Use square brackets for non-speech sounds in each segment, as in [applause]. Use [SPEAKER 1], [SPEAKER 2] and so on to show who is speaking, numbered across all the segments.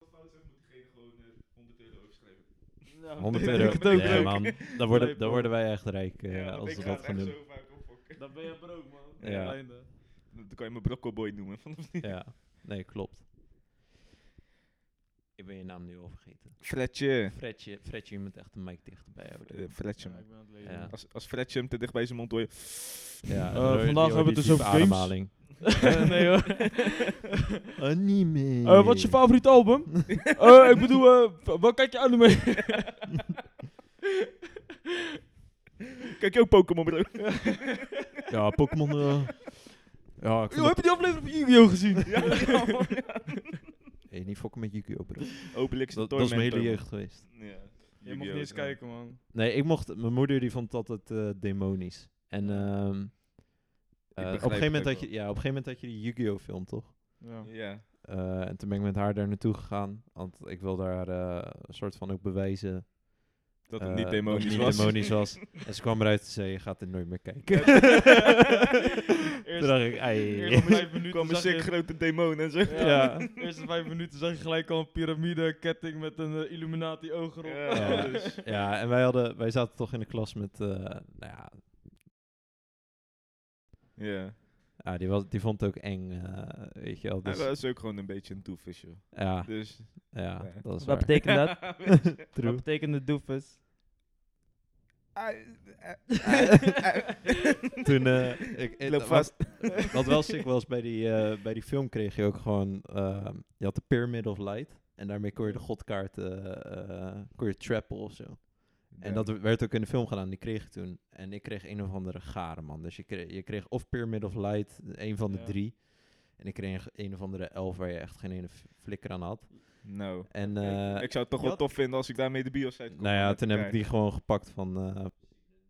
[SPEAKER 1] eh, Ja,
[SPEAKER 2] 100
[SPEAKER 1] Oh. Nou. [laughs] ik
[SPEAKER 2] euro.
[SPEAKER 1] denk het ook,
[SPEAKER 2] ja,
[SPEAKER 1] leuk.
[SPEAKER 2] man. Dan
[SPEAKER 1] Leuk,
[SPEAKER 2] worden,
[SPEAKER 1] man.
[SPEAKER 2] dan worden wij echt rijk eh,
[SPEAKER 3] want
[SPEAKER 2] als
[SPEAKER 3] ik
[SPEAKER 2] we
[SPEAKER 3] ga
[SPEAKER 2] dat
[SPEAKER 3] het
[SPEAKER 2] gaan
[SPEAKER 3] echt
[SPEAKER 2] doen.
[SPEAKER 3] zo vaak opfokken.
[SPEAKER 1] Dan ben je brood, man.
[SPEAKER 2] Ja.
[SPEAKER 1] Einde.
[SPEAKER 3] Dan kan je me brokkelboy noemen. [laughs] Vanaf nu.
[SPEAKER 2] Ja, nee, klopt. Ik ben je naam nu al vergeten.
[SPEAKER 3] Fredje.
[SPEAKER 2] Fredje, Fredje, je moet echt een mic dichterbij houden.
[SPEAKER 3] Eh, Fredje,
[SPEAKER 1] Ja,
[SPEAKER 3] man.
[SPEAKER 1] ik ben aan het lezen.
[SPEAKER 2] Ja.
[SPEAKER 3] Als, als Fredje hem te dicht bij zijn mond hoor je... [laughs]
[SPEAKER 2] Ja,
[SPEAKER 1] Eh,
[SPEAKER 2] dan hoor je-
[SPEAKER 1] vandaag
[SPEAKER 2] die hoor
[SPEAKER 1] hebben we
[SPEAKER 2] die
[SPEAKER 1] het dus
[SPEAKER 2] diepe
[SPEAKER 1] over games.
[SPEAKER 2] ademhaling.
[SPEAKER 1] [laughs] Eh, nee hoor. [laughs]
[SPEAKER 2] Anime.
[SPEAKER 1] Eh, wat is je favoriete album? [laughs] Eh, ik bedoel, eh, wa- wat kijk je anime?
[SPEAKER 3] Kijk je ook Pokémon, bro?
[SPEAKER 2] Ja, Pokémon. eh, ja, ik
[SPEAKER 1] Yo,
[SPEAKER 2] vind het...
[SPEAKER 1] heb je die aflevering van Yu-Gi-Oh! gezien?
[SPEAKER 3] ja, ja, man.
[SPEAKER 2] Hey, niet fokken met Yu-Gi-Oh! bro.
[SPEAKER 3] Obelix
[SPEAKER 2] Dat, dat is mijn hele jeugd geweest.
[SPEAKER 3] Ja.
[SPEAKER 1] Je mag niet eens kijken, man.
[SPEAKER 2] Nee, ik mocht... Mijn moeder die vond dat het eh, demonisch. En ehm, eh, op,
[SPEAKER 3] begrijp
[SPEAKER 2] een gegeven
[SPEAKER 3] het
[SPEAKER 2] moment
[SPEAKER 3] ook
[SPEAKER 2] had je, ja, op een gegeven moment had je die Yu-Gi-Oh! film, toch?
[SPEAKER 1] Ja.
[SPEAKER 3] Ja.
[SPEAKER 2] Eh, en toen ben ik met haar daar naartoe gegaan. Want ik wil daar eh, een soort van ook bewijzen
[SPEAKER 3] Dat het
[SPEAKER 2] eh,
[SPEAKER 3] niet demonisch was.
[SPEAKER 2] dat het niet
[SPEAKER 3] [laughs]
[SPEAKER 2] demonisch was. en ze kwam eruit en zei, je gaat dit nooit meer kijken. [laughs] toen
[SPEAKER 1] [laughs] Eerst-
[SPEAKER 2] dacht ik, ei.
[SPEAKER 1] eerst om vijf minuten
[SPEAKER 3] kwam een
[SPEAKER 1] zag je-
[SPEAKER 3] sick grote demon en zo.
[SPEAKER 1] [laughs] Ja.
[SPEAKER 2] Ja.
[SPEAKER 1] De eerste vijf minuten zag je gelijk al een piramide ketting met een eh, Illuminati oog erop.
[SPEAKER 3] Ja.
[SPEAKER 2] Ja.
[SPEAKER 1] Dus-
[SPEAKER 2] Ja, en wij, hadden, wij zaten toch in de klas met, eh, nou ja,
[SPEAKER 3] Ja.
[SPEAKER 2] ah, die, was, die vond het ook eng, eh, weet je wel.
[SPEAKER 3] Hij
[SPEAKER 2] Dus,
[SPEAKER 3] was ook gewoon een beetje een doofus, joh.
[SPEAKER 2] ja,
[SPEAKER 3] Dus...
[SPEAKER 2] ja,
[SPEAKER 3] Ja.
[SPEAKER 2] dat is
[SPEAKER 4] Wat
[SPEAKER 2] waar.
[SPEAKER 4] betekent
[SPEAKER 1] [laughs]
[SPEAKER 4] dat? Wat
[SPEAKER 2] True.
[SPEAKER 4] betekent het doofus?
[SPEAKER 2] [laughs]
[SPEAKER 3] [laughs]
[SPEAKER 2] Toen, eh, ik,
[SPEAKER 3] Ik
[SPEAKER 2] ik-
[SPEAKER 3] loop
[SPEAKER 2] wat-
[SPEAKER 3] vast. [laughs]
[SPEAKER 2] Wat wel sick was, bij die, eh, bij die film kreeg je ook gewoon... ehm, je had de Pyramid of Light. En daarmee kon je de godkaart... eh, eh, kon je trappen of zo. En dat werd ook in de film gedaan. Die kreeg ik toen. En ik kreeg een of andere garen, man. Dus je kreeg, je kreeg of Pyramid of Light, een van de
[SPEAKER 1] Ja.
[SPEAKER 2] drie. En ik kreeg een of andere elf waar je echt geen ene f- flikker aan had.
[SPEAKER 3] Nou.
[SPEAKER 2] En
[SPEAKER 3] Ik-
[SPEAKER 2] eh,
[SPEAKER 3] ik zou het toch
[SPEAKER 2] je
[SPEAKER 3] wel
[SPEAKER 2] had-
[SPEAKER 3] tof vinden als ik daarmee de bios uit kon.
[SPEAKER 2] nou ja, toen heb ik die gewoon gepakt van eh,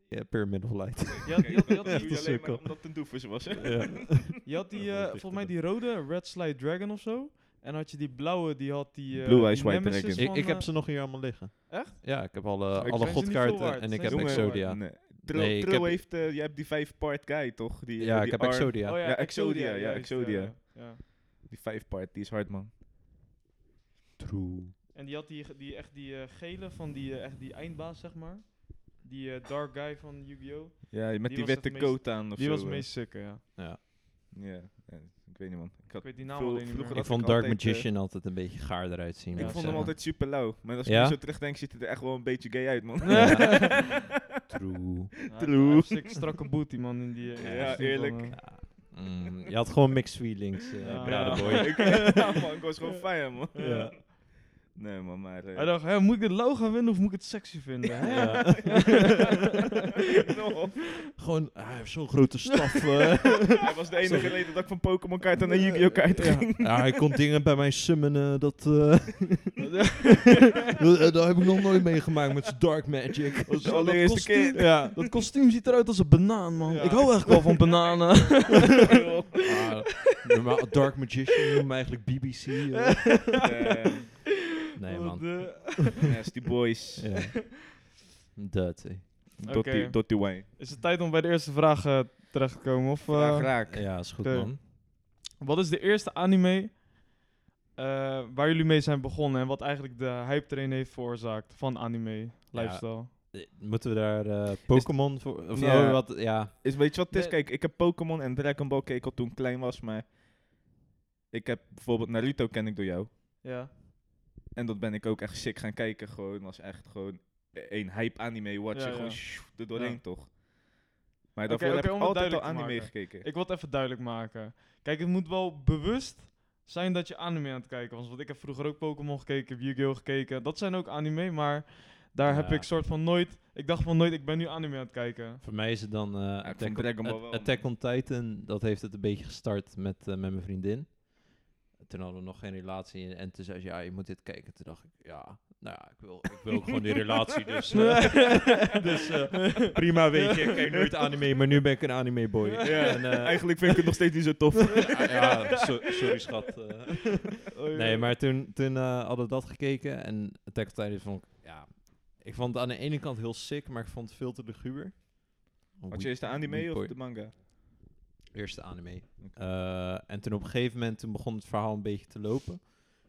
[SPEAKER 2] ja, Pyramid of Light.
[SPEAKER 1] Je had- je had- je
[SPEAKER 2] Echt een
[SPEAKER 1] had die-
[SPEAKER 3] alleen maar
[SPEAKER 2] sukkel.
[SPEAKER 3] omdat het een doofus was. hè?
[SPEAKER 2] ja.
[SPEAKER 1] Je had die,
[SPEAKER 2] Ja,
[SPEAKER 1] eh,
[SPEAKER 2] dat is
[SPEAKER 1] volgens mij die rode, Red Slide Dragon of zo. En had je die blauwe, die had die... eh,
[SPEAKER 3] Blue Eyes
[SPEAKER 1] die
[SPEAKER 3] White
[SPEAKER 1] Nemesis
[SPEAKER 3] Dragon.
[SPEAKER 2] [laughs] ik,
[SPEAKER 1] van,
[SPEAKER 2] ik heb
[SPEAKER 1] eh,
[SPEAKER 2] ze nog hier allemaal liggen.
[SPEAKER 1] Echt?
[SPEAKER 2] Ja, ik heb alle,
[SPEAKER 3] Ik-
[SPEAKER 2] alle
[SPEAKER 1] zijn ze niet veel
[SPEAKER 2] godkaarten
[SPEAKER 1] waard?
[SPEAKER 2] en ik
[SPEAKER 1] Zijn
[SPEAKER 2] heb
[SPEAKER 1] ze niet veel
[SPEAKER 2] Exodia.
[SPEAKER 3] Nee. Trill,
[SPEAKER 2] Nee, ik
[SPEAKER 3] Trill
[SPEAKER 2] heb-
[SPEAKER 3] heeft, eh, jij hebt die five-part guy, toch? Die, eh,
[SPEAKER 2] Ja,
[SPEAKER 3] die
[SPEAKER 2] ik heb
[SPEAKER 3] arm-
[SPEAKER 2] Exodia.
[SPEAKER 1] Oh ja,
[SPEAKER 3] Ja,
[SPEAKER 1] Exodia.
[SPEAKER 3] Exodia, ja,
[SPEAKER 1] juist,
[SPEAKER 3] Exodia.
[SPEAKER 1] ja, ja.
[SPEAKER 3] Die five-part, die is hard, man.
[SPEAKER 2] True.
[SPEAKER 1] En die had die, die echt die eh, gele van die, eh, echt die eindbaas, zeg maar. Die eh, dark guy van Yu-Gi-Oh!
[SPEAKER 3] Ja, met die,
[SPEAKER 1] was het
[SPEAKER 3] witte
[SPEAKER 1] meest-
[SPEAKER 3] coat aan of
[SPEAKER 1] Die
[SPEAKER 3] zo.
[SPEAKER 1] was het
[SPEAKER 3] eh.
[SPEAKER 1] meest sikke, ja.
[SPEAKER 2] Ja.
[SPEAKER 3] Ja, ja, ik weet niet, man. Ik,
[SPEAKER 1] Ik
[SPEAKER 3] had,
[SPEAKER 1] weet die naam
[SPEAKER 3] Veel-
[SPEAKER 1] alleen niet
[SPEAKER 3] vroeger
[SPEAKER 2] Ik
[SPEAKER 1] meer.
[SPEAKER 3] had
[SPEAKER 2] vond
[SPEAKER 3] ik
[SPEAKER 2] Dark
[SPEAKER 3] altijd, eh,
[SPEAKER 2] Magician altijd een beetje gaar eruit zien.
[SPEAKER 3] ik
[SPEAKER 2] moet
[SPEAKER 3] vond
[SPEAKER 1] Ja, zeg
[SPEAKER 3] hem
[SPEAKER 1] maar.
[SPEAKER 3] altijd super lauw. Maar als ik
[SPEAKER 2] Ja?
[SPEAKER 3] nu zo terugdenk, ziet het er echt wel een beetje gay uit, man. [laughs]
[SPEAKER 2] Ja. True.
[SPEAKER 1] Ja,
[SPEAKER 3] True.
[SPEAKER 1] hij heeft Sick strakke booty, man. In die, eh,
[SPEAKER 2] Ja,
[SPEAKER 1] kostuum van,
[SPEAKER 3] eerlijk.
[SPEAKER 1] eh,
[SPEAKER 2] Ja. Mm, je had gewoon mixed feelings, eh
[SPEAKER 1] Ja.
[SPEAKER 2] Brada boy.
[SPEAKER 3] [laughs] ik, ja, man, ik was gewoon fijn, man.
[SPEAKER 2] Ja.
[SPEAKER 3] Nee, man, maar... eh,
[SPEAKER 1] Hij dacht, hè, moet ik dit lauw gaan vinden of moet ik het sexy vinden? hè?
[SPEAKER 2] Ja.
[SPEAKER 1] [laughs]
[SPEAKER 3] [laughs] No.
[SPEAKER 2] Gewoon, hij heeft zo'n grote staf. [laughs] eh.
[SPEAKER 3] [laughs] Hij was de enige reden dat ik van Pokémon kaart naar Yu-Gi-Oh kaart ging.
[SPEAKER 2] ja, hij kon dingen bij mij summonen, dat, eh.
[SPEAKER 3] [laughs]
[SPEAKER 2] dat, heb ik nog nooit meegemaakt met zijn dark magic.
[SPEAKER 3] Dat was de
[SPEAKER 1] Zo, dat
[SPEAKER 3] allereerste
[SPEAKER 1] kostuum.
[SPEAKER 3] keer.
[SPEAKER 2] Ja.
[SPEAKER 1] Dat kostuum ziet eruit als een banaan, man.
[SPEAKER 3] Ja.
[SPEAKER 1] Ik hou echt wel van bananen.
[SPEAKER 3] [laughs]
[SPEAKER 1] [laughs]
[SPEAKER 2] Ah, normaal, dark magician noemen eigenlijk BBC.
[SPEAKER 1] [laughs]
[SPEAKER 2] eh.
[SPEAKER 3] Eh,
[SPEAKER 2] Nee
[SPEAKER 1] Wat
[SPEAKER 2] man,
[SPEAKER 1] de-
[SPEAKER 3] Nasty boys.
[SPEAKER 2] [laughs] ja. Dirty.
[SPEAKER 1] Oké.
[SPEAKER 3] Dottie Dottie Wayne.
[SPEAKER 1] Is het tijd om bij de eerste vraag eh, terecht te komen? Of, eh,
[SPEAKER 3] Graag raak.
[SPEAKER 2] Ja, is goed
[SPEAKER 1] Oké.
[SPEAKER 2] man.
[SPEAKER 1] Wat is de eerste anime eh, waar jullie mee zijn begonnen en wat eigenlijk de hype train heeft veroorzaakt van anime lifestyle?
[SPEAKER 2] Eh, Moeten we daar eh, Pokémon voor? Of
[SPEAKER 3] Ja.
[SPEAKER 2] oh, wat? Ja.
[SPEAKER 3] Is, weet je wat het is?
[SPEAKER 1] Nee.
[SPEAKER 3] Kijk, ik heb Pokémon en Dragon Ball keek al toen ik klein was, maar... Ik heb bijvoorbeeld Naruto ken ik door jou.
[SPEAKER 1] Ja.
[SPEAKER 3] En dat ben ik ook echt sick gaan kijken. Gewoon als echt gewoon één hype anime watch.
[SPEAKER 1] Ja, ja.
[SPEAKER 3] Gewoon sjoef, er doorheen
[SPEAKER 1] Ja.
[SPEAKER 3] toch. Maar daarvoor
[SPEAKER 1] Oké, oké, om
[SPEAKER 3] heb
[SPEAKER 1] het
[SPEAKER 3] ik altijd al
[SPEAKER 1] duidelijk te
[SPEAKER 3] anime
[SPEAKER 1] maken.
[SPEAKER 3] gekeken.
[SPEAKER 1] Ik wil het even duidelijk maken. Kijk, het moet wel bewust zijn dat je anime aan het kijken was. Want ik heb vroeger ook Pokémon gekeken, heb Yu-Gi-Oh! gekeken. Dat zijn ook anime, maar daar heb
[SPEAKER 2] Ja.
[SPEAKER 1] ik soort van nooit... Ik dacht van nooit, ik ben nu anime aan het kijken.
[SPEAKER 2] Voor mij is het dan eh,
[SPEAKER 3] ik
[SPEAKER 2] Attack,
[SPEAKER 3] vond
[SPEAKER 2] on,
[SPEAKER 3] Dragon Ball
[SPEAKER 2] A-
[SPEAKER 3] wel,
[SPEAKER 2] Attack on Titan. Dat heeft het een beetje gestart met, eh, met mijn vriendin. Toen hadden we nog geen relatie. En, en toen zei ze, ja, je moet dit kijken. Toen dacht ik, ja, nou ja, ik wil, ik wil ook gewoon die relatie.
[SPEAKER 3] [laughs]
[SPEAKER 2] Dus, eh, [laughs] dus eh, prima, weet je. Ik kijk nooit anime, maar nu ben ik een anime boy.
[SPEAKER 3] Ja,
[SPEAKER 2] En, eh,
[SPEAKER 3] eigenlijk vind ik het nog steeds niet zo tof.
[SPEAKER 2] [laughs]
[SPEAKER 3] Oh,
[SPEAKER 2] ah, ja, so- sorry schat. eh. Nee, maar toen, toen eh, hadden we dat gekeken en Attack on Titan vond ik, ja, ik vond het aan de ene kant heel sick, maar ik vond het veel te luguber.
[SPEAKER 3] Had je eerst de anime of de manga?
[SPEAKER 2] Eerste anime. Eh, en toen op een gegeven moment toen begon het verhaal een beetje te lopen.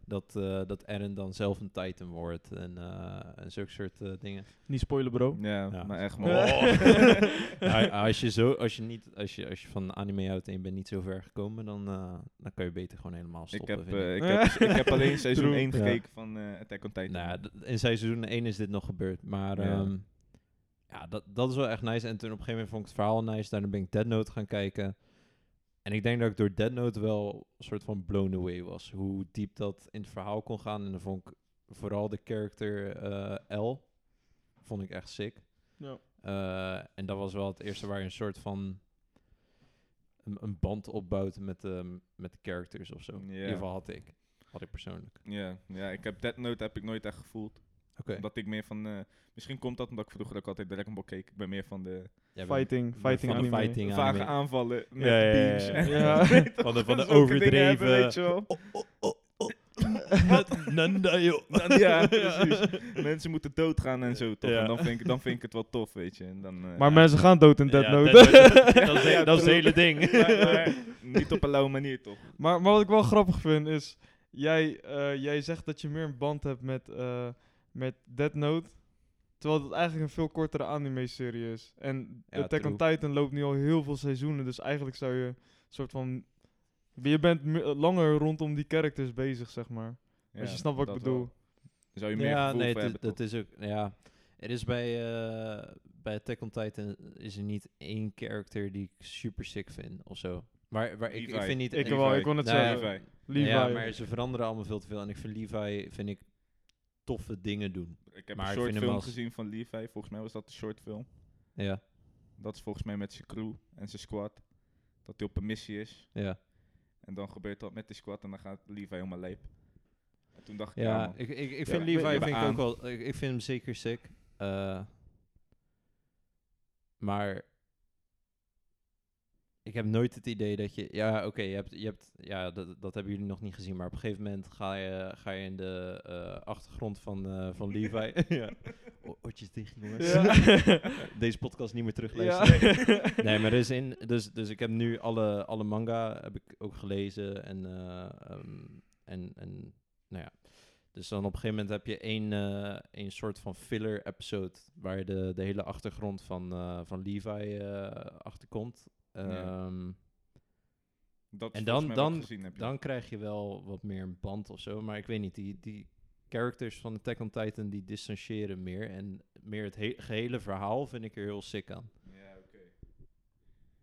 [SPEAKER 2] dat, eh, dat Eren dan zelf een Titan wordt en, eh, en zulke soort eh,
[SPEAKER 3] [laughs]
[SPEAKER 2] dingen.
[SPEAKER 1] Niet spoilen, bro.
[SPEAKER 3] Ja,
[SPEAKER 2] Ja.
[SPEAKER 3] maar echt man.
[SPEAKER 1] [laughs] Oh.
[SPEAKER 2] Nou, Ja, als, je zo, als, je niet, als, je, als je van anime houdt en je bent niet zo ver gekomen, dan, eh, dan kan je beter gewoon helemaal
[SPEAKER 3] Ik
[SPEAKER 2] stoppen.
[SPEAKER 3] heb,
[SPEAKER 2] vind ik.
[SPEAKER 3] eh, ik,
[SPEAKER 2] [laughs]
[SPEAKER 3] heb, ik heb alleen seizoen
[SPEAKER 1] True.
[SPEAKER 3] 1
[SPEAKER 2] Ja.
[SPEAKER 3] gekeken van eh, Attack on Titan.
[SPEAKER 2] Nou, ja, d- in seizoen 1 is dit nog gebeurd, maar
[SPEAKER 3] Ja.
[SPEAKER 2] ehm, ja, dat, dat is wel echt nice. En toen op een gegeven moment vond ik het verhaal nice, daarna ben ik Dead Note gaan kijken. En ik denk dat ik door Dead Note wel een soort van blown away was. Hoe diep dat in het verhaal kon gaan. En dan vond ik vooral de character eh L, vond ik echt sick.
[SPEAKER 1] Ja.
[SPEAKER 2] Eh, en dat was wel het eerste waar je een soort van een, een band opbouwt met, de met de characters of zo. In
[SPEAKER 3] Ja.
[SPEAKER 2] ieder geval had ik. Had ik persoonlijk.
[SPEAKER 3] Ja, ja, ik heb Dead Note heb ik nooit echt gevoeld.
[SPEAKER 2] Oké.
[SPEAKER 3] Omdat ik meer van... eh, misschien komt dat omdat ik vroeger ook altijd Dragon Ball keek. Ik ben meer van de
[SPEAKER 1] Fighting, fighting
[SPEAKER 2] van de
[SPEAKER 1] anime.
[SPEAKER 2] fighting anime.
[SPEAKER 3] vage aanvallen met
[SPEAKER 2] Ja, ja, ja,
[SPEAKER 3] beams.
[SPEAKER 2] ja. [laughs]
[SPEAKER 3] en
[SPEAKER 1] Ja.
[SPEAKER 2] Van de, van de
[SPEAKER 3] zulke dingen hebben,
[SPEAKER 2] overdreven... Oh,
[SPEAKER 3] weet je wel. [laughs]
[SPEAKER 2] Nanda, joh.
[SPEAKER 3] Nou, [laughs] ja, precies. Mensen moeten doodgaan en zo, toch?
[SPEAKER 2] Ja.
[SPEAKER 3] En dan vind, ik, dan vind ik het wel tof, weet je. En dan, eh,
[SPEAKER 1] Maar
[SPEAKER 3] ja.
[SPEAKER 1] mensen gaan dood in Dead
[SPEAKER 2] Ja,
[SPEAKER 1] Note.
[SPEAKER 2] Note.
[SPEAKER 1] [laughs]
[SPEAKER 2] dat is,
[SPEAKER 3] Ja,
[SPEAKER 2] dat is
[SPEAKER 3] true.
[SPEAKER 2] het hele ding. [laughs]
[SPEAKER 3] Maar- maar niet op een lauwe manier, toch?
[SPEAKER 1] maar, maar wat ik wel grappig vind is... Jij, eh, jij zegt dat je meer een band hebt met, eh, met Dead Note. Terwijl het eigenlijk een veel kortere anime-serie is. En
[SPEAKER 2] Ja,
[SPEAKER 1] Attack on
[SPEAKER 2] true.
[SPEAKER 1] Titan loopt nu al heel veel seizoenen. Dus eigenlijk zou je een soort van... Je bent me- langer rondom die characters bezig, zeg maar.
[SPEAKER 3] Ja,
[SPEAKER 1] als je snapt wat ik
[SPEAKER 3] dat
[SPEAKER 1] bedoel.
[SPEAKER 3] wel. Dan zou je meer
[SPEAKER 2] Ja,
[SPEAKER 3] gevoel
[SPEAKER 2] nee,
[SPEAKER 3] voor
[SPEAKER 2] het is-
[SPEAKER 3] hebben,
[SPEAKER 2] dat is ook... Ja, er is bij, eh bij Attack on Titan is er niet één character die ik super sick vind of zo. Maar, waar ik, ik
[SPEAKER 3] Levi.
[SPEAKER 2] vind niet...
[SPEAKER 1] Ik
[SPEAKER 3] Levi.
[SPEAKER 1] wel, ik kon het
[SPEAKER 2] Nou ja,
[SPEAKER 3] toch?
[SPEAKER 1] zeggen.
[SPEAKER 3] Levi.
[SPEAKER 1] Levi.
[SPEAKER 2] Ja, maar ze veranderen allemaal veel te veel. En ik vind Levi, vind ik, toffe dingen doen.
[SPEAKER 3] Ik heb
[SPEAKER 2] Maar
[SPEAKER 3] een
[SPEAKER 2] ik
[SPEAKER 3] short
[SPEAKER 2] vind hem
[SPEAKER 3] film
[SPEAKER 2] als-
[SPEAKER 3] gezien van Levi. Volgens mij was dat een short film.
[SPEAKER 2] Ja,
[SPEAKER 3] Dat is volgens mij met zijn crew en zijn squad. Dat hij op een missie is.
[SPEAKER 2] ja.
[SPEAKER 3] En dan gebeurt dat met de squad en dan gaat Levi helemaal leep. En toen dacht ik, ja,
[SPEAKER 2] Ja,
[SPEAKER 3] man.
[SPEAKER 2] ik, ik, ik
[SPEAKER 3] Ja.
[SPEAKER 2] vind
[SPEAKER 3] We- we
[SPEAKER 2] Levi vind ik
[SPEAKER 3] hebben
[SPEAKER 2] ook wel... Ik, ik vind hem zeker sick. Eh, maar... Ik heb nooit het idee dat je... Ja, oké, je hebt... Je hebt ja, dat, dat hebben jullie nog niet gezien. Maar op een gegeven moment ga je, ga je in de eh, achtergrond van, eh, van
[SPEAKER 3] [laughs]
[SPEAKER 2] Levi... [laughs] ja. O- Oortjes dicht, jongens. [laughs] Deze podcast niet meer terugluisteren.
[SPEAKER 1] [laughs]
[SPEAKER 2] Nee, maar er is in. Dus, dus ik heb nu alle, alle manga heb ik ook gelezen. En, eh, ehm, en, en nou ja. Dus dan op een gegeven moment heb je één, eh, één soort van filler episode. Waar je de, de hele achtergrond van, eh, van Levi eh, achterkomt.
[SPEAKER 3] Ja.
[SPEAKER 2] Ehm,
[SPEAKER 3] Dat is volgens
[SPEAKER 2] en
[SPEAKER 3] mij
[SPEAKER 2] dan-
[SPEAKER 3] wat ik
[SPEAKER 2] dan-
[SPEAKER 3] gezien heb, ja.
[SPEAKER 2] Dan krijg je wel wat meer een band of zo. Maar ik weet niet, die, die characters van Attack on Titan die distancieren meer. En meer het he- gehele verhaal vind ik er heel sick aan.
[SPEAKER 3] Ja, oké.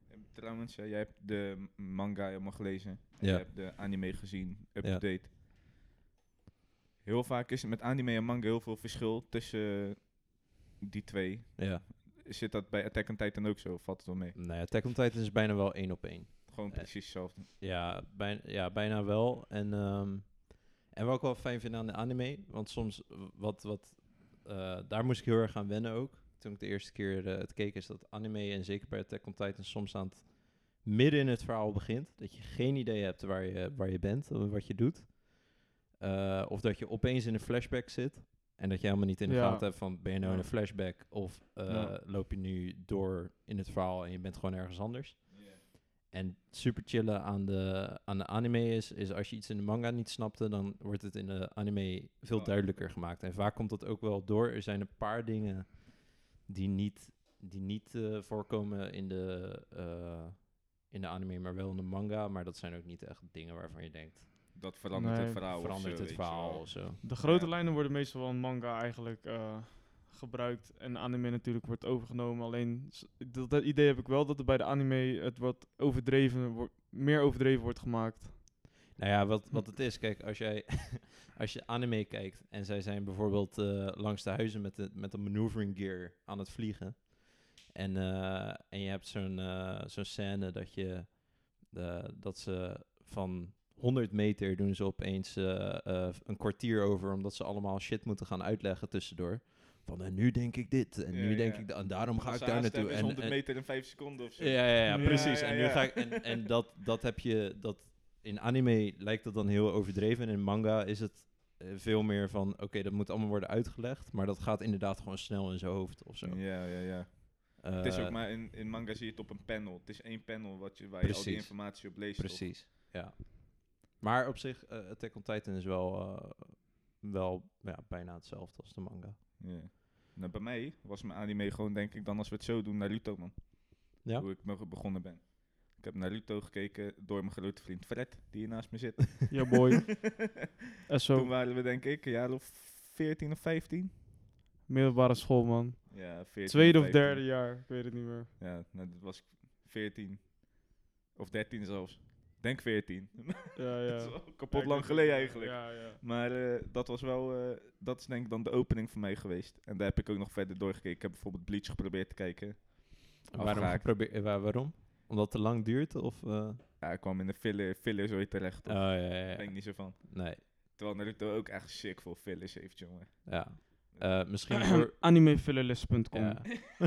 [SPEAKER 3] En Trouwens, eh, jij hebt de m- manga helemaal gelezen. En
[SPEAKER 2] Ja.
[SPEAKER 3] Je hebt de anime gezien,
[SPEAKER 2] Ja.
[SPEAKER 3] up-to-date. Heel vaak is er met anime en manga heel veel verschil tussen eh, die twee.
[SPEAKER 2] Ja.
[SPEAKER 3] Zit dat bij Attack on Titan ook zo? of Valt het wel mee?
[SPEAKER 2] Nou ja, Attack on Titan is bijna wel één op één.
[SPEAKER 3] Gewoon
[SPEAKER 2] Eh.
[SPEAKER 3] precies hetzelfde.
[SPEAKER 2] Ja, bijna, ja, bijna wel. En, ehm, en wat ik wel fijn vind aan de anime, want soms w- wat, wat eh, daar moest ik heel erg aan wennen ook. Toen ik de eerste keer eh, het keek, is dat anime en zeker bij Attack on Titan soms aan het midden in het verhaal begint. Dat je geen idee hebt waar je, waar je bent en wat je doet. Eh, of dat je opeens in een flashback zit. En dat je helemaal niet in de
[SPEAKER 1] Ja.
[SPEAKER 2] gaten hebt van ben je nou in een flashback of eh,
[SPEAKER 1] Ja.
[SPEAKER 2] loop je nu door in het verhaal en je bent gewoon ergens anders. En super chillen aan de, aan de anime is, is als je iets in de manga niet snapte, dan wordt het in de anime veel
[SPEAKER 3] Ja.
[SPEAKER 2] duidelijker gemaakt. En vaak komt dat ook wel door. Er zijn een paar dingen die niet, die niet eh, voorkomen in de, eh, in de anime, maar wel in de manga. Maar dat zijn ook niet echt dingen waarvan je denkt,
[SPEAKER 3] Dat verandert
[SPEAKER 1] Nee,
[SPEAKER 3] het verhaal. Nou, of
[SPEAKER 2] verandert
[SPEAKER 3] zo,
[SPEAKER 2] het
[SPEAKER 3] weet je wel.
[SPEAKER 2] verhaal of zo.
[SPEAKER 1] De grote
[SPEAKER 3] Ja.
[SPEAKER 1] lijnen worden meestal wel in manga eigenlijk eh, gebruikt. En anime natuurlijk wordt overgenomen. Alleen s- dat, dat idee heb ik wel dat er bij de anime het wat overdreven wordt, meer overdreven wordt gemaakt.
[SPEAKER 2] Nou ja,
[SPEAKER 3] Hm.
[SPEAKER 2] wat, wat het is, kijk, als jij [laughs] als je anime kijkt en zij zijn bijvoorbeeld eh, langs de huizen met de, met de maneuvering gear aan het vliegen. En, eh, en je hebt zo'n eh, zo'n scène dat, je, eh, dat ze van 100 meter doen ze opeens eh, eh, een kwartier over, omdat ze allemaal shit moeten gaan uitleggen tussendoor. Van en nu denk ik dit, en
[SPEAKER 3] Ja,
[SPEAKER 2] nu denk
[SPEAKER 3] ja.
[SPEAKER 2] ik dat, en daarom ga
[SPEAKER 3] Als
[SPEAKER 2] ik
[SPEAKER 3] ze
[SPEAKER 2] daar
[SPEAKER 3] haast
[SPEAKER 2] naartoe.
[SPEAKER 3] hebben, is
[SPEAKER 2] En,
[SPEAKER 3] 100
[SPEAKER 2] en-
[SPEAKER 3] meter in 5 seconden of zo.
[SPEAKER 2] ja, ja, ja,
[SPEAKER 1] Ja,
[SPEAKER 2] precies.
[SPEAKER 3] ja,
[SPEAKER 2] en nu
[SPEAKER 3] ja.
[SPEAKER 2] ga ik. En, en dat, dat heb je. Dat, in anime lijkt dat dan heel overdreven. En in manga is het eh, veel meer van. Oké, dat moet allemaal worden uitgelegd. Maar dat gaat inderdaad gewoon snel in zijn hoofd of zo.
[SPEAKER 3] ja, ja. ja. Het is
[SPEAKER 2] Eh,
[SPEAKER 3] ook maar in, in manga zie je het op een panel. Het is één panel wat je, waar je al die
[SPEAKER 2] Precies.
[SPEAKER 3] informatie op leest. toch?
[SPEAKER 2] Precies. Ja. Maar op zich, eh Attack on Titan is wel, eh, wel ja, bijna hetzelfde als de manga.
[SPEAKER 3] Ja. Nou, bij mij was mijn anime gewoon, denk ik, dan als we het zo doen, Naruto, man.
[SPEAKER 2] Ja?
[SPEAKER 3] Hoe ik me begonnen ben. Ik heb Naruto gekeken door mijn grote vriend Fred, die hier naast me zit.
[SPEAKER 1] Ja,
[SPEAKER 3] [laughs]
[SPEAKER 1] boy. [laughs] SO,
[SPEAKER 3] Toen waren we, denk ik, een jaar of 14 of 15.
[SPEAKER 1] middelbare school, man.
[SPEAKER 3] Ja, 14.
[SPEAKER 1] Tweede of
[SPEAKER 3] 15.
[SPEAKER 1] derde jaar, ik weet het niet meer.
[SPEAKER 3] Ja, nou, dat was ik 14. Of 13 zelfs. Denk 14.
[SPEAKER 1] Ja, ja.
[SPEAKER 3] [laughs] dat is wel
[SPEAKER 1] Ja,
[SPEAKER 3] kapot
[SPEAKER 1] ik
[SPEAKER 3] lang
[SPEAKER 1] weet-
[SPEAKER 3] geleden eigenlijk.
[SPEAKER 1] Ja, ja.
[SPEAKER 3] Maar eh, dat was wel, eh, dat is denk ik dan de opening voor mij geweest. En daar heb ik ook nog verder doorgekeken. Ik heb bijvoorbeeld Bleach geprobeerd te kijken.
[SPEAKER 2] En Waarom,
[SPEAKER 3] Afgehaakt.
[SPEAKER 2] geprobeer- eh, waar- waarom? Omdat het te lang duurt? Of, eh?
[SPEAKER 3] Ja, ik kwam in de filler, filler zo terecht.
[SPEAKER 2] Oh,
[SPEAKER 3] Daar
[SPEAKER 2] ja, ja,
[SPEAKER 3] ben ik
[SPEAKER 2] ja.
[SPEAKER 3] niet zo van.
[SPEAKER 2] Nee,
[SPEAKER 3] Terwijl Naruto ook echt sick veel fillers heeft, jongen.
[SPEAKER 2] ja. Eh, misschien
[SPEAKER 1] [clears throat]
[SPEAKER 2] voor...
[SPEAKER 1] Animefillerlist.com.
[SPEAKER 2] Ja.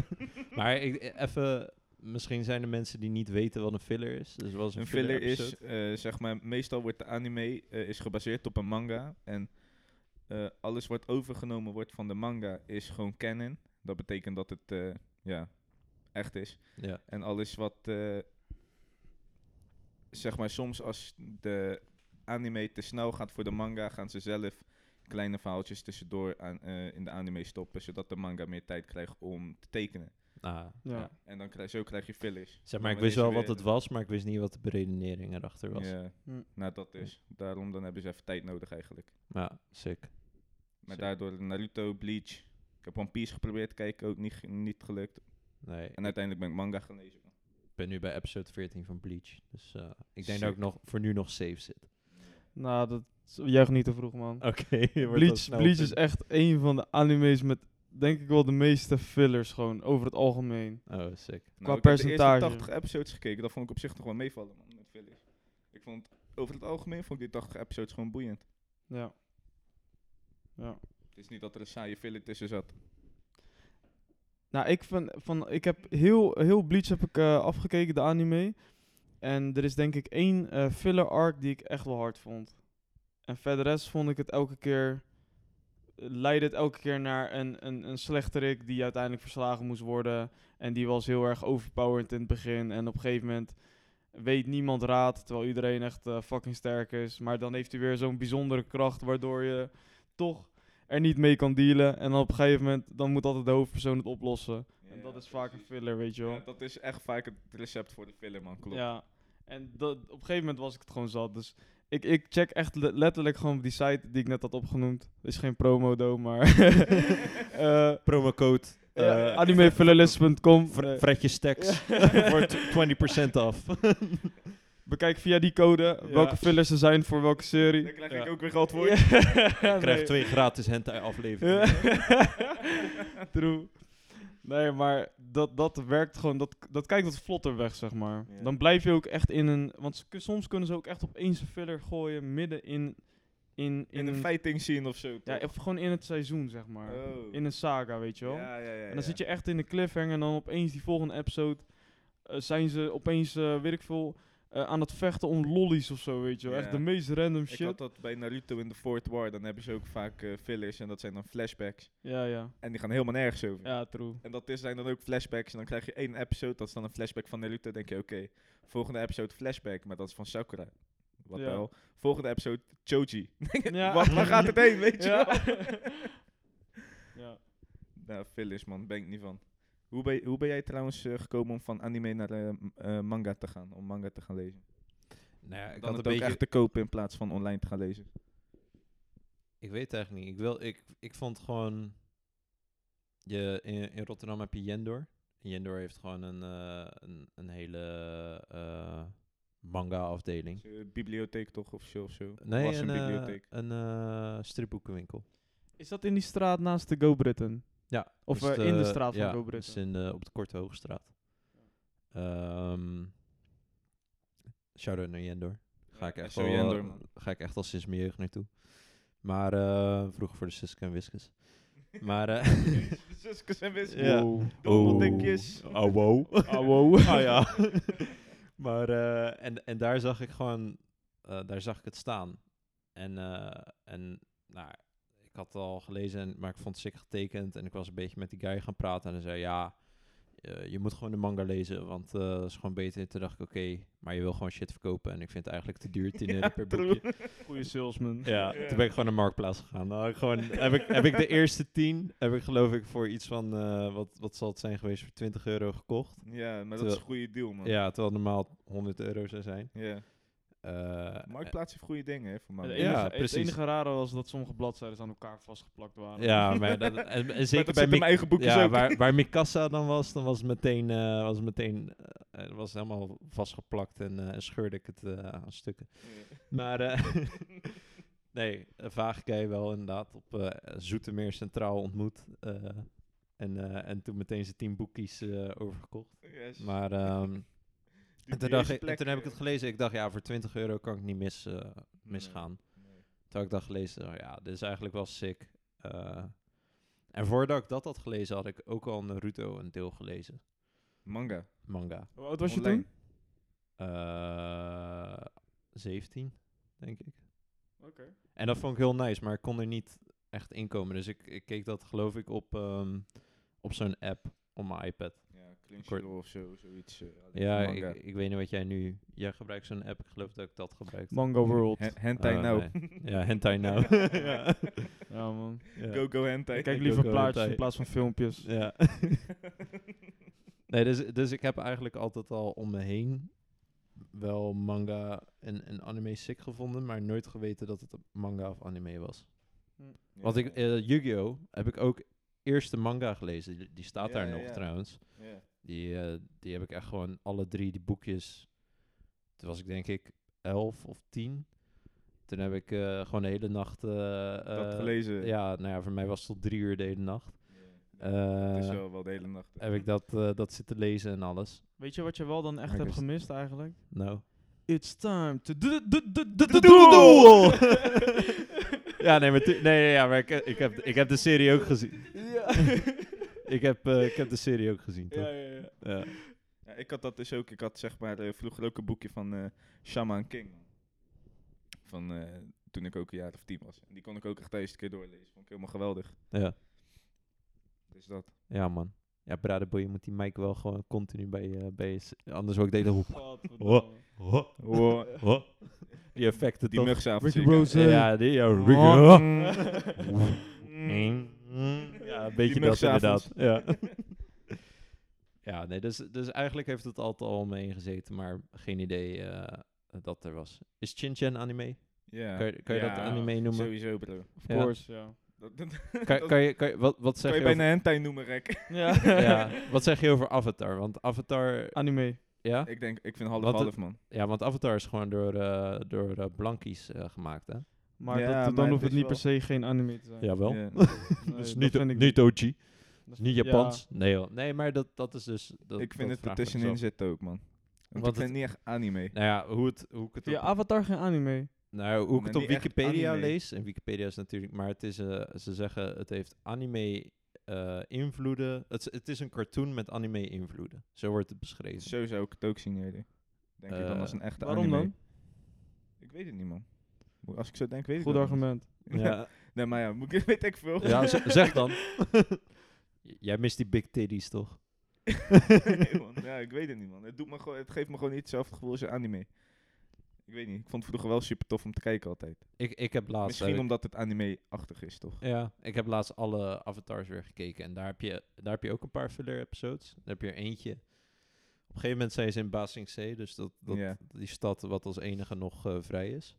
[SPEAKER 2] [laughs] maar ik- eh, even... Misschien zijn er mensen die niet weten wat een filler is. Dus wat is een,
[SPEAKER 3] Een filler
[SPEAKER 2] episode?
[SPEAKER 3] is, eh, zeg maar, meestal wordt de anime eh, is gebaseerd op een manga. En eh, alles wat overgenomen wordt van de manga is gewoon canon. Dat betekent dat het, eh, ja, echt is.
[SPEAKER 2] Ja,
[SPEAKER 3] En alles wat, eh, zeg maar, soms als de anime te snel gaat voor de manga, gaan ze zelf kleine verhaaltjes tussendoor aan, eh, in de anime stoppen, zodat de manga meer tijd krijgt om te tekenen.
[SPEAKER 2] ah,
[SPEAKER 1] Ja.
[SPEAKER 2] ja.
[SPEAKER 3] En dan krijg, zo krijg je fillers.
[SPEAKER 2] Zeg
[SPEAKER 3] Dan
[SPEAKER 2] maar, ik
[SPEAKER 3] is
[SPEAKER 2] wist
[SPEAKER 3] er
[SPEAKER 2] wel
[SPEAKER 3] weer
[SPEAKER 2] wat het
[SPEAKER 3] een-
[SPEAKER 2] was, maar ik wist niet wat de beredenering erachter was. Ja,
[SPEAKER 3] Ja,
[SPEAKER 1] Hm.
[SPEAKER 3] nou dat is. Daarom dan hebben ze even tijd nodig eigenlijk.
[SPEAKER 2] sick.
[SPEAKER 3] Maar
[SPEAKER 2] Zeker.
[SPEAKER 3] daardoor Naruto, Bleach. Ik heb One Piece geprobeerd te kijken, ook niet, ge- niet gelukt.
[SPEAKER 2] Nee,
[SPEAKER 3] En uiteindelijk ben ik manga gaan lezen.
[SPEAKER 2] ik ben nu bij episode 14 van Bleach. Dus eh, ik denk dat
[SPEAKER 3] Sick.
[SPEAKER 2] ik nog, voor nu nog safe zit. [laughs]
[SPEAKER 1] Nou, dat is- juich niet te vroeg,
[SPEAKER 3] Oh,
[SPEAKER 1] man.
[SPEAKER 2] Oké,
[SPEAKER 1] Bleach, Bleach is echt een van de anime's met, denk ik wel, de meeste fillers gewoon, over het algemeen.
[SPEAKER 2] Oh, sick.
[SPEAKER 1] Qua
[SPEAKER 3] Nou, ik heb
[SPEAKER 1] percentage.
[SPEAKER 3] de eerste 80 episodes gekeken, dat vond ik op zich toch wel meevallen, man, met fillers. Ik vond, over het algemeen vond ik die 80 episodes gewoon boeiend.
[SPEAKER 1] Ja. Ja.
[SPEAKER 3] Het is niet dat er een saaie filler tussen zat.
[SPEAKER 1] Nou, ik, vind, van, ik heb heel, heel Bleach heb ik, eh, afgekeken, de anime. En er is denk ik één eh, filler arc die ik echt wel hard vond. En verder rest vond ik het elke keer... Leidde het elke keer naar een, een, een slechterik die uiteindelijk verslagen moest worden. En die was heel erg overpowered in het begin. En op een gegeven moment weet niemand raad, terwijl iedereen echt eh, fucking sterk is. Maar dan heeft hij weer zo'n bijzondere kracht waardoor je toch er niet mee kan dealen. En dan op een gegeven moment, dan moet altijd de hoofdpersoon het oplossen. en dat is vaak een filler, weet je wel.
[SPEAKER 3] Ja, dat is echt vaak het recept voor de filler, man. Klopt.
[SPEAKER 1] Ja, en dat, op een gegeven moment was ik het gewoon zat. Dus ik, ik check echt le- letterlijk gewoon die site die ik net had opgenoemd. Is geen promo, do, maar... [laughs] eh
[SPEAKER 2] Promocode
[SPEAKER 1] eh,
[SPEAKER 2] eh
[SPEAKER 1] animefillerlist.com.
[SPEAKER 2] Fre-
[SPEAKER 1] Eh,
[SPEAKER 2] Fredje Stacks voor t- 20% af.
[SPEAKER 1] bekijk via die code
[SPEAKER 2] Ja.
[SPEAKER 1] welke fillers er zijn voor welke serie.
[SPEAKER 3] [laughs] Dan krijg
[SPEAKER 2] Ja.
[SPEAKER 3] ik ook weer geld voor. je.
[SPEAKER 1] Ja,
[SPEAKER 2] Krijg
[SPEAKER 1] nee.
[SPEAKER 2] twee gratis hentai afleveringen.
[SPEAKER 1] Ja. [laughs] True. Nee, maar dat, dat werkt gewoon, dat, dat kijkt wat vlotter weg, zeg maar.
[SPEAKER 3] Ja.
[SPEAKER 1] Dan blijf je ook echt in een, want ze kun- soms kunnen ze ook echt opeens een filler gooien midden in, in,
[SPEAKER 3] In een fighting scene of zo.
[SPEAKER 1] ja,
[SPEAKER 3] toch?
[SPEAKER 1] of gewoon in het seizoen, zeg maar.
[SPEAKER 3] Oh.
[SPEAKER 1] In een saga, weet je wel.
[SPEAKER 3] Ja, ja, ja,
[SPEAKER 1] en dan zit je echt in de cliffhanger en dan opeens die volgende episode eh, zijn ze opeens, eh weet ik veel, eh, aan het vechten om lollies of zo, weet je wel. Echt
[SPEAKER 3] Ja.
[SPEAKER 1] de meest random
[SPEAKER 3] Ik
[SPEAKER 1] shit.
[SPEAKER 3] had dat bij Naruto in de Fourth War, dan hebben ze ook vaak eh, fillers en dat zijn dan flashbacks.
[SPEAKER 1] Ja, ja.
[SPEAKER 3] En die gaan helemaal nergens over.
[SPEAKER 1] Ja, true.
[SPEAKER 3] En dat is, zijn dan ook flashbacks en dan krijg je één episode, dat is dan een flashback van Naruto, denk je oké. Volgende episode flashback, maar dat is van Sakura. Wat
[SPEAKER 1] Ja.
[SPEAKER 3] wel. Volgende episode Choji. [laughs]
[SPEAKER 1] Ja.
[SPEAKER 3] Wat, waar gaat het heen, weet je
[SPEAKER 1] Ja.
[SPEAKER 3] wel?
[SPEAKER 1] [laughs] ja.
[SPEAKER 3] Nou, fillers man, ben ik niet van. Hoe ben, hoe ben jij trouwens eh, gekomen om van anime naar eh, m- eh, manga te gaan? Om manga te gaan lezen?
[SPEAKER 2] Nou ja,
[SPEAKER 3] Dan
[SPEAKER 2] ik had een
[SPEAKER 3] het ook
[SPEAKER 2] beetje...
[SPEAKER 3] echt te kopen in plaats van online te gaan lezen.
[SPEAKER 2] Ik weet het eigenlijk niet. Ik, wil, ik, ik vond gewoon... Je, in, in Rotterdam heb je Jendor. En Jendor heeft gewoon een, eh, een, een hele eh, manga-afdeling.
[SPEAKER 3] Dus, eh, bibliotheek toch of zo of zo?
[SPEAKER 2] Nee,
[SPEAKER 3] Was
[SPEAKER 2] een,
[SPEAKER 3] een
[SPEAKER 2] eh,
[SPEAKER 3] bibliotheek.
[SPEAKER 2] een eh, stripboekenwinkel.
[SPEAKER 1] Is dat in die straat naast de Go Britain?
[SPEAKER 2] Ja.
[SPEAKER 1] Of,
[SPEAKER 2] dus
[SPEAKER 1] eh,
[SPEAKER 2] het,
[SPEAKER 1] in de
[SPEAKER 2] eh,
[SPEAKER 1] straat van
[SPEAKER 2] ja,
[SPEAKER 1] Go
[SPEAKER 2] dus
[SPEAKER 1] Britain.
[SPEAKER 2] in de- op de Korte Hoogstraat. Ehm Shout-out naar Jendor. Ga, ik
[SPEAKER 3] Ja,
[SPEAKER 2] echt
[SPEAKER 3] SO
[SPEAKER 2] al,
[SPEAKER 3] Jendor,
[SPEAKER 2] [laughs]
[SPEAKER 3] man. [laughs]
[SPEAKER 2] ga ik echt al sinds mijn jeugd naartoe. Maar eh, vroeger voor de Suske en Wiskus. Maar eh,
[SPEAKER 3] Zuskus en wiskus.
[SPEAKER 2] Ja.
[SPEAKER 1] Wow.
[SPEAKER 3] Dondeldikjes.
[SPEAKER 2] Oh, wow.
[SPEAKER 1] Ah,
[SPEAKER 2] [laughs]
[SPEAKER 1] wow.
[SPEAKER 2] Ah, ja. maar, eh, en, en daar zag ik gewoon, eh, daar zag ik het staan. En, eh, en nou, ik had het al gelezen, en, maar ik vond het sick getekend. En ik was een beetje met die guy gaan praten. En hij zei, ja, eh, je moet gewoon de manga lezen, want eh, dat is gewoon beter. En toen dacht ik, oké, maar je wil gewoon shit verkopen. En ik vind het eigenlijk te [laughs] duur, 10 euro per
[SPEAKER 3] true.
[SPEAKER 2] boekje.
[SPEAKER 1] Goede salesman.
[SPEAKER 2] Ja, toen ben ik gewoon naar Marktplaats gegaan. Nou, ik gewoon, heb, ik, heb ik de eerste 10, heb ik geloof ik voor iets van, eh, wat, wat zal het zijn geweest, voor 20 euro gekocht.
[SPEAKER 3] Ja, maar dat is
[SPEAKER 2] Terwijl-
[SPEAKER 3] een goede deal, man.
[SPEAKER 2] Ja, terwijl het normaal 100 euro zou zijn.
[SPEAKER 3] Ja.
[SPEAKER 2] Eh,
[SPEAKER 3] Marktplaats heeft goede dingen, hè, voor
[SPEAKER 1] Het
[SPEAKER 3] manga.
[SPEAKER 1] enige,
[SPEAKER 2] Ja,
[SPEAKER 1] het
[SPEAKER 2] precies.
[SPEAKER 1] enige rare was dat sommige bladzijden aan elkaar vastgeplakt waren.
[SPEAKER 2] Ja, maar dat, en-
[SPEAKER 3] [laughs]
[SPEAKER 2] en,
[SPEAKER 3] Maar
[SPEAKER 2] zeker
[SPEAKER 3] dat
[SPEAKER 2] bij
[SPEAKER 3] zit in
[SPEAKER 2] Mik-
[SPEAKER 3] mijn eigen boekjes
[SPEAKER 2] ja,
[SPEAKER 3] ook.
[SPEAKER 2] waar, waar Mikasa dan was, dan was het meteen, eh, was het meteen eh, eh, was het helemaal vastgeplakt en eh, scheurde ik het eh, aan stukken. Maar eh, [laughs] nee, eh, Vaagkei wel inderdaad op eh Zoetermeer Centraal ontmoet. eh, en, eh, en toen meteen zijn tien boekjes eh, overgekocht.
[SPEAKER 3] Yes.
[SPEAKER 2] Maar ehm,
[SPEAKER 3] [laughs] Die
[SPEAKER 2] en toen, dacht
[SPEAKER 3] eerste
[SPEAKER 2] ik, en
[SPEAKER 3] plek,
[SPEAKER 2] toen heb ik
[SPEAKER 3] eh,
[SPEAKER 2] het gelezen. Ik dacht, ja, voor 20 euro kan ik niet mis, eh,
[SPEAKER 3] nee,
[SPEAKER 2] misgaan.
[SPEAKER 3] nee.
[SPEAKER 2] Toen had ik dat gelezen, dacht ik, ja, dit is eigenlijk wel sick. Eh, en voordat ik dat had gelezen, had ik ook al Naruto een deel gelezen.
[SPEAKER 3] Manga.
[SPEAKER 2] Manga.
[SPEAKER 1] Hoe oud was je
[SPEAKER 3] Online.
[SPEAKER 1] toen?
[SPEAKER 2] Eh 17, denk ik.
[SPEAKER 1] Oké.
[SPEAKER 2] En dat vond ik heel nice, maar ik kon er niet echt inkomen. Dus ik, ik keek dat geloof ik op, ehm, op zo'n app op mijn iPad.
[SPEAKER 3] Ja, Crunchyroll of zo, zoiets. eh, alleen
[SPEAKER 2] Ja,
[SPEAKER 3] voor manga.
[SPEAKER 2] ik, ik weet niet wat jij nu... Jij gebruikt zo'n app, ik geloof dat ik dat gebruik.
[SPEAKER 1] Mango World.
[SPEAKER 3] Hen- Hentai
[SPEAKER 2] Oh,
[SPEAKER 3] nou.
[SPEAKER 2] Ja,
[SPEAKER 3] [laughs]
[SPEAKER 2] hentai nou. [laughs] ja.
[SPEAKER 1] Ja, man.
[SPEAKER 2] Ja.
[SPEAKER 3] Go, go hentai.
[SPEAKER 1] Ik kijk liever
[SPEAKER 2] ook wel
[SPEAKER 1] plaatjes in
[SPEAKER 2] hentai.
[SPEAKER 1] plaats van filmpjes.
[SPEAKER 3] [laughs]
[SPEAKER 2] Ja. nee, dus, dus ik heb eigenlijk altijd al om me heen wel manga en, en anime sick gevonden, maar nooit geweten dat het een manga of anime was.
[SPEAKER 3] Ja.
[SPEAKER 2] Want ik, eh, Yu-Gi-Oh! heb ik ook eerst de manga gelezen, die, die staat
[SPEAKER 3] Ja,
[SPEAKER 2] daar
[SPEAKER 3] ja,
[SPEAKER 2] nog
[SPEAKER 3] ja.
[SPEAKER 2] trouwens.
[SPEAKER 3] Ja.
[SPEAKER 2] Die, eh, die heb ik echt gewoon alle drie die boekjes, toen was ik denk ik elf of tien. Toen heb ik eh, gewoon de hele nacht... eh,
[SPEAKER 3] Dat
[SPEAKER 2] eh,
[SPEAKER 3] gelezen.
[SPEAKER 2] Ja, nou ja, voor mij was het tot drie uur de hele nacht.
[SPEAKER 3] Het is
[SPEAKER 2] Eh,
[SPEAKER 3] wel, wel de hele nacht. [laughs]
[SPEAKER 2] heb ik dat, eh, dat zitten lezen en alles.
[SPEAKER 1] Weet je wat je wel dan echt
[SPEAKER 2] Maar ik
[SPEAKER 1] hebt
[SPEAKER 2] wist-
[SPEAKER 1] gemist eigenlijk?
[SPEAKER 2] Nou.
[SPEAKER 1] It's time to do- do- do- do- do-
[SPEAKER 2] doel!
[SPEAKER 1] doel!
[SPEAKER 2] ja, nee, maar, tu- nee, nee, ja, maar ik, ik, heb, ik heb de serie ook gezien.
[SPEAKER 1] Ja.
[SPEAKER 2] [laughs] [laughs] Ik heb, eh, ik heb de serie ook gezien, toch?
[SPEAKER 1] Ja,
[SPEAKER 2] Ja.
[SPEAKER 1] ja, ja.
[SPEAKER 3] Ja, ik had dat dus ook. Ik had zeg maar eh, vroeger ook een boekje van eh, Shaman King. Van eh, toen ik ook een jaar of tien was. En die kon ik ook echt de eerste keer doorlezen. Vond ik helemaal geweldig.
[SPEAKER 2] Ja.
[SPEAKER 3] Dus dat.
[SPEAKER 2] Ja, man. Ja, Bradeboy, je moet die mic wel gewoon continu bij je... bij je s- anders word ik de hele hoek.
[SPEAKER 1] Godverdomme.
[SPEAKER 2] Ho,
[SPEAKER 3] Oh,
[SPEAKER 2] ho. Die effecten,
[SPEAKER 3] die
[SPEAKER 2] toch?
[SPEAKER 3] mugzaaf.
[SPEAKER 1] Ricky Rose.
[SPEAKER 2] Ja, die... Ja, Rick-
[SPEAKER 1] Ho.
[SPEAKER 2] ho. Mm. Ja, een beetje
[SPEAKER 3] Die
[SPEAKER 2] dat
[SPEAKER 3] mugzavonds.
[SPEAKER 2] inderdaad. Ja. [laughs] ja, nee, dus, dus eigenlijk heeft het altijd al om me heen gezeten, maar geen idee eh, dat er was. Is Chin-Chan anime?
[SPEAKER 3] Ja.
[SPEAKER 2] Kan je, kan je
[SPEAKER 3] Ja,
[SPEAKER 2] dat anime noemen?
[SPEAKER 3] Sowieso, bro.
[SPEAKER 1] Of
[SPEAKER 2] Ja.
[SPEAKER 1] course, ja.
[SPEAKER 3] Dat, dat
[SPEAKER 2] Kan, kan je, kan je, wat, wat, zeg
[SPEAKER 3] kan
[SPEAKER 2] je
[SPEAKER 3] je bijna hentai noemen, Rek.
[SPEAKER 1] Ja.
[SPEAKER 2] over, [laughs] ja, wat zeg je over Avatar? Want Avatar,
[SPEAKER 1] [laughs] Anime.
[SPEAKER 2] ja?
[SPEAKER 3] ik denk, ik vind half
[SPEAKER 2] Want het-
[SPEAKER 3] half, man.
[SPEAKER 2] Ja, want Avatar is gewoon door, eh, door eh, blankies eh, gemaakt, hè?
[SPEAKER 1] Maar
[SPEAKER 3] Ja,
[SPEAKER 1] dat, dan
[SPEAKER 3] maar
[SPEAKER 1] hoeft
[SPEAKER 3] het
[SPEAKER 1] het
[SPEAKER 3] is
[SPEAKER 1] niet per
[SPEAKER 3] wel-
[SPEAKER 1] se geen anime te zijn.
[SPEAKER 2] Jawel. [laughs]
[SPEAKER 3] Ja.
[SPEAKER 1] Nee,
[SPEAKER 2] Dus
[SPEAKER 1] dat
[SPEAKER 2] niet,
[SPEAKER 1] vind ik
[SPEAKER 2] niet OG,
[SPEAKER 1] Dat is-
[SPEAKER 2] niet
[SPEAKER 1] ja.
[SPEAKER 2] Japans. Nee, joh. nee, maar dat, dat is dus... Dat,
[SPEAKER 3] ik vind
[SPEAKER 2] dat
[SPEAKER 3] het
[SPEAKER 2] vraag
[SPEAKER 3] er
[SPEAKER 2] ik me
[SPEAKER 3] tussenin
[SPEAKER 2] dus af.
[SPEAKER 3] zitten ook, man. Want
[SPEAKER 2] Want
[SPEAKER 3] ik vind
[SPEAKER 2] het-
[SPEAKER 3] niet echt anime.
[SPEAKER 2] Nou ja, hoe, het, hoe ik het
[SPEAKER 1] Via
[SPEAKER 2] op
[SPEAKER 1] Avatar geen anime.
[SPEAKER 2] Nou, hoe ik
[SPEAKER 3] Maar
[SPEAKER 2] het op
[SPEAKER 3] niet echt
[SPEAKER 2] Wikipedia
[SPEAKER 3] anime.
[SPEAKER 2] lees, en Wikipedia is natuurlijk, maar het is, eh, ze zeggen het heeft anime eh, invloeden. Het, is- het is een cartoon met anime invloeden. Zo wordt het beschreven.
[SPEAKER 3] Zo zou ik het ook zien, eerder. Denk ik dan
[SPEAKER 2] Eh,
[SPEAKER 3] als een echte
[SPEAKER 1] Waarom
[SPEAKER 3] anime.
[SPEAKER 1] dan?
[SPEAKER 3] Ik weet het niet, man. Moet- Als ik zo denk, weet ik
[SPEAKER 1] Goed
[SPEAKER 3] dat niet. [laughs]
[SPEAKER 1] argument.
[SPEAKER 2] Ja,
[SPEAKER 3] Nee, maar ja, moet ik, [laughs] weet ik veel.
[SPEAKER 2] ja z-
[SPEAKER 3] [laughs]
[SPEAKER 2] zeg dan. [laughs] J- Jij mist die big titties toch?
[SPEAKER 3] Nee, man. Ja, ik weet het niet, man. Het, doet me gewoon, het geeft me gewoon niet hetzelfde gevoel als een anime. Ik weet niet. Ik vond het vroeger wel super tof om te kijken altijd.
[SPEAKER 2] Ik, ik heb laatst.
[SPEAKER 3] Misschien
[SPEAKER 2] heb ik-
[SPEAKER 3] omdat het anime-achtig is, toch?
[SPEAKER 2] Ja, ik heb laatst alle avatars weer gekeken. En daar heb je, daar heb je ook een paar filler episodes. Daar heb je er eentje. Op een gegeven moment zijn ze in Basing C, dus dat, dat,
[SPEAKER 3] Ja.
[SPEAKER 2] die stad wat als enige nog eh, vrij is.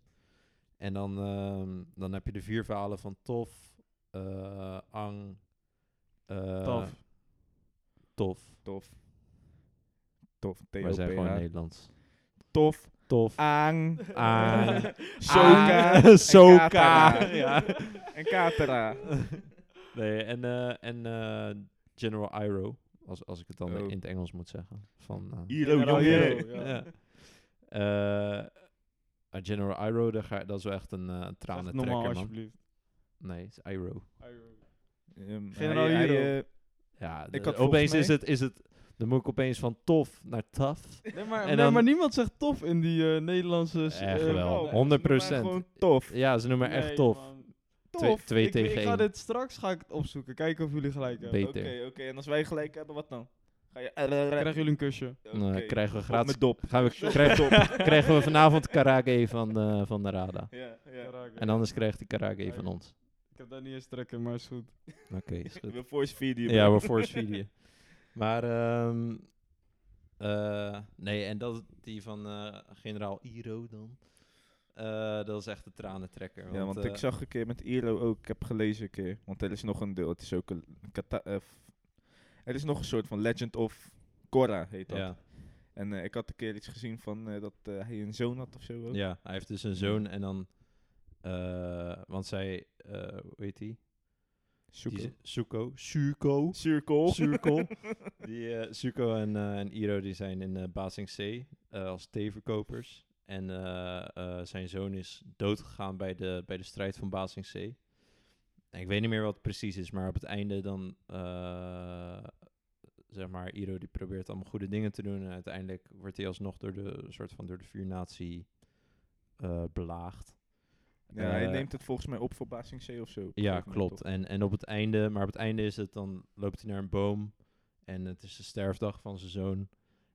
[SPEAKER 2] En dan, ehm, dan heb je de vier verhalen van Tof, eh, Ang, eh,
[SPEAKER 1] Taf.
[SPEAKER 2] Tof.
[SPEAKER 3] Tof. Tof.
[SPEAKER 2] Wij zijn gewoon
[SPEAKER 3] T-O-P-H.
[SPEAKER 2] Nederlands.
[SPEAKER 3] Tof.
[SPEAKER 2] Tof.
[SPEAKER 3] Aang.
[SPEAKER 2] eh,
[SPEAKER 1] Ah. [laughs]
[SPEAKER 2] Aan.
[SPEAKER 3] Soka.
[SPEAKER 2] Aan.
[SPEAKER 3] en
[SPEAKER 2] [laughs] Soka.
[SPEAKER 3] Ah. Katara.
[SPEAKER 2] [laughs] Ja.
[SPEAKER 3] En Katara.
[SPEAKER 2] Nee, en, eh, en eh, General Iroh, als, als ik het dan
[SPEAKER 3] Oh.
[SPEAKER 2] in het Engels moet zeggen. Van, eh,
[SPEAKER 3] Hiro,
[SPEAKER 1] General
[SPEAKER 3] jongen.
[SPEAKER 1] Hiro.
[SPEAKER 2] [laughs]
[SPEAKER 1] Ja.
[SPEAKER 2] Ja. Eh, eh, General Iroh, daar ga- dat is wel echt een eh, een
[SPEAKER 1] Zeg het
[SPEAKER 2] tranentrekker,
[SPEAKER 1] normaal,
[SPEAKER 2] man.
[SPEAKER 1] alsjeblieft.
[SPEAKER 2] Nee, het is Iroh.
[SPEAKER 1] eh,
[SPEAKER 3] Ehm,
[SPEAKER 1] Generaal
[SPEAKER 3] hij- hij,
[SPEAKER 1] Hiro.
[SPEAKER 3] eh,
[SPEAKER 2] Ja,
[SPEAKER 3] Ik
[SPEAKER 2] ik
[SPEAKER 3] had volgens
[SPEAKER 2] opeens is
[SPEAKER 3] mij-
[SPEAKER 2] het, is het... Dan moet ik opeens van tof naar taf.
[SPEAKER 3] [laughs]
[SPEAKER 1] Nee, maar,
[SPEAKER 2] En
[SPEAKER 1] nee,
[SPEAKER 2] dan-
[SPEAKER 1] maar niemand zegt tof in die eh, Nederlandse... s-
[SPEAKER 2] Echt
[SPEAKER 1] eh,
[SPEAKER 2] wel,
[SPEAKER 1] taal.
[SPEAKER 3] man.
[SPEAKER 2] 100%.
[SPEAKER 3] Maar Gewoon tof.
[SPEAKER 2] Ja, ze noemen echt
[SPEAKER 1] Nee,
[SPEAKER 2] tof.
[SPEAKER 1] man.
[SPEAKER 2] Twee-
[SPEAKER 1] Tof.
[SPEAKER 2] twee
[SPEAKER 1] ik,
[SPEAKER 2] tegen
[SPEAKER 1] ik ga
[SPEAKER 2] één.
[SPEAKER 1] dit straks ga ik het opzoeken. Kijken of jullie gelijk hebben.
[SPEAKER 2] Beter.
[SPEAKER 3] Oké, oké. En als wij gelijk hebben, wat dan? Ga je... Eh,
[SPEAKER 1] Krijgen jullie een kusje?
[SPEAKER 2] Dan eh,
[SPEAKER 3] Oké.
[SPEAKER 2] krijgen we
[SPEAKER 3] Op
[SPEAKER 2] gratis...
[SPEAKER 3] mijn dop.
[SPEAKER 2] Gaan we,
[SPEAKER 3] [laughs]
[SPEAKER 2] krijgen, [laughs] krijgen we vanavond karage van, eh, van de Rada.
[SPEAKER 3] Ja, ja.
[SPEAKER 2] En anders krijgt hij karage van ons.
[SPEAKER 1] Ik heb daar niet eens trekken, maar is goed.
[SPEAKER 2] Oké, is
[SPEAKER 3] [laughs]
[SPEAKER 2] goed.
[SPEAKER 3] We force feeden je,
[SPEAKER 2] Ja,
[SPEAKER 3] bro.
[SPEAKER 2] we
[SPEAKER 3] [laughs]
[SPEAKER 2] force feeden je. Maar, ehm, eh, nee, en dat, die van eh, generaal Iro dan. Eh, dat is echt de tranentrekker.
[SPEAKER 3] Ja, want
[SPEAKER 2] eh,
[SPEAKER 3] ik zag een keer met Iro ook, ik heb gelezen een keer, want er is nog een deel, het is ook een kata- eh, f- er is nog een soort van Legend of Korra heet dat.
[SPEAKER 2] Ja,
[SPEAKER 3] En eh, ik had een keer iets gezien van eh, dat eh, hij een zoon had of zo ook.
[SPEAKER 2] ja, hij heeft dus een zoon en dan... eh, want zij, eh, hoe heet die?
[SPEAKER 3] Zuko.
[SPEAKER 2] Die z- Zuko. Zuko.
[SPEAKER 3] Circle.
[SPEAKER 2] Zuko. [laughs] Die, eh, Zuko en, eh, en Iro die zijn in eh Basingzee eh, als theeverkopers. En eh, eh, zijn zoon is doodgegaan bij de, bij de strijd van Basingzee. En ik weet niet meer wat het precies is, maar op het einde dan... eh, zeg maar, Iro die probeert allemaal goede dingen te doen. En uiteindelijk wordt hij alsnog door de, soort van door de vuurnatie eh, belaagd.
[SPEAKER 3] Ja, hij
[SPEAKER 2] Eh,
[SPEAKER 3] neemt het volgens mij op voor Basing C of zo. op een
[SPEAKER 2] Ja,
[SPEAKER 3] gegeven moment,
[SPEAKER 2] klopt.
[SPEAKER 3] toch?
[SPEAKER 2] En, en op het einde, maar op het einde is het dan loopt hij naar een boom en het is de sterfdag van zijn zoon.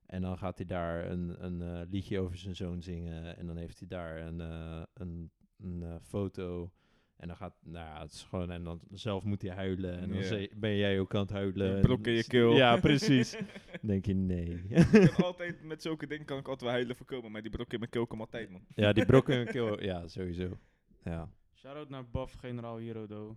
[SPEAKER 2] En dan gaat hij daar een, een eh, liedje over zijn zoon zingen. En dan heeft hij daar een, eh, een, een eh, foto. En dan gaat, nou ja, het is gewoon, en dan zelf moet hij huilen. En dan
[SPEAKER 3] Ja.
[SPEAKER 2] ze- ben jij ook aan het huilen.
[SPEAKER 3] Een
[SPEAKER 2] En
[SPEAKER 3] brok in je
[SPEAKER 2] s-
[SPEAKER 3] keel.
[SPEAKER 2] Ja,
[SPEAKER 3] [laughs]
[SPEAKER 2] precies. Dan denk je, nee. [laughs]
[SPEAKER 3] ik heb altijd, met zulke dingen kan ik altijd wel huilen voorkomen, maar die brok in mijn keel komt altijd, man.
[SPEAKER 2] ja, die brok in je keel, ja, sowieso. Ja,
[SPEAKER 1] Shout-out naar Buff Generaal Hirodo.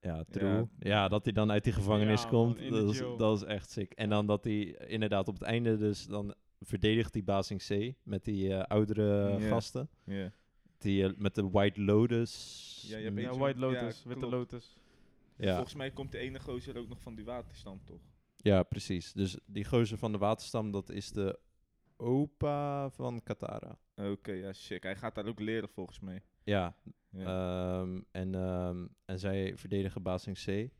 [SPEAKER 2] Ja, true. Ja, dat hij dan uit die gevangenis
[SPEAKER 1] Ja, man,
[SPEAKER 2] komt,
[SPEAKER 1] in de
[SPEAKER 2] dat is,
[SPEAKER 1] jail.
[SPEAKER 2] dat is echt sick. En dan dat hij inderdaad op het einde dus, dan verdedigt die Basing C met die eh, oudere
[SPEAKER 3] Ja.
[SPEAKER 2] gasten.
[SPEAKER 3] Ja.
[SPEAKER 2] Die, eh, met de White Lotus.
[SPEAKER 3] Ja, je hebt
[SPEAKER 2] Mm.
[SPEAKER 3] Weet
[SPEAKER 1] Ja,
[SPEAKER 3] je-
[SPEAKER 1] White
[SPEAKER 3] ja,
[SPEAKER 1] Lotus, Witte
[SPEAKER 3] klopt.
[SPEAKER 1] Lotus.
[SPEAKER 2] ja,
[SPEAKER 3] Volgens mij komt de ene gozer ook nog van die waterstand, toch?
[SPEAKER 2] ja, precies. Dus die gozer van de waterstam, dat is de opa van Katara.
[SPEAKER 3] Oké, ja, sick. Hij gaat daar ook leren, volgens mij.
[SPEAKER 2] Ja,
[SPEAKER 3] Ja.
[SPEAKER 2] ehm, en, ehm, en zij verdedigen Basing C.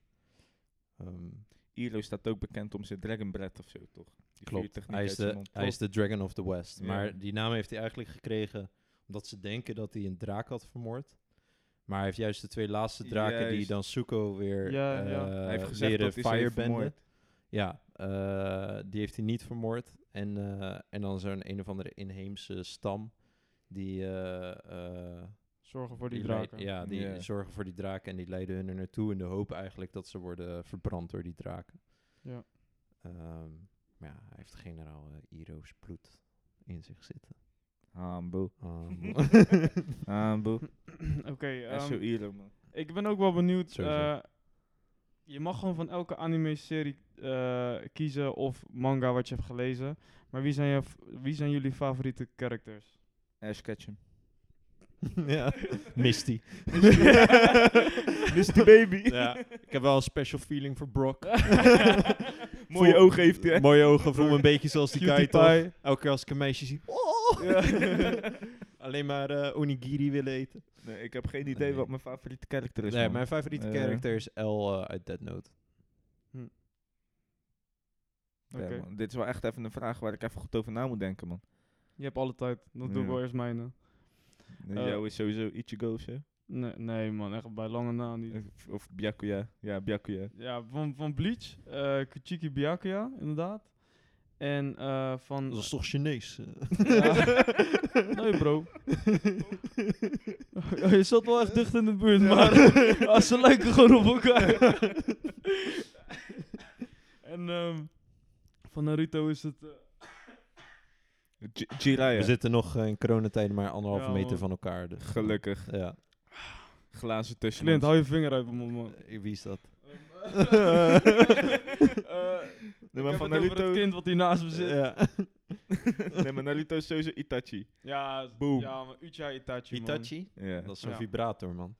[SPEAKER 2] Ehm,
[SPEAKER 3] Ilo staat ook bekend om zijn Dragon Breath of zo, toch? Die
[SPEAKER 2] Klopt.
[SPEAKER 3] vuurtechniek
[SPEAKER 2] Hij is,
[SPEAKER 3] uit zijn
[SPEAKER 2] de,
[SPEAKER 3] mond,
[SPEAKER 2] hij is
[SPEAKER 3] toch?
[SPEAKER 2] de Dragon of the West.
[SPEAKER 3] Ja.
[SPEAKER 2] Maar die naam heeft hij eigenlijk gekregen omdat ze denken dat hij een draak had vermoord. Maar hij heeft juist de twee laatste draken die
[SPEAKER 3] Juist.
[SPEAKER 2] dan Zuko weer
[SPEAKER 1] Ja,
[SPEAKER 2] eh,
[SPEAKER 1] ja.
[SPEAKER 3] Hij heeft gezegd
[SPEAKER 2] leren
[SPEAKER 3] dat hij ze heeft
[SPEAKER 2] firebenden.
[SPEAKER 3] vermoord.
[SPEAKER 2] Ja, eh, die heeft hij niet vermoord. En, eh, en dan zo'n een of andere inheemse stam die... eh, eh,
[SPEAKER 1] Zorgen voor die,
[SPEAKER 2] leid-
[SPEAKER 1] draken.
[SPEAKER 2] ja, die
[SPEAKER 3] Ja.
[SPEAKER 2] zorgen voor die draken en die leiden hun er naartoe in de hoop eigenlijk dat ze worden verbrand door die draken.
[SPEAKER 1] Ja. [clears throat]
[SPEAKER 2] Ehm, maar ja, hij heeft generaal eh, Iro's bloed in zich zitten.
[SPEAKER 3] Ambo. [laughs]
[SPEAKER 2] Um, [laughs]
[SPEAKER 3] Ambo.
[SPEAKER 1] Oké, ehm,
[SPEAKER 3] Echt zo Ilo, man.
[SPEAKER 1] ik ben ook wel benieuwd.
[SPEAKER 2] Sowieso.
[SPEAKER 1] eh, je mag gewoon van elke anime-serie eh, kiezen of manga wat je hebt gelezen. Maar wie zijn, je, f- wie zijn jullie favoriete
[SPEAKER 3] [laughs]
[SPEAKER 1] characters?
[SPEAKER 3] Ash Ketchum.
[SPEAKER 2] ja. Misty.
[SPEAKER 3] [laughs] Misty
[SPEAKER 1] [laughs]
[SPEAKER 3] baby.
[SPEAKER 2] ja, ik heb wel een special feeling voor Brock.
[SPEAKER 3] Mooie
[SPEAKER 2] Voel-
[SPEAKER 3] ogen heeft hij, hè?
[SPEAKER 2] Mooie ogen, voel me een beetje zoals die guy
[SPEAKER 1] Cutie
[SPEAKER 2] toch?
[SPEAKER 1] pie.
[SPEAKER 2] Elke keer als ik een meisje zie, oh!
[SPEAKER 3] Ja.
[SPEAKER 2] [laughs] alleen maar eh, onigiri willen eten.
[SPEAKER 3] Nee, ik heb geen idee
[SPEAKER 2] Nee.
[SPEAKER 3] wat mijn favoriete karakter is,
[SPEAKER 2] Nee,
[SPEAKER 3] man.
[SPEAKER 2] mijn favoriete
[SPEAKER 3] Eh.
[SPEAKER 2] character is L eh, uit Dead Note.
[SPEAKER 3] Ja,
[SPEAKER 1] Oké.
[SPEAKER 3] man. Dit is wel echt even een vraag waar ik even goed over na moet denken, man.
[SPEAKER 1] Je hebt alle tijd. Dan doe ik
[SPEAKER 3] Ja.
[SPEAKER 1] wel eerst mijne. Eh.
[SPEAKER 3] Jou is sowieso Ichigo of zo.
[SPEAKER 1] Nee, nee man, echt bij lange na niet.
[SPEAKER 3] Of- Of Byakuya. Ja, Byakuya.
[SPEAKER 1] Ja, van, van Bleach, eh Kuchiki Byakuya, inderdaad. En eh, van...
[SPEAKER 2] Dat is toch Chinees? eh?
[SPEAKER 1] Ja. nee bro. Oh, je zat wel echt dicht in de buurt, maar ah, ze lijken gewoon op elkaar. en ehm, van Naruto is het... eh,
[SPEAKER 3] J- Jiraiya.
[SPEAKER 2] [laughs] We zitten nog eh, in coronatijden maar anderhalve
[SPEAKER 1] Ja,
[SPEAKER 2] meter
[SPEAKER 1] man.
[SPEAKER 2] van elkaar. [laughs] Dus,
[SPEAKER 3] Gelukkig.
[SPEAKER 2] Ja.
[SPEAKER 3] Glazen tussen
[SPEAKER 1] Clint,
[SPEAKER 3] ons.
[SPEAKER 1] hou je vinger uit mijn mond, [laughs] man.
[SPEAKER 2] Eh, Wie is dat?
[SPEAKER 1] Eh,
[SPEAKER 3] Nee,
[SPEAKER 1] ik
[SPEAKER 3] maar
[SPEAKER 1] heb
[SPEAKER 3] van
[SPEAKER 1] het over het
[SPEAKER 3] Naruto...
[SPEAKER 1] kind wat hier naast me zit.
[SPEAKER 2] Ja.
[SPEAKER 3] [laughs] Nee, maar Naruto is sowieso Itachi.
[SPEAKER 1] Ja, s-
[SPEAKER 3] Boom.
[SPEAKER 1] Ja, maar Uchiha Itachi, man.
[SPEAKER 2] Itachi?
[SPEAKER 3] Ja,
[SPEAKER 2] Dat is zo'n
[SPEAKER 1] Ja.
[SPEAKER 2] vibrator, man.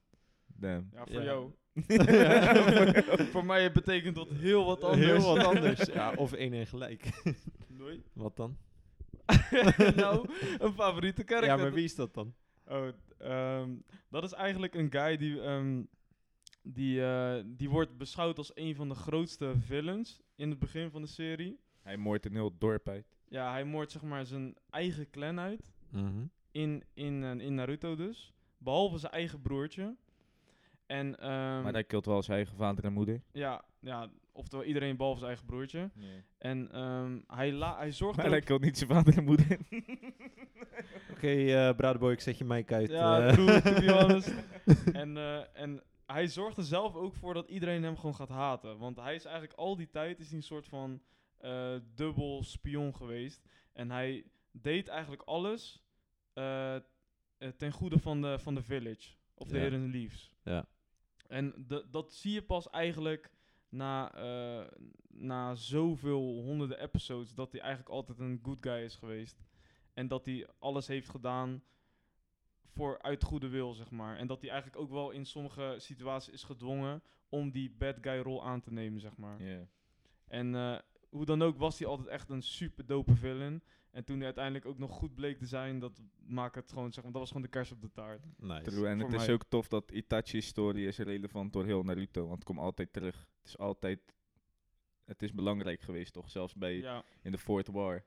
[SPEAKER 3] damn.
[SPEAKER 1] Ja, voor
[SPEAKER 2] Ja. [laughs]
[SPEAKER 1] jou.
[SPEAKER 3] [laughs]
[SPEAKER 2] Ja.
[SPEAKER 1] voor mij betekent dat heel wat anders.
[SPEAKER 2] Heel wat anders.
[SPEAKER 1] [laughs]
[SPEAKER 2] Ja, of één en gelijk.
[SPEAKER 1] Doei.
[SPEAKER 2] Wat dan?
[SPEAKER 1] [laughs] nou, een favoriete karakter.
[SPEAKER 2] Ja, maar wie is dat dan?
[SPEAKER 1] Oh, d- ehm, dat is eigenlijk een guy die, ehm, die, eh, die wordt beschouwd als een van de grootste villains in het begin van de serie.
[SPEAKER 3] Hij moordt een heel dorp uit.
[SPEAKER 1] Ja, hij moordt zeg maar zijn eigen clan uit. In, in, eh, in Naruto dus. Behalve zijn eigen broertje. En, ehm,
[SPEAKER 3] maar hij kilt wel zijn eigen vader en moeder.
[SPEAKER 1] ja, ja, oftewel iedereen behalve zijn eigen broertje. En ehm, hij, la- hij zorgt
[SPEAKER 3] Maar
[SPEAKER 1] er
[SPEAKER 3] hij
[SPEAKER 1] ook-
[SPEAKER 3] kilt niet zijn vader en moeder.
[SPEAKER 2] Oké, eh Bradeboy, ik zet je mic uit.
[SPEAKER 1] Ja,
[SPEAKER 2] eh.
[SPEAKER 1] ik bedoel, to be honest. en, eh, en hij zorgt er zelf ook voor dat iedereen hem gewoon gaat haten. Want hij is eigenlijk al die tijd is hij een soort van eh, dubbel spion geweest. En hij deed eigenlijk alles eh, eh, ten goede van de, van de village. Of de
[SPEAKER 2] Ja.
[SPEAKER 1] Heren Leaves.
[SPEAKER 2] Ja.
[SPEAKER 1] En de- dat zie je pas eigenlijk na, eh, na zoveel honderden episodes... dat hij eigenlijk altijd een good guy is geweest. En dat hij alles heeft gedaan voor uit goede wil, zeg maar. En dat hij eigenlijk ook wel in sommige situaties is gedwongen om die bad guy rol aan te nemen, zeg maar. En eh, hoe dan ook was hij altijd echt een super dope villain. En toen hij uiteindelijk ook nog goed bleek te zijn, dat maakt het gewoon, zeg maar, dat was gewoon de kers op de taart.
[SPEAKER 2] [laughs] Nice.
[SPEAKER 3] True. En
[SPEAKER 1] voor
[SPEAKER 3] het is
[SPEAKER 1] mij.
[SPEAKER 3] ook tof dat Itachi's story is relevant door heel Naruto. Want het komt altijd terug. Het is altijd... Het is belangrijk geweest, toch? Zelfs bij
[SPEAKER 1] Ja,
[SPEAKER 3] in de Fourth War. Weet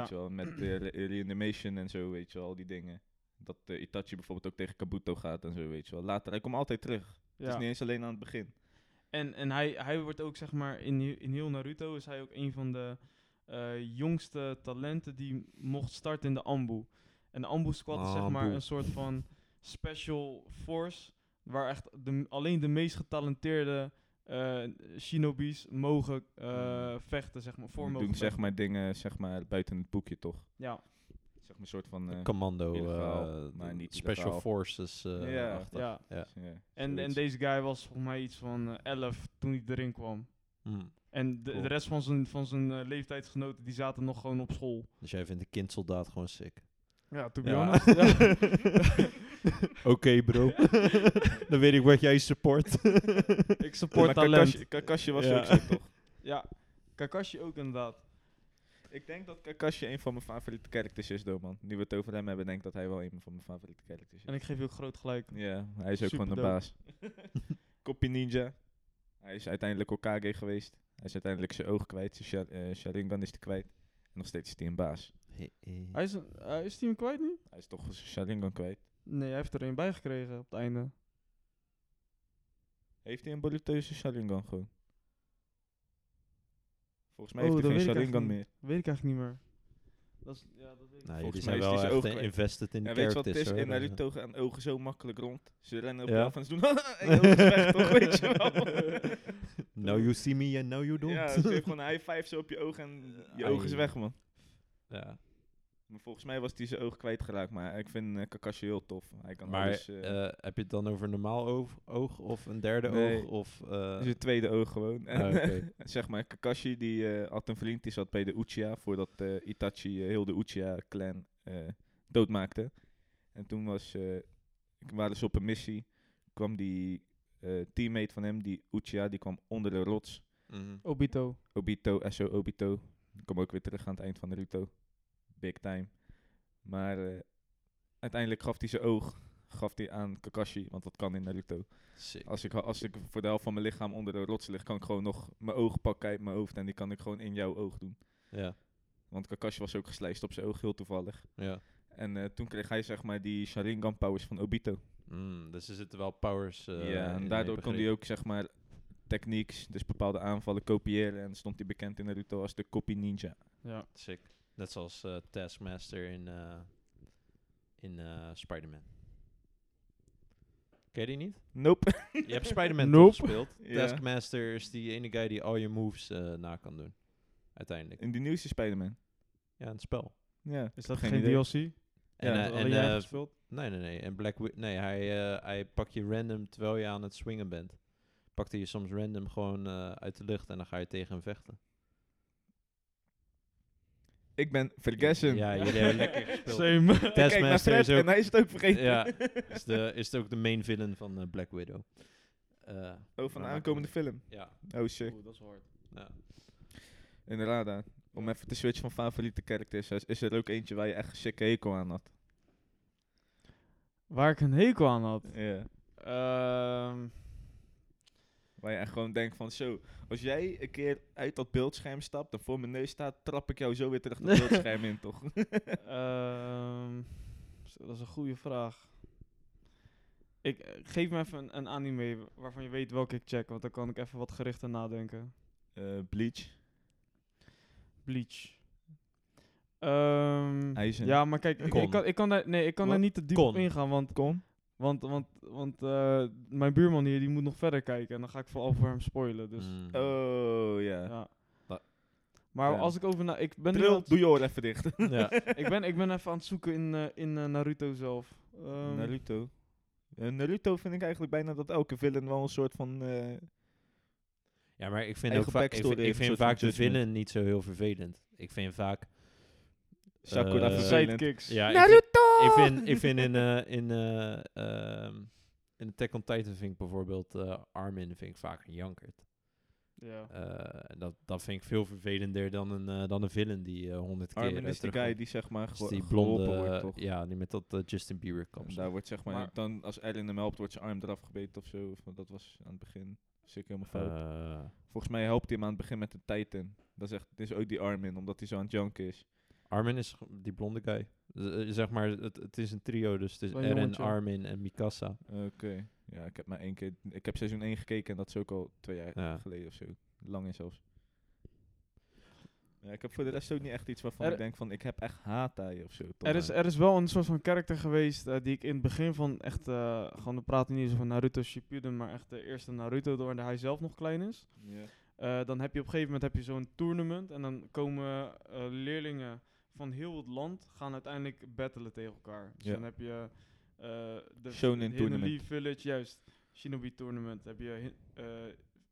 [SPEAKER 1] Ja.
[SPEAKER 3] je wel, met de re- reanimation en zo, weet je wel, al die dingen. Dat eh, Itachi bijvoorbeeld ook tegen Kabuto gaat en zo, weet je wel. Later, hij komt altijd terug. Het is
[SPEAKER 1] ja.
[SPEAKER 3] niet eens alleen aan het begin.
[SPEAKER 1] En, en hij, hij wordt ook, zeg maar, in, he- in heel Naruto is hij ook een van de eh, jongste talenten die mocht starten in de Ambu. En de Ambu Squad is, zeg maar,
[SPEAKER 2] Ambu.
[SPEAKER 1] een soort van special force waar echt de, alleen de meest getalenteerde eh, shinobi's mogen eh, vechten, zeg maar, voor
[SPEAKER 3] Voor
[SPEAKER 1] mogen
[SPEAKER 3] doen zeg
[SPEAKER 1] vechten.
[SPEAKER 3] maar dingen zeg maar, buiten het boekje, toch?
[SPEAKER 1] Ja,
[SPEAKER 3] Zeg maar een soort van... eh,
[SPEAKER 2] Commando,
[SPEAKER 3] illegaal,
[SPEAKER 2] eh,
[SPEAKER 3] maar niet
[SPEAKER 2] Special
[SPEAKER 3] illegaal.
[SPEAKER 2] Forces. eh
[SPEAKER 3] Ja.
[SPEAKER 2] achtig.
[SPEAKER 1] ja.
[SPEAKER 3] ja,
[SPEAKER 1] En, en
[SPEAKER 3] zoiets.
[SPEAKER 1] deze guy was volgens mij iets van eh, 11 toen hij erin kwam.
[SPEAKER 2] Hmm.
[SPEAKER 1] En de,
[SPEAKER 2] Cool.
[SPEAKER 1] de rest van zijn, van zijn eh, leeftijdsgenoten die zaten nog gewoon op school.
[SPEAKER 2] Dus jij vindt een kindsoldaat gewoon sick.
[SPEAKER 1] Ja, to
[SPEAKER 2] be honest, [laughs] Oké, bro. [laughs] Dan weet ik wat jij support.
[SPEAKER 3] [laughs]
[SPEAKER 1] Ik support
[SPEAKER 3] Maar
[SPEAKER 1] talent.
[SPEAKER 3] Kakashi, Kakashi was
[SPEAKER 2] Ja.
[SPEAKER 3] ook zo, toch?
[SPEAKER 1] Ja, Kakashi ook inderdaad.
[SPEAKER 3] Ik denk dat Kakashi een van mijn favoriete characters is, though, man. Nu we het over hem hebben, denk ik dat hij wel een van mijn favoriete characters is.
[SPEAKER 1] En ik geef je ook groot gelijk.
[SPEAKER 3] Ja, hij is ook gewoon de
[SPEAKER 1] Superdope.
[SPEAKER 3] baas.
[SPEAKER 1] [laughs]
[SPEAKER 3] Copy Ninja. Hij is uiteindelijk Okage geweest. Hij is uiteindelijk zijn oog kwijt. Zijn sha- eh, Sharingan is hij kwijt. En nog steeds is hij een baas.
[SPEAKER 1] Hij is, eh, is die hem kwijt nu?
[SPEAKER 3] Hij is toch zijn Sharingan kwijt.
[SPEAKER 1] Nee, hij heeft er een bij gekregen op het einde.
[SPEAKER 3] Heeft hij een Boruto zijn Sharingan gewoon? Volgens mij
[SPEAKER 1] Oh,
[SPEAKER 3] heeft hij
[SPEAKER 1] dat
[SPEAKER 3] geen
[SPEAKER 1] weet ik
[SPEAKER 3] Sharingan
[SPEAKER 1] eigenlijk
[SPEAKER 3] meer.
[SPEAKER 1] Weet ik eigenlijk niet meer. Dat is, ja, dat weet ik.
[SPEAKER 2] Nou,
[SPEAKER 3] Volgens
[SPEAKER 2] jullie
[SPEAKER 3] mij
[SPEAKER 2] zijn
[SPEAKER 3] is die
[SPEAKER 2] wel
[SPEAKER 3] zijn
[SPEAKER 2] echt
[SPEAKER 3] oog
[SPEAKER 2] eh,
[SPEAKER 3] kwijt.
[SPEAKER 2] invested in
[SPEAKER 3] En
[SPEAKER 2] de
[SPEAKER 3] weet je wat
[SPEAKER 2] characters.
[SPEAKER 3] het is? In
[SPEAKER 2] hoor.
[SPEAKER 3] Naruto gaan ogen zo makkelijk rond. Ze rennen op
[SPEAKER 2] Ja.
[SPEAKER 3] je af en ze doen... [laughs] en je oog is weg, toch? Weet je wel?
[SPEAKER 2] Now you see me and now you don't.
[SPEAKER 3] ja, ze heeft gewoon een high five zo op je ogen en je oog is
[SPEAKER 2] Ai.
[SPEAKER 3] weg, man.
[SPEAKER 2] Ja.
[SPEAKER 3] Maar volgens mij was hij zijn oog kwijtgeraakt. Maar ik vind eh, Kakashi heel tof. Hij kan
[SPEAKER 2] Maar
[SPEAKER 3] alles... eh,
[SPEAKER 2] eh, heb je het dan over een normaal oog, oog of een derde
[SPEAKER 3] Nee.
[SPEAKER 2] oog? Of, eh,
[SPEAKER 3] zijn Dus tweede oog gewoon. [laughs] En,
[SPEAKER 2] ah, oké.
[SPEAKER 3] zeg maar, Kakashi die eh, had een vriend die zat bij de Uchiha. Voordat eh, Itachi eh, heel de Uchiha-clan eh, doodmaakte. En toen was, eh, waren ze op een missie. Kwam die eh, teammate van hem, die Uchiha, die kwam onder de rots.
[SPEAKER 2] Mhm.
[SPEAKER 1] Obito.
[SPEAKER 3] Obito, SO Obito. Ik kom ook weer terug aan het eind van Naruto. Big time. Maar eh, uiteindelijk gaf hij zijn oog gaf hij aan Kakashi, want dat kan in Naruto.
[SPEAKER 2] Sick.
[SPEAKER 3] Als ik, als ik voor de helft van mijn lichaam onder de rots lig, kan ik gewoon nog mijn oog pakken uit mijn hoofd en die kan ik gewoon in jouw oog doen.
[SPEAKER 2] Ja,
[SPEAKER 3] Want Kakashi was ook geslijst op zijn oog, heel toevallig.
[SPEAKER 2] ja.
[SPEAKER 3] En eh, toen kreeg hij zeg maar die Sharingan powers van Obito.
[SPEAKER 1] Eh,
[SPEAKER 2] Mm, dus er zitten wel powers eh,
[SPEAKER 3] ja,
[SPEAKER 2] in,
[SPEAKER 3] en
[SPEAKER 2] heb
[SPEAKER 3] daardoor kon hij
[SPEAKER 2] begrepen.
[SPEAKER 3] ook zeg maar technieks, dus bepaalde aanvallen kopiëren en stond hij bekend in Naruto als de copy ninja.
[SPEAKER 1] Ja.
[SPEAKER 2] Sick. Net zoals eh, Taskmaster in, eh in eh, Spider-Man. Ken je die [laughs] niet?
[SPEAKER 3] Nope. [laughs]
[SPEAKER 2] Je hebt Spider-Man toch
[SPEAKER 1] Nope.
[SPEAKER 2] [laughs] gespeeld.
[SPEAKER 3] Ja.
[SPEAKER 2] Taskmaster is die ene guy die al je moves eh, na kan doen. Uiteindelijk.
[SPEAKER 3] In die nieuwste Spider-Man.
[SPEAKER 2] Ja, een spel.
[SPEAKER 3] Ja.
[SPEAKER 1] Is dat
[SPEAKER 3] Geen
[SPEAKER 1] geen,
[SPEAKER 3] idee.
[SPEAKER 1] DLC?
[SPEAKER 2] En,
[SPEAKER 1] dat
[SPEAKER 2] eh,
[SPEAKER 1] alleen
[SPEAKER 2] en,
[SPEAKER 1] jij
[SPEAKER 2] eh,
[SPEAKER 1] gespeeld?
[SPEAKER 2] Nee, nee, nee. En Black Wi- Nee, hij, eh, hij pakt je random terwijl je aan het swingen bent. Pakt hij je soms random gewoon eh, uit de lucht en dan ga je tegen hem vechten.
[SPEAKER 3] Ik ben vergessen.
[SPEAKER 2] Ja, jullie hebben
[SPEAKER 1] [laughs]
[SPEAKER 2] lekker gespeeld.
[SPEAKER 3] [laughs]
[SPEAKER 1] Same.
[SPEAKER 3] Kijk naar
[SPEAKER 2] Taskmaster
[SPEAKER 3] Fred
[SPEAKER 2] is ook...
[SPEAKER 3] en hij is het ook vergeten. [laughs]
[SPEAKER 2] Ja, is, de, is ook de main villain van eh, Black Widow. Eh,
[SPEAKER 3] Oh, van de
[SPEAKER 2] maar-
[SPEAKER 3] aankomende film.
[SPEAKER 2] Ja,
[SPEAKER 3] Oh, shit.
[SPEAKER 1] Oeh, dat is hard.
[SPEAKER 2] ja.
[SPEAKER 3] Inderdaad. hè. Om even te switchen van favoriete characters. is- Is er ook eentje waar je echt een sikke hekel aan had?
[SPEAKER 1] Waar ik een hekel aan had.
[SPEAKER 3] Ja.
[SPEAKER 1] [laughs] Ehm,
[SPEAKER 3] Waar je echt gewoon denkt van zo. Als jij een keer uit dat beeldscherm stapt en voor mijn neus staat, trap ik jou zo weer terug [laughs] dat beeldscherm in, toch?
[SPEAKER 1] ehm, zo, dat is een goede vraag. Ik, eh, geef me even een, een anime wa- waarvan je weet welke ik check, want dan kan ik even wat gerichter nadenken.
[SPEAKER 3] Eh, Bleach.
[SPEAKER 1] Bleach. Ehm,
[SPEAKER 3] IJzen.
[SPEAKER 1] ja, maar kijk, ik,
[SPEAKER 2] Kon.
[SPEAKER 1] ik kan, ik kan, daar, nee, ik kan
[SPEAKER 2] Wat?
[SPEAKER 1] daar niet te diep
[SPEAKER 2] Kon.
[SPEAKER 1] op ingaan, want,
[SPEAKER 3] Kom.
[SPEAKER 1] want, want, want eh, mijn buurman hier die moet nog verder kijken en dan ga ik vooral voor hem spoilen. Dus,
[SPEAKER 2] Mm.
[SPEAKER 3] Oh, ja.
[SPEAKER 1] ja.
[SPEAKER 3] Da-
[SPEAKER 1] Maar
[SPEAKER 3] Ja.
[SPEAKER 1] als ik over na, ik ben nu aan
[SPEAKER 3] Bril,
[SPEAKER 1] het-
[SPEAKER 3] doe je oor even [laughs] dicht.
[SPEAKER 2] [laughs] ja.
[SPEAKER 1] ik, ben, ik ben even aan het zoeken in, eh, in eh, Naruto zelf. Ehm,
[SPEAKER 3] Naruto. Eh, Naruto vind ik eigenlijk bijna dat elke villain wel een soort van... eh,
[SPEAKER 2] ja, maar ik vind,
[SPEAKER 3] Eigen
[SPEAKER 2] ook vaak, ik,
[SPEAKER 3] backstory
[SPEAKER 2] vind- ik
[SPEAKER 3] heeft een
[SPEAKER 2] vind
[SPEAKER 3] soort
[SPEAKER 2] vaak
[SPEAKER 3] van
[SPEAKER 2] de
[SPEAKER 3] judgment.
[SPEAKER 2] villain niet zo heel vervelend. Ik vind vaak...
[SPEAKER 3] Sakura
[SPEAKER 2] eh,
[SPEAKER 3] vervelend.
[SPEAKER 1] sidekicks.
[SPEAKER 2] Ja, ik vind-
[SPEAKER 3] Naruto!
[SPEAKER 2] Ik vind, ik vind in, eh in, eh ehm, in Attack on Titan vind ik bijvoorbeeld eh, Armin vind ik vaak een jankert.
[SPEAKER 1] Ja.
[SPEAKER 2] Eh, en dat, dat vind ik veel vervelender dan een, eh, dan een villain die honderd keer
[SPEAKER 3] Armin
[SPEAKER 2] eh,
[SPEAKER 3] is die
[SPEAKER 2] terugkomt.
[SPEAKER 3] guy die zeg maar
[SPEAKER 2] Dus
[SPEAKER 3] gewo- [laughs]
[SPEAKER 2] die
[SPEAKER 3] geholpen
[SPEAKER 2] blonde,
[SPEAKER 3] wordt, toch?
[SPEAKER 2] ja, die met dat eh, Justin Bieber
[SPEAKER 3] En
[SPEAKER 2] kapsel.
[SPEAKER 3] daar wordt zeg maar,
[SPEAKER 1] Maar-
[SPEAKER 3] dan als Ellen hem helpt, wordt zijn arm eraf gebeten of zo. Of, dat was aan het begin. Zeker helemaal fout.
[SPEAKER 2] Eh,
[SPEAKER 3] Volgens mij helpt hij hem aan het begin met de Titan. Dat is echt, dit is ook die Armin, omdat hij zo aan het janken is.
[SPEAKER 2] Armin is g- die blonde guy. Z- eh, zeg maar, het, het is een trio, dus het is
[SPEAKER 1] Zo'n
[SPEAKER 2] Eren,
[SPEAKER 1] jongetje.
[SPEAKER 2] Armin en Mikasa.
[SPEAKER 3] Oké. Ja, ik heb maar één keer, ik heb seizoen 1 gekeken en dat is ook al twee jaar
[SPEAKER 2] Ja.
[SPEAKER 3] geleden of zo. Lang is zelfs. Ja, ik heb voor de rest ook niet echt iets waarvan
[SPEAKER 1] Er-
[SPEAKER 3] ik denk van, ik heb echt haat aan je of zo. toch?
[SPEAKER 1] Er is, e- er is wel een soort van karakter geweest eh, die ik in het begin van echt, eh, gewoon we praten niet eens van Naruto Shippuden, maar echt de eerste Naruto, door hij zelf nog klein is.
[SPEAKER 3] Ja.
[SPEAKER 1] Eh, dan heb je op een gegeven moment heb je zo'n tournament en dan komen eh, leerlingen van heel het land gaan uiteindelijk battelen tegen elkaar. Dus
[SPEAKER 3] Ja.
[SPEAKER 1] dan heb je eh de
[SPEAKER 3] Shonen
[SPEAKER 1] Hidden
[SPEAKER 3] tournament.
[SPEAKER 1] Leaf Village, juist. Shinobi Tournament. Heb je hi- eh,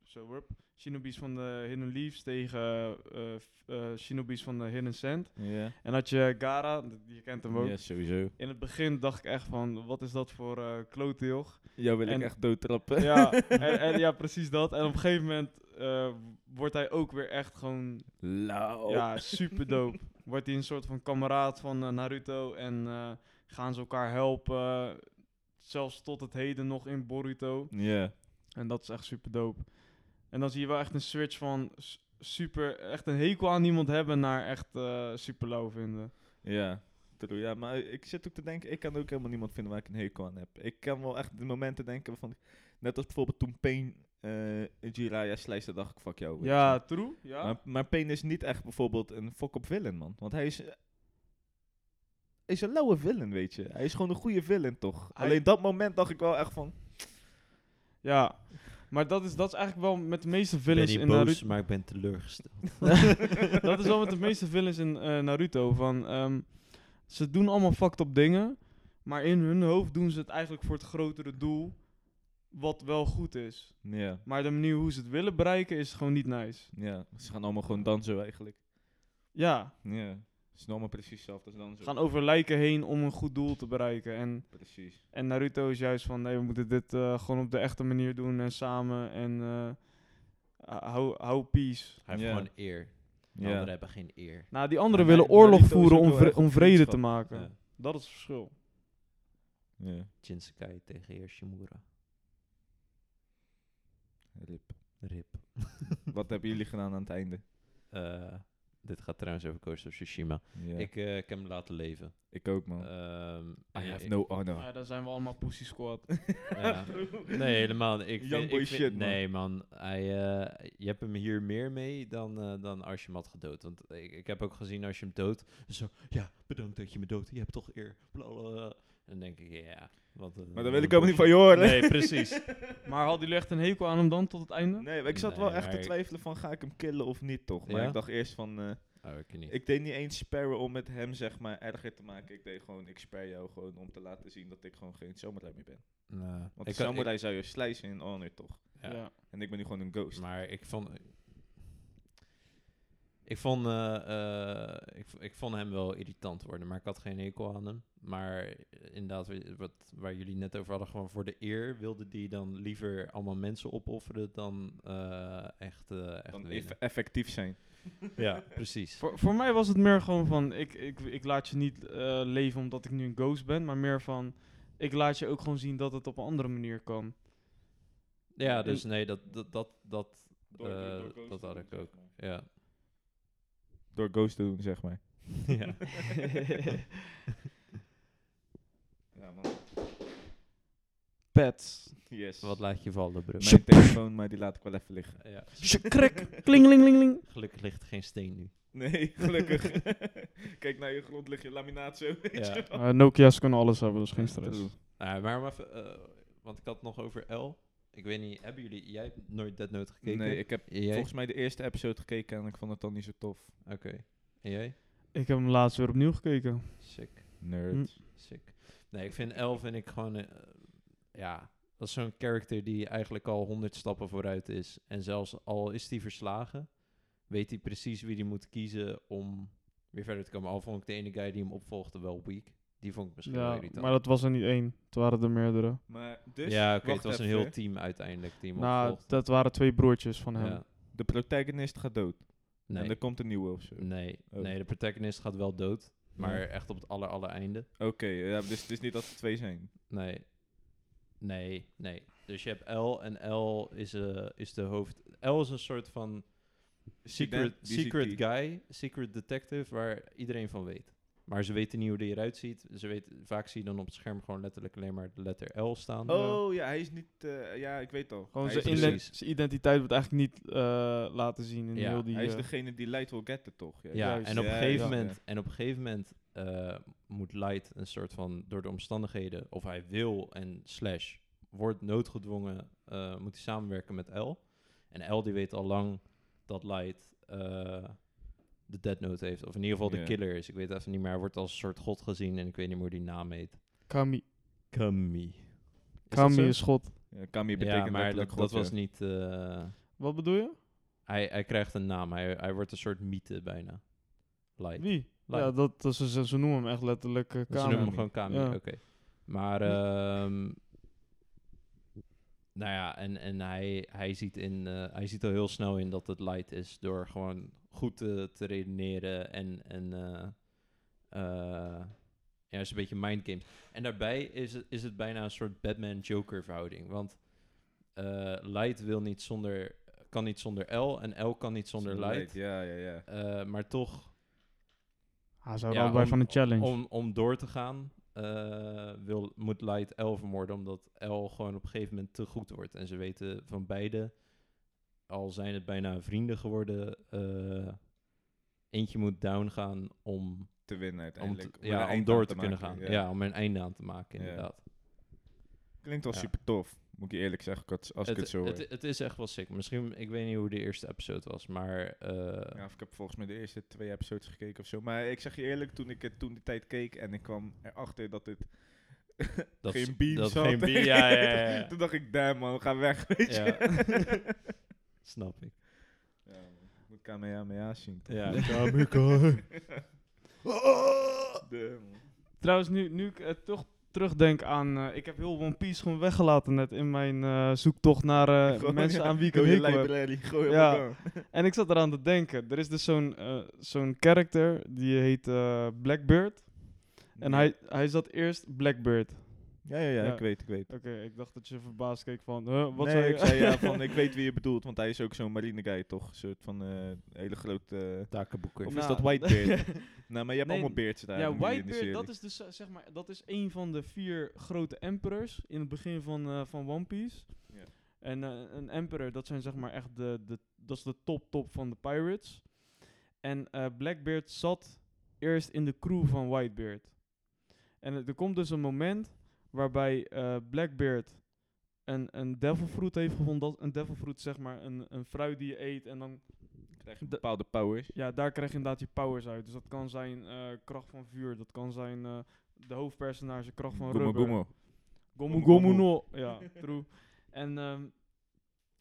[SPEAKER 1] zo, hup, Shinobi's van de Hidden Leaves tegen eh, f- eh, Shinobi's van de Hidden Sand.
[SPEAKER 3] Ja.
[SPEAKER 1] En had je Gara, d- je kent hem ook.
[SPEAKER 3] Ja, sowieso.
[SPEAKER 1] In het begin dacht ik echt van, wat is dat voor eh klote joch?
[SPEAKER 3] Jou wil
[SPEAKER 1] En-
[SPEAKER 3] ik echt doodtrappen.
[SPEAKER 1] Ja, en, en ja, precies dat. En op een gegeven moment eh, wordt hij ook weer echt gewoon,
[SPEAKER 3] Lauw.
[SPEAKER 1] ja, super dope. [laughs] Wordt hij een soort van kameraad van eh, Naruto en eh, gaan ze elkaar helpen. Zelfs tot het heden nog in Boruto.
[SPEAKER 3] Ja.
[SPEAKER 1] En dat is echt super dope. En dan zie je wel echt een switch van s- super, echt een hekel aan iemand hebben naar echt eh, super lauw vinden.
[SPEAKER 3] Ja, true. Ja, maar ik zit ook te denken, ik kan ook helemaal niemand vinden waar ik een hekel aan heb. Ik kan wel echt de momenten denken van, net als bijvoorbeeld toen Pain eh Jiraiya slijste, dacht ik, fuck jou. weet je
[SPEAKER 1] Ja,
[SPEAKER 3] wel.
[SPEAKER 1] true. Ja.
[SPEAKER 3] Maar, maar Pain is niet echt bijvoorbeeld een fuck-up villain, man. Want hij is... eh, is een lauwe villain, weet je. Hij is gewoon een goede villain, toch?
[SPEAKER 1] Hij-
[SPEAKER 3] Alleen dat moment dacht ik wel echt van...
[SPEAKER 1] Ja, maar dat is, dat is eigenlijk wel met de meeste
[SPEAKER 2] Ik ben
[SPEAKER 1] villains
[SPEAKER 2] niet
[SPEAKER 1] in
[SPEAKER 2] boos,
[SPEAKER 1] Naruto.
[SPEAKER 2] maar ik ben teleurgesteld.
[SPEAKER 1] [laughs] dat is wel met de meeste villains in eh, Naruto. Van, ehm, ze doen allemaal fucked up dingen, maar in hun hoofd doen ze het eigenlijk voor het grotere doel, wat wel goed is.
[SPEAKER 3] Ja,
[SPEAKER 1] Maar de manier hoe ze het willen bereiken is gewoon niet nice.
[SPEAKER 3] ja. Ze gaan allemaal gewoon dansen, eigenlijk.
[SPEAKER 1] Ja,
[SPEAKER 3] Ja. Het is allemaal precies hetzelfde als dansen.
[SPEAKER 1] ze gaan over lijken heen om een goed doel te bereiken. En,
[SPEAKER 3] Precies.
[SPEAKER 1] en Naruto is juist van, nee, we moeten dit eh, gewoon op de echte manier doen en samen en eh hou, hou peace.
[SPEAKER 2] Hij heeft
[SPEAKER 3] Ja.
[SPEAKER 2] gewoon eer. De
[SPEAKER 3] Ja.
[SPEAKER 2] anderen hebben geen eer.
[SPEAKER 1] Nou, die anderen
[SPEAKER 3] Ja,
[SPEAKER 1] willen
[SPEAKER 3] nee,
[SPEAKER 1] oorlog
[SPEAKER 3] Naruto is
[SPEAKER 1] voeren
[SPEAKER 3] ook
[SPEAKER 1] om,
[SPEAKER 3] wel
[SPEAKER 1] vre-
[SPEAKER 3] echt
[SPEAKER 1] om vrede te
[SPEAKER 3] vriendschap.
[SPEAKER 1] maken.
[SPEAKER 2] Ja.
[SPEAKER 1] Dat is het verschil.
[SPEAKER 3] Ja.
[SPEAKER 2] Shinsekai tegen Yoshimura.
[SPEAKER 3] Rip.
[SPEAKER 2] Rip.
[SPEAKER 3] [laughs] Wat hebben jullie gedaan aan het einde?
[SPEAKER 2] Eh, dit gaat trouwens over Ghost of Tsushima.
[SPEAKER 3] Ja. Oh.
[SPEAKER 2] Ik, eh, ik heb hem laten leven.
[SPEAKER 3] Ik ook, man.
[SPEAKER 2] Ehm,
[SPEAKER 3] I
[SPEAKER 2] ja,
[SPEAKER 3] have
[SPEAKER 2] ik-
[SPEAKER 3] no honor.
[SPEAKER 1] Ja, dan zijn we allemaal pussy
[SPEAKER 3] [laughs]
[SPEAKER 1] squad.
[SPEAKER 2] ja. Nee, helemaal niet. Ik
[SPEAKER 3] Young
[SPEAKER 2] vind-
[SPEAKER 3] boy
[SPEAKER 2] ik vind-
[SPEAKER 3] shit, man.
[SPEAKER 2] Nee, man. Hij, eh, je hebt hem hier meer mee dan, eh, dan als je hem had gedood. Want ik, ik heb ook gezien als je hem dood. Zo, ja, bedankt dat je me dood. Je hebt toch eer. Bla, bla, bla. Dan denk ik, ja. Wat, eh, een-
[SPEAKER 3] Maar
[SPEAKER 2] wat
[SPEAKER 3] dat wil
[SPEAKER 2] een
[SPEAKER 3] ik helemaal niet
[SPEAKER 2] [laughs]
[SPEAKER 3] van
[SPEAKER 2] bullshit.
[SPEAKER 3] je horen. [laughs]
[SPEAKER 2] Nee, precies.
[SPEAKER 1] Maar hadden jullie echt een hekel aan hem dan tot het einde?
[SPEAKER 3] Nee, maar ik zat wel
[SPEAKER 2] Nee,
[SPEAKER 3] echt te
[SPEAKER 2] maar ik-
[SPEAKER 3] twijfelen van ga ik hem killen of niet toch. Maar
[SPEAKER 2] Ja?
[SPEAKER 3] ik dacht eerst van, eh,
[SPEAKER 2] Oh, ik niet.
[SPEAKER 3] ik deed niet eens sparren om met hem zeg maar erger te maken. Ik deed gewoon, ik spare jou gewoon om te laten zien dat ik gewoon geen samurai meer ben.
[SPEAKER 2] Nou,
[SPEAKER 3] Want
[SPEAKER 2] ik
[SPEAKER 3] een
[SPEAKER 2] kan- ik-
[SPEAKER 3] samurai zou je slijzen in honor toch.
[SPEAKER 2] ja.
[SPEAKER 3] En ik ben nu gewoon een ghost.
[SPEAKER 2] Maar ik vond. Ik vond, eh, eh, ik, v- ik vond hem wel irritant worden, maar ik had geen hekel aan hem. Maar eh, inderdaad, wa- wat, waar jullie net over hadden, gewoon voor de eer wilde die dan liever allemaal mensen opofferen dan eh, echt, eh echt
[SPEAKER 3] Dan eff-
[SPEAKER 2] winnen.
[SPEAKER 3] effectief zijn.
[SPEAKER 2] [laughs] Ja, precies.
[SPEAKER 1] Voor, voor mij was het meer gewoon van, ik, ik, ik laat je niet eh, leven omdat ik nu een ghost ben, maar meer van, ik laat je ook gewoon zien dat het op een andere manier kan.
[SPEAKER 2] Ja, dus nee, dat, dat, dat, dat,
[SPEAKER 3] Door-
[SPEAKER 2] eh,
[SPEAKER 3] door- door ghost
[SPEAKER 2] dat
[SPEAKER 3] te
[SPEAKER 2] had
[SPEAKER 3] doen,
[SPEAKER 2] ik
[SPEAKER 3] zeg
[SPEAKER 2] ook.
[SPEAKER 3] maar.
[SPEAKER 2] [laughs] Ja.
[SPEAKER 3] Door ghost te doen zeg maar.
[SPEAKER 2] [laughs] ja.
[SPEAKER 3] Ja man.
[SPEAKER 1] pets.
[SPEAKER 3] Yes.
[SPEAKER 2] Wat laat je vallen, bro?
[SPEAKER 1] Shit.
[SPEAKER 3] Mijn telefoon, maar die laat ik wel even liggen.
[SPEAKER 2] Ja,
[SPEAKER 1] [laughs] Sjekrek, klingelinglingling.
[SPEAKER 2] gelukkig ligt er geen steen nu.
[SPEAKER 3] Nee, [laughs] gelukkig. Kijk naar je grond, lig je laminaat zo. [laughs] weet
[SPEAKER 2] Ja. [laughs]
[SPEAKER 3] je wel.
[SPEAKER 1] Eh Nokia's kunnen alles hebben, dus geen stress.
[SPEAKER 3] True.
[SPEAKER 2] Nou, maar om even, eh, want ik had het nog over L. Ik weet niet, hebben jullie, jij hebt nooit Dead Note gekeken?
[SPEAKER 3] Nee, ik heb
[SPEAKER 2] En jij?
[SPEAKER 3] volgens mij de eerste episode gekeken en ik vond het dan niet zo tof.
[SPEAKER 2] Oké. En jij?
[SPEAKER 1] Ik heb hem laatst weer opnieuw gekeken.
[SPEAKER 2] Sick,
[SPEAKER 3] Nerd.
[SPEAKER 1] Hm.
[SPEAKER 2] sick. Nee, ik vind L vind ik gewoon, eh, ja, dat is zo'n character die eigenlijk al honderd stappen vooruit is. En zelfs al is die verslagen, weet hij precies wie die moet kiezen om weer verder te komen. Al vond ik de ene guy die hem opvolgde wel weak. Die vond ik misschien wel
[SPEAKER 1] Ja,
[SPEAKER 2] irritant.
[SPEAKER 1] maar dat was er niet één. Het waren er meerdere.
[SPEAKER 3] Maar dus,
[SPEAKER 2] ja, oké,
[SPEAKER 3] wacht
[SPEAKER 2] het was een
[SPEAKER 3] even.
[SPEAKER 2] heel team uiteindelijk die hem
[SPEAKER 1] Nou,
[SPEAKER 2] opvolgde.
[SPEAKER 1] dat waren twee broertjes van hem.
[SPEAKER 2] Ja.
[SPEAKER 3] De protagonist gaat dood.
[SPEAKER 2] Nee.
[SPEAKER 3] En er komt een nieuwe of zo.
[SPEAKER 2] Nee,
[SPEAKER 3] Oh.
[SPEAKER 2] nee, de protagonist gaat wel dood. Maar echt op het aller, aller einde.
[SPEAKER 3] Oké, ja, dus het is niet dat er twee zijn.
[SPEAKER 2] Nee. Nee, nee. Dus je hebt L en L is, eh, is de hoofd... L is een soort van secret,
[SPEAKER 3] die ziet
[SPEAKER 2] secret
[SPEAKER 3] die.
[SPEAKER 2] guy, secret detective, waar iedereen van weet. Maar ze weten niet hoe die eruit ziet. Ze weten, vaak zie je dan op het scherm gewoon letterlijk alleen maar de letter L staan.
[SPEAKER 3] Oh ja, hij is niet. eh, ja, ik weet al.
[SPEAKER 1] Gewoon
[SPEAKER 3] hij
[SPEAKER 1] zijn
[SPEAKER 3] is,
[SPEAKER 2] inle-
[SPEAKER 3] de,
[SPEAKER 1] ident-
[SPEAKER 2] precies.
[SPEAKER 1] zijn identiteit wordt eigenlijk niet eh, laten zien in
[SPEAKER 2] Ja,
[SPEAKER 1] heel die...
[SPEAKER 3] hij is
[SPEAKER 1] eh,
[SPEAKER 3] degene die Light will get it, toch? Ja.
[SPEAKER 2] Ja,
[SPEAKER 1] Juist.
[SPEAKER 2] en op een
[SPEAKER 3] Ja,
[SPEAKER 2] gegeven
[SPEAKER 1] ja.
[SPEAKER 2] moment, en op een gegeven moment eh, moet Light een soort van door de omstandigheden, of hij wil en slash wordt noodgedwongen, eh, moet hij samenwerken met L. En L die weet al lang dat Light eh, de Dead Note heeft, of in ieder geval
[SPEAKER 3] Ja.
[SPEAKER 2] de killer is. Ik weet even niet meer, hij wordt als een soort god gezien en ik weet niet meer hoe die naam heet.
[SPEAKER 1] Kami,
[SPEAKER 2] Kami. Is dat zo?
[SPEAKER 1] Kami is God.
[SPEAKER 3] Ja, Kami betekent
[SPEAKER 2] Ja, maar dat,
[SPEAKER 3] letterlijk God,
[SPEAKER 2] dat was
[SPEAKER 3] ja.
[SPEAKER 2] niet... eh,
[SPEAKER 1] Wat bedoel je?
[SPEAKER 2] hij, hij krijgt een naam, hij, hij wordt een soort mythe bijna. Light.
[SPEAKER 1] Wie?
[SPEAKER 2] Light.
[SPEAKER 1] Ja, dat, dat, ze, ze ze noemen hem echt letterlijk eh,
[SPEAKER 2] Dus Ze
[SPEAKER 1] Kami.
[SPEAKER 2] noemen hem gewoon Kami,
[SPEAKER 1] Ja.
[SPEAKER 2] oké. Maar, ehm, nou ja, en, en hij, hij, ziet in, eh, hij ziet al heel snel in dat het light is door gewoon goed te, te redeneren en, en eh, eh, ja, is een beetje mindgames. En daarbij is het, is het bijna een soort Batman-Joker verhouding, want eh, light wil niet zonder, kan niet zonder L en L kan niet zonder, light.
[SPEAKER 3] Ja, ja, ja.
[SPEAKER 2] Eh, maar toch
[SPEAKER 1] Ah, ze houden
[SPEAKER 2] ja,
[SPEAKER 1] allebei
[SPEAKER 2] om-
[SPEAKER 1] van een challenge.
[SPEAKER 2] Om, om door te gaan, eh, wil, moet Light L vermoorden, omdat L gewoon op een gegeven moment te goed wordt. En ze weten van beide, al zijn het bijna vrienden geworden, eh, eentje moet down gaan om,
[SPEAKER 3] Te winnen
[SPEAKER 2] om, te-
[SPEAKER 3] uiteindelijk. er een
[SPEAKER 2] ja, om
[SPEAKER 3] eind
[SPEAKER 2] door
[SPEAKER 3] aan
[SPEAKER 2] te, kunnen
[SPEAKER 3] maken,
[SPEAKER 2] gaan. Ja. om er een einde aan te maken,
[SPEAKER 3] Ja.
[SPEAKER 2] inderdaad.
[SPEAKER 3] Klinkt wel
[SPEAKER 2] Ja.
[SPEAKER 3] super tof. Moet ik je eerlijk zeggen, als, als
[SPEAKER 2] het,
[SPEAKER 3] ik het zo eh, hoor.
[SPEAKER 2] het, het is echt wel sick. Misschien, ik weet niet hoe de eerste episode was, maar... eh,
[SPEAKER 3] Ja, of ik heb volgens mij de eerste twee episodes gekeken of zo. Maar ik zeg je eerlijk, toen ik het toen die tijd keek en ik kwam erachter dat het
[SPEAKER 2] dat
[SPEAKER 3] geen
[SPEAKER 2] is-
[SPEAKER 3] beams
[SPEAKER 2] dat
[SPEAKER 3] had.
[SPEAKER 2] geen
[SPEAKER 3] [laughs]
[SPEAKER 2] beam- ja, ja, ja, ja.
[SPEAKER 3] toen dacht ik, damn man, ga weg, weet
[SPEAKER 2] Ja.
[SPEAKER 3] je. [laughs]
[SPEAKER 2] Snap ik.
[SPEAKER 3] Ja, man. Moet Kamehameha zien. toch?
[SPEAKER 2] Ja.
[SPEAKER 3] Damn, man.
[SPEAKER 1] Trouwens, nu, nu ik eh, toch terugdenk aan... eh, ik heb heel One Piece gewoon weggelaten net in mijn eh, zoektocht naar eh,
[SPEAKER 3] Gewoon,
[SPEAKER 1] mensen
[SPEAKER 3] ja,
[SPEAKER 1] aan wie ik een
[SPEAKER 3] Gooi je
[SPEAKER 1] hekel heb.
[SPEAKER 3] library, gooi hem
[SPEAKER 1] Ja.
[SPEAKER 3] elkaar.
[SPEAKER 1] En ik zat eraan te denken. Er is dus zo'n eh, zo'n character, die heet eh, Blackbeard. En hij, hij zat eerst Blackbeard.
[SPEAKER 3] Ja, ja, ja,
[SPEAKER 1] Ja.
[SPEAKER 3] ik weet, ik weet.
[SPEAKER 1] Oké, ik dacht dat je verbaasd keek van... huh, wat
[SPEAKER 3] nee,
[SPEAKER 1] zei je?
[SPEAKER 3] ik zei
[SPEAKER 1] [laughs]
[SPEAKER 3] ja, van ik weet wie je bedoelt, want hij is ook zo'n marine guy, toch? Een soort van eh, hele grote... eh,
[SPEAKER 2] Takenboeker.
[SPEAKER 3] of
[SPEAKER 1] Nou,
[SPEAKER 3] is dat
[SPEAKER 1] [laughs]
[SPEAKER 3] Whitebeard? nou, maar je hebt
[SPEAKER 1] Nee,
[SPEAKER 3] allemaal beards daar.
[SPEAKER 1] ja,
[SPEAKER 3] in die- in die
[SPEAKER 1] Whitebeard,
[SPEAKER 3] serie.
[SPEAKER 1] dat is dus eh, zeg maar, dat is een van de vier grote emperors in het begin van, eh, van One Piece.
[SPEAKER 3] Ja.
[SPEAKER 1] En eh, een emperor, dat zijn zeg maar echt de, de, dat is de top top van de pirates. En eh, Blackbeard zat eerst in de crew van Whitebeard. En eh, er komt dus een moment waarbij eh, Blackbeard een, een devilfruit heeft gevonden. Dat, een devilfruit is zeg maar een, een fruit die je eet en dan
[SPEAKER 3] krijg je
[SPEAKER 1] de-
[SPEAKER 3] bepaalde powers.
[SPEAKER 1] ja, daar krijg je inderdaad je powers uit. Dus dat kan zijn eh, kracht van vuur, dat kan zijn eh, de hoofdpersonage kracht van
[SPEAKER 3] Gomu
[SPEAKER 1] rubber.
[SPEAKER 3] Gomu.
[SPEAKER 1] Gomu
[SPEAKER 3] Gomu
[SPEAKER 1] Gomu no. Ja, true. En ehm,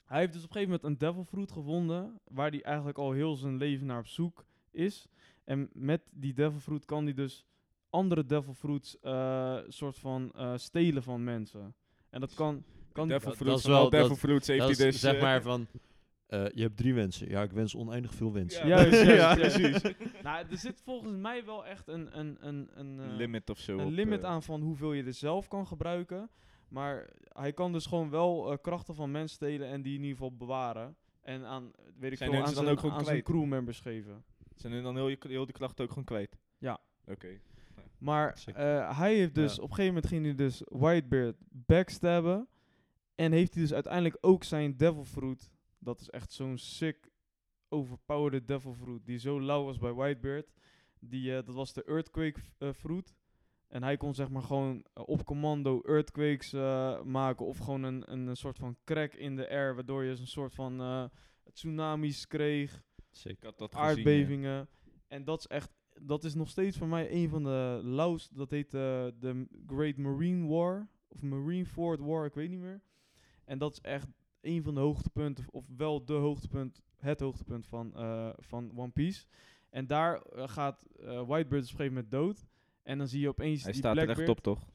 [SPEAKER 1] hij heeft dus op een gegeven moment een devil fruit gevonden, waar hij eigenlijk al heel zijn leven naar op zoek is. En met die devil fruit kan hij dus andere devil fruits eh, soort van eh, stelen van mensen. En dat kan... kan
[SPEAKER 3] Devil
[SPEAKER 2] dat
[SPEAKER 3] Fruit
[SPEAKER 2] is
[SPEAKER 3] van
[SPEAKER 2] wel-
[SPEAKER 3] al Devil
[SPEAKER 2] dat-
[SPEAKER 3] Fruits heeft hij
[SPEAKER 2] Dat is
[SPEAKER 3] dus...
[SPEAKER 2] zeg
[SPEAKER 3] eh, [laughs]
[SPEAKER 2] maar van, eh, je hebt drie wensen. Ja, ik wens oneindig veel wensen.
[SPEAKER 3] Ja.
[SPEAKER 1] Juist,
[SPEAKER 3] [laughs]
[SPEAKER 1] juist,
[SPEAKER 3] Ja,
[SPEAKER 1] juist.
[SPEAKER 3] precies.
[SPEAKER 1] Nou, er zit volgens mij wel echt een... een, een, een eh,
[SPEAKER 3] limit of zo. op,
[SPEAKER 1] een limit
[SPEAKER 3] eh,
[SPEAKER 1] aan van hoeveel je er zelf kan gebruiken. Maar hij kan dus gewoon wel eh, krachten van mensen stelen en die in ieder geval bewaren. En aan, eh, weet ik
[SPEAKER 3] Zijn
[SPEAKER 1] veel,
[SPEAKER 3] hun
[SPEAKER 1] aan
[SPEAKER 3] ze dan
[SPEAKER 1] zijn,
[SPEAKER 3] ook gewoon
[SPEAKER 1] aan zijn
[SPEAKER 3] kwijt?
[SPEAKER 1] crewmembers geven.
[SPEAKER 3] Zijn hun dan heel, je- heel die klachten ook gewoon kwijt?
[SPEAKER 1] Ja.
[SPEAKER 3] Oké.
[SPEAKER 1] Maar
[SPEAKER 2] Sick.
[SPEAKER 1] eh, hij heeft dus,
[SPEAKER 2] Ja.
[SPEAKER 1] op een gegeven moment ging hij dus Whitebeard backstabben. En heeft hij dus uiteindelijk ook zijn Devil Fruit. Dat is echt zo'n sick overpowered Devil Fruit. Die zo lauw was bij Whitebeard. Die, eh, dat was de Earthquake eh, Fruit. En hij kon zeg maar gewoon eh, op commando Earthquakes eh, maken. Of gewoon een, een, een soort van crack in de air. Waardoor je een soort van eh, tsunamis kreeg
[SPEAKER 2] Sick.
[SPEAKER 3] Ik had dat gezien, ja.
[SPEAKER 1] aardbevingen. En dat is echt, dat is nog steeds voor mij een van de lauwste. Dat heet eh, de M- Great Marine War of Marine Ford War, ik weet niet meer. En dat is echt een van de hoogtepunten, of wel de hoogtepunt, het hoogtepunt van, eh, van One Piece. En daar eh, gaat eh, Whitebeard dus op een gegeven moment dood. En dan zie je opeens
[SPEAKER 3] Hij
[SPEAKER 1] die
[SPEAKER 3] staat er
[SPEAKER 1] Blackbeard.
[SPEAKER 3] echt op, toch?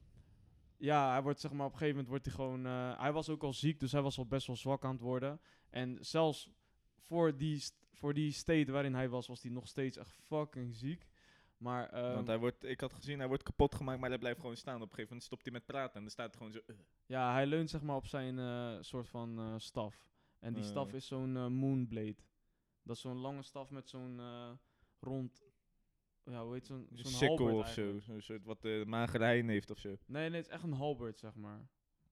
[SPEAKER 1] Ja, hij wordt zeg maar op een gegeven moment wordt hij gewoon. eh, hij was ook al ziek, dus hij was al best wel zwak aan het worden. En zelfs voor die, st- voor die state waarin hij was, was hij nog steeds echt fucking ziek. Maar ehm,
[SPEAKER 3] Want hij wordt, ik had gezien, hij wordt kapot gemaakt, maar hij blijft gewoon staan. Op een gegeven moment stopt hij met praten en dan staat hij gewoon zo... eh.
[SPEAKER 1] ja, hij leunt zeg maar op zijn eh, soort van eh, staf. En die
[SPEAKER 3] Eh.
[SPEAKER 1] staf is zo'n eh, moonblade. Dat is zo'n lange staf met zo'n eh, rond. Ja, hoe heet zo'n.
[SPEAKER 3] Een
[SPEAKER 1] Zo'n
[SPEAKER 3] sikkel
[SPEAKER 1] halberd
[SPEAKER 3] of zo.
[SPEAKER 1] eigenlijk.
[SPEAKER 3] Zo'n soort wat de magere hein heeft of zo.
[SPEAKER 1] Nee, nee, het is echt een halberd, zeg maar.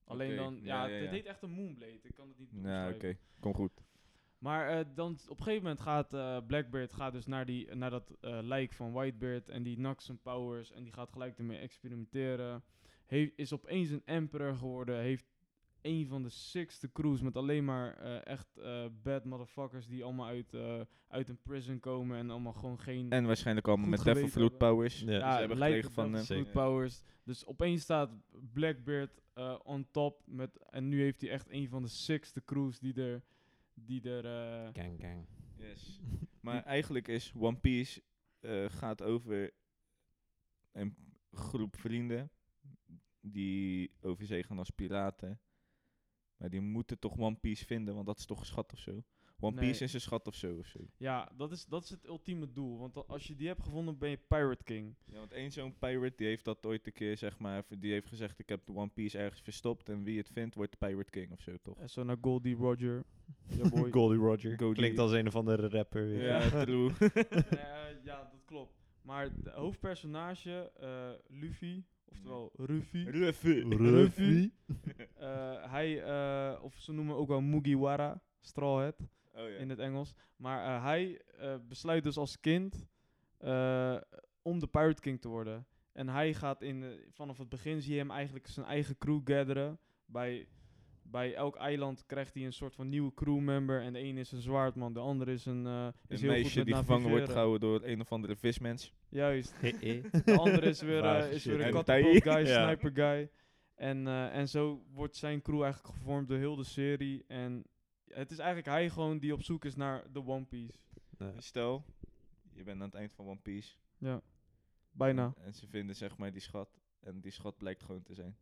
[SPEAKER 1] Alleen
[SPEAKER 3] Oké,
[SPEAKER 1] dan. Ja,
[SPEAKER 3] ja, ja,
[SPEAKER 1] dit
[SPEAKER 3] ja.
[SPEAKER 1] heet echt een moonblade. Ik kan het niet
[SPEAKER 3] Ja,
[SPEAKER 1] omschrijven.
[SPEAKER 3] oké. Kom goed.
[SPEAKER 1] Maar eh, dan t- op een gegeven moment gaat eh, Blackbeard gaat dus naar, die, naar dat eh, lijk van Whitebeard en die nakt zijn powers en die gaat gelijk ermee experimenteren. He- is opeens een emperor geworden, heeft een van de sixte crews met alleen maar eh, echt eh, bad motherfuckers die allemaal uit, eh, uit een prison komen en allemaal gewoon geen...
[SPEAKER 3] En waarschijnlijk allemaal
[SPEAKER 1] Goed
[SPEAKER 3] met Devil
[SPEAKER 1] geweten
[SPEAKER 3] Fruit
[SPEAKER 1] hebben.
[SPEAKER 3] Powers.
[SPEAKER 2] Ja.
[SPEAKER 3] Ja, ze hebben
[SPEAKER 1] lijkt
[SPEAKER 3] gekregen
[SPEAKER 1] op
[SPEAKER 3] van...
[SPEAKER 1] dat
[SPEAKER 3] eh,
[SPEAKER 1] soort
[SPEAKER 2] Zeker.
[SPEAKER 1] powers. Dus opeens staat Blackbeard eh, on top met, en nu heeft hij echt een van de sixte crews die er... Die er eh,
[SPEAKER 2] Gang, gang.
[SPEAKER 3] Yes. maar eigenlijk is One Piece eh, gaat over een groep vrienden die over zee gaan als piraten. Maar die moeten toch One Piece vinden, want dat is toch een schat of zo. One
[SPEAKER 1] Nee.
[SPEAKER 3] Piece is een schat of zo of zo.
[SPEAKER 1] Ja, dat is, dat is het ultieme doel. Want al- als je die hebt gevonden, ben je Pirate King.
[SPEAKER 3] Ja, want één zo'n pirate die heeft dat ooit een keer zeg maar, v- die heeft gezegd ik heb de One Piece ergens verstopt en wie het vindt wordt de Pirate King of zo toch?
[SPEAKER 1] En Eh, zo naar Goldie Roger. [laughs] Ja, boy.
[SPEAKER 2] Goldie Roger.
[SPEAKER 3] Goldie.
[SPEAKER 2] Klinkt als een of andere rapper. weet je.
[SPEAKER 1] [laughs]
[SPEAKER 3] Ja, true.
[SPEAKER 1] Nee, eh, ja, dat klopt. Maar de hoofdpersonage, eh, Luffy, oftewel Ruffy.
[SPEAKER 3] Ruffy.
[SPEAKER 1] Ruffy. eh, hij, eh, of ze noemen ook wel Mugiwara, Straw Hat
[SPEAKER 3] Oh ja.
[SPEAKER 1] in het Engels. Maar eh, hij eh, besluit dus als kind eh, om de Pirate King te worden. En hij gaat in, eh, vanaf het begin zie je hem eigenlijk zijn eigen crew gatheren. Bij, bij elk eiland krijgt hij een soort van nieuwe crewmember. En de een is een zwaardman, de ander is een, eh, is
[SPEAKER 3] een
[SPEAKER 1] heel goed
[SPEAKER 3] meisje
[SPEAKER 1] met
[SPEAKER 3] die gevangen wordt
[SPEAKER 1] navigeren.
[SPEAKER 3] gehouden door een of andere vismens.
[SPEAKER 1] Juist.
[SPEAKER 2] Hey, [laughs]
[SPEAKER 1] De ander is
[SPEAKER 3] [laughs]
[SPEAKER 1] weer,
[SPEAKER 2] Vage
[SPEAKER 1] eh, is
[SPEAKER 2] shit.
[SPEAKER 1] weer
[SPEAKER 2] [laughs]
[SPEAKER 1] een
[SPEAKER 3] En [laughs]
[SPEAKER 1] katapult guy,
[SPEAKER 2] Ja.
[SPEAKER 1] sniper guy. En, eh, en zo wordt zijn crew eigenlijk gevormd door heel de serie. En het is eigenlijk hij gewoon die op zoek is naar de One Piece.
[SPEAKER 2] hey.
[SPEAKER 3] Eh, Stel, je bent aan het eind van One Piece.
[SPEAKER 1] Bijna.
[SPEAKER 3] En, en ze vinden zeg maar die schat. En die schat blijkt gewoon te zijn.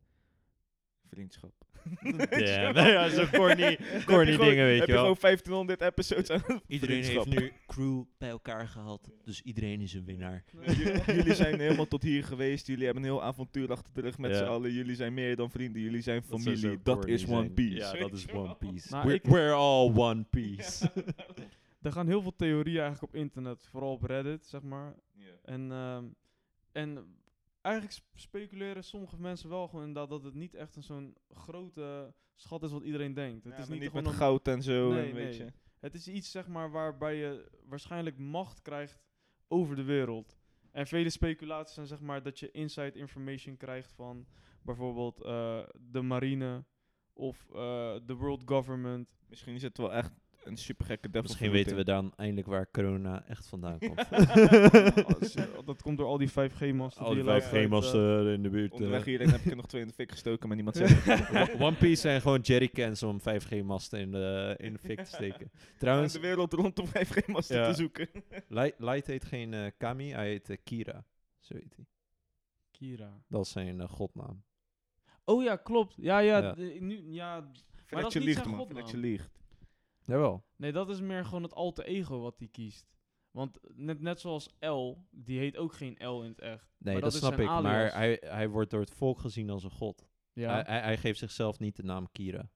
[SPEAKER 3] Vriendschap. [laughs]
[SPEAKER 2] Damn, [laughs] ja, zo corny- corny dingen, weet je
[SPEAKER 3] heb
[SPEAKER 2] wel.
[SPEAKER 3] gewoon 1500 episodes
[SPEAKER 2] [laughs]
[SPEAKER 3] aan
[SPEAKER 4] Iedereen heeft
[SPEAKER 3] vriendschap.
[SPEAKER 4] nu crew bij elkaar gehad, dus iedereen is een winnaar.
[SPEAKER 3] J- Jullie zijn helemaal
[SPEAKER 2] [laughs]
[SPEAKER 3] tot hier geweest. Jullie hebben een heel avontuur achter de rug met
[SPEAKER 2] Ja.
[SPEAKER 3] z'n allen. Jullie zijn meer dan vrienden. Jullie zijn
[SPEAKER 2] zou
[SPEAKER 3] familie.
[SPEAKER 2] zo
[SPEAKER 3] Dat,
[SPEAKER 2] corny
[SPEAKER 3] is One
[SPEAKER 2] zijn.
[SPEAKER 3] Piece.
[SPEAKER 2] Ja, dat is One Piece.
[SPEAKER 1] Maar
[SPEAKER 2] we're,
[SPEAKER 1] ik-
[SPEAKER 2] we're all One Piece.
[SPEAKER 1] Er gaan heel veel theorieën eigenlijk op internet, vooral op Reddit, zeg maar.
[SPEAKER 3] Ja.
[SPEAKER 1] En, ehm, en eigenlijk sp- speculeren sommige mensen wel gewoon inderdaad dat het niet echt een zo'n grote schat is wat iedereen denkt.
[SPEAKER 3] Ja,
[SPEAKER 1] Het is
[SPEAKER 3] maar
[SPEAKER 1] niet,
[SPEAKER 3] niet
[SPEAKER 1] gewoon
[SPEAKER 3] met
[SPEAKER 1] een-
[SPEAKER 3] goud en zo.
[SPEAKER 1] Nee,
[SPEAKER 3] en weet
[SPEAKER 1] nee.
[SPEAKER 3] je.
[SPEAKER 1] Het is iets, zeg maar, waarbij je waarschijnlijk macht krijgt over de wereld. En vele speculaties zijn, zeg maar, dat je inside information krijgt van bijvoorbeeld eh, de marine of eh, de world government.
[SPEAKER 3] Misschien is het wel echt een supergekke devil
[SPEAKER 2] [laughs] Misschien
[SPEAKER 3] fruit
[SPEAKER 2] weten we
[SPEAKER 3] in.
[SPEAKER 2] dan eindelijk waar corona echt vandaan
[SPEAKER 3] [laughs]
[SPEAKER 2] komt. [laughs]
[SPEAKER 1] Ja, Oh, dat komt door al die 5G-masten
[SPEAKER 2] al
[SPEAKER 1] die
[SPEAKER 2] die
[SPEAKER 1] je luistert.
[SPEAKER 2] 5G-masten in de buurt.
[SPEAKER 3] Onderweg
[SPEAKER 2] eh.
[SPEAKER 3] hierheen heb ik er nog twee in de fik gestoken, maar niemand zegt het.
[SPEAKER 2] [laughs] Wa- One Piece zijn gewoon jerrycans om 5G-masten in de, in de fik te
[SPEAKER 1] [laughs]
[SPEAKER 2] steken.
[SPEAKER 3] Aan
[SPEAKER 2] Trouwens,
[SPEAKER 3] de wereld rondom 5G-masten
[SPEAKER 2] Ja.
[SPEAKER 3] te zoeken.
[SPEAKER 2] Light, Light heet geen eh, Kami, hij heet eh, Kira. Zo heet hij.
[SPEAKER 1] Kira.
[SPEAKER 2] Dat is zijn eh, godnaam.
[SPEAKER 1] Oh ja, klopt. Ja, ja.
[SPEAKER 2] Ja.
[SPEAKER 1] de- nu, ja. Maar dat is
[SPEAKER 3] Fredje
[SPEAKER 1] niet
[SPEAKER 3] liegt,
[SPEAKER 1] zijn
[SPEAKER 3] man.
[SPEAKER 1] godnaam.
[SPEAKER 3] Fredje liegt.
[SPEAKER 2] Jawel.
[SPEAKER 1] Nee, dat is meer gewoon het alter ego wat hij kiest. Want net, net zoals L, die heet ook geen L in het echt.
[SPEAKER 2] Nee, dat,
[SPEAKER 1] Maar dat is
[SPEAKER 2] snap
[SPEAKER 1] zijn
[SPEAKER 2] ik.
[SPEAKER 1] alias.
[SPEAKER 2] Maar hij, hij wordt door het volk gezien als een god.
[SPEAKER 1] Ja.
[SPEAKER 2] Hij, hij, hij geeft zichzelf niet de naam Kira.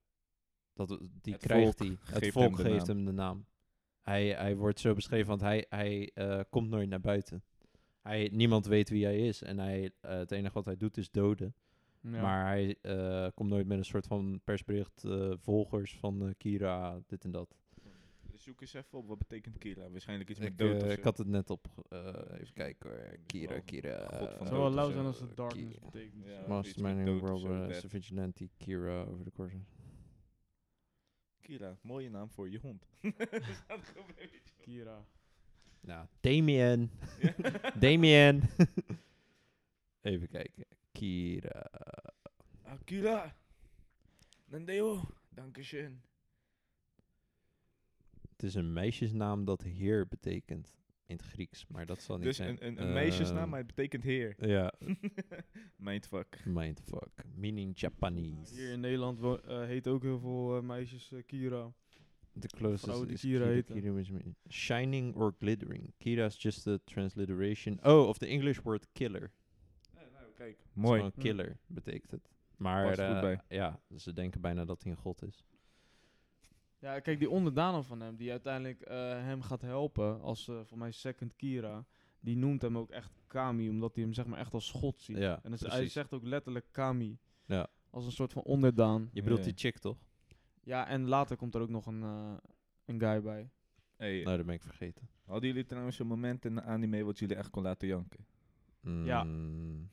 [SPEAKER 2] Dat, die
[SPEAKER 3] Het
[SPEAKER 2] krijgt
[SPEAKER 3] volk
[SPEAKER 2] hij. Het
[SPEAKER 3] geeft hem
[SPEAKER 2] volk
[SPEAKER 3] de
[SPEAKER 2] geeft
[SPEAKER 3] naam.
[SPEAKER 2] hem de naam. Hij, hij wordt zo beschreven, want hij, hij eh, komt nooit naar buiten. Hij, niemand weet wie hij is. En hij, eh, het enige wat hij doet is doden.
[SPEAKER 1] Ja.
[SPEAKER 2] Maar hij eh, komt nooit met een soort van persbericht. eh, volgers van eh, Kira, dit en dat.
[SPEAKER 3] Dus Zoek eens even op, wat betekent Kira? Waarschijnlijk iets
[SPEAKER 2] Ik,
[SPEAKER 3] met dood
[SPEAKER 2] eh,
[SPEAKER 3] of zo.
[SPEAKER 2] ik had het net op. eh, even kijken hoor. Kira,
[SPEAKER 3] wel
[SPEAKER 2] Kira.
[SPEAKER 3] god van
[SPEAKER 2] eh,
[SPEAKER 1] het zou wel
[SPEAKER 3] dood
[SPEAKER 1] lauw
[SPEAKER 3] of
[SPEAKER 1] zijn
[SPEAKER 3] zo,
[SPEAKER 1] als het
[SPEAKER 2] eh,
[SPEAKER 1] darkness
[SPEAKER 2] Kira.
[SPEAKER 1] betekent.
[SPEAKER 3] Ja,
[SPEAKER 1] Ja.
[SPEAKER 3] maar-
[SPEAKER 2] Master
[SPEAKER 3] iets met
[SPEAKER 2] Mining
[SPEAKER 3] dood of zo,
[SPEAKER 2] Robber,
[SPEAKER 3] death.
[SPEAKER 2] uh, Vigilante, Kira over de course.
[SPEAKER 3] Kira, mooie naam voor je hond. [laughs] Er staat gewoon een beetje op.
[SPEAKER 1] Kira.
[SPEAKER 2] [laughs] Nou,
[SPEAKER 3] [laughs]
[SPEAKER 2] Damien. Damien. [laughs] Even kijken. Kira.
[SPEAKER 3] Akira. Nandeo. Dankeschön.
[SPEAKER 2] Het is een meisjesnaam dat heer betekent in het Grieks, maar dat zal niet
[SPEAKER 3] Dus
[SPEAKER 2] zijn. eh.
[SPEAKER 3] een, een, een meisjesnaam,
[SPEAKER 2] Ehm,
[SPEAKER 3] maar het betekent heer.
[SPEAKER 2] Ja,
[SPEAKER 3] [laughs] Mindfuck.
[SPEAKER 2] mindfuck. Meaning
[SPEAKER 1] Nou,
[SPEAKER 2] Japanese.
[SPEAKER 1] hier in Nederland wo- eh, heet ook heel veel eh, meisjes eh, Kira.
[SPEAKER 2] The closest
[SPEAKER 1] Vrouwen die
[SPEAKER 2] is
[SPEAKER 1] Kira
[SPEAKER 2] Kira,
[SPEAKER 1] heten.
[SPEAKER 2] Kira which mean- shining or glittering. Kira is just a transliteration. Oh, of the English word killer.
[SPEAKER 3] kijk.
[SPEAKER 2] Het is
[SPEAKER 3] Mooi.
[SPEAKER 2] gewoon killer betekent het. Maar
[SPEAKER 3] Past goed
[SPEAKER 2] eh,
[SPEAKER 3] bij.
[SPEAKER 2] ja, ze denken bijna dat hij een god is.
[SPEAKER 1] Ja, kijk, die onderdanen van hem, die uiteindelijk eh, hem gaat helpen als eh, voor mij second Kira, die noemt hem ook echt Kami, omdat hij hem zeg maar echt als god ziet.
[SPEAKER 2] Ja,
[SPEAKER 1] en dus hij
[SPEAKER 2] precies.
[SPEAKER 1] zegt ook letterlijk Kami.
[SPEAKER 2] Ja.
[SPEAKER 1] Als een soort van onderdaan.
[SPEAKER 2] Je bedoelt
[SPEAKER 3] Ja.
[SPEAKER 2] die chick toch?
[SPEAKER 1] Ja, en later komt er ook nog een, eh, een guy bij.
[SPEAKER 3] Hey,
[SPEAKER 2] Nou, dat ben ik vergeten.
[SPEAKER 3] Hadden jullie trouwens een moment in de anime wat jullie echt kon laten janken?
[SPEAKER 1] Ja.
[SPEAKER 2] Mm,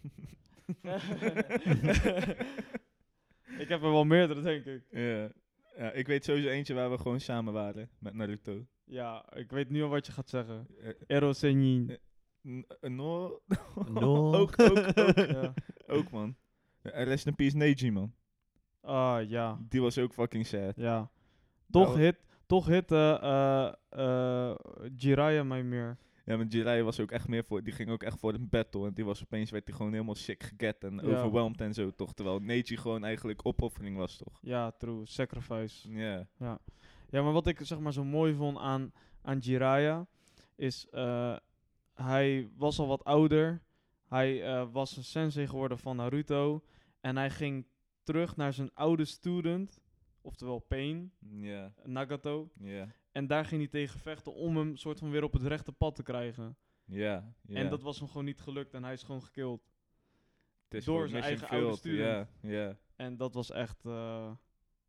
[SPEAKER 1] [laughs]
[SPEAKER 2] [laughs]
[SPEAKER 1] ik heb er wel meerdere, denk ik.
[SPEAKER 3] Ja. ja, ik weet sowieso eentje waar we gewoon samen waren met Naruto.
[SPEAKER 1] Ja, ik weet nu al wat je gaat zeggen.
[SPEAKER 3] Eh,
[SPEAKER 1] Ero Senjin.
[SPEAKER 3] n- eh,
[SPEAKER 1] [laughs]
[SPEAKER 3] no,
[SPEAKER 2] No.
[SPEAKER 3] [laughs] ook, ook, ook,
[SPEAKER 1] ja.
[SPEAKER 3] ook man. Eh, Rest in peace Neji man.
[SPEAKER 1] Ah, ja.
[SPEAKER 3] Die was ook fucking sad.
[SPEAKER 1] Ja. Toch
[SPEAKER 3] Nou,
[SPEAKER 1] hit, toch hit eh eh, eh, Jiraiya mij meer.
[SPEAKER 3] Ja, maar Jiraiya was ook echt meer voor, die ging ook echt voor een battle. En die was opeens, werd hij gewoon helemaal sick geget en
[SPEAKER 1] Ja.
[SPEAKER 3] overwhelmed en zo toch. Terwijl Neji gewoon eigenlijk opoffering was toch.
[SPEAKER 1] Ja, true. Sacrifice.
[SPEAKER 3] Ja.
[SPEAKER 1] Ja, maar wat ik zeg maar zo mooi vond aan, aan Jiraiya is, eh, hij was al wat ouder. Hij eh, was een sensei geworden van Naruto. En hij ging terug naar zijn oude student, oftewel Pain,
[SPEAKER 3] Ja.
[SPEAKER 1] Nagato.
[SPEAKER 3] Ja.
[SPEAKER 1] En daar ging hij tegen vechten om hem soort van weer op het rechte pad te krijgen.
[SPEAKER 3] Ja. ja.
[SPEAKER 1] En dat was hem gewoon niet gelukt en hij is gewoon gekild.
[SPEAKER 3] Het is
[SPEAKER 1] door
[SPEAKER 3] gewoon
[SPEAKER 1] zijn
[SPEAKER 3] mission
[SPEAKER 1] eigen oude
[SPEAKER 3] failed. Ja. Ja.
[SPEAKER 1] En dat was echt, eh,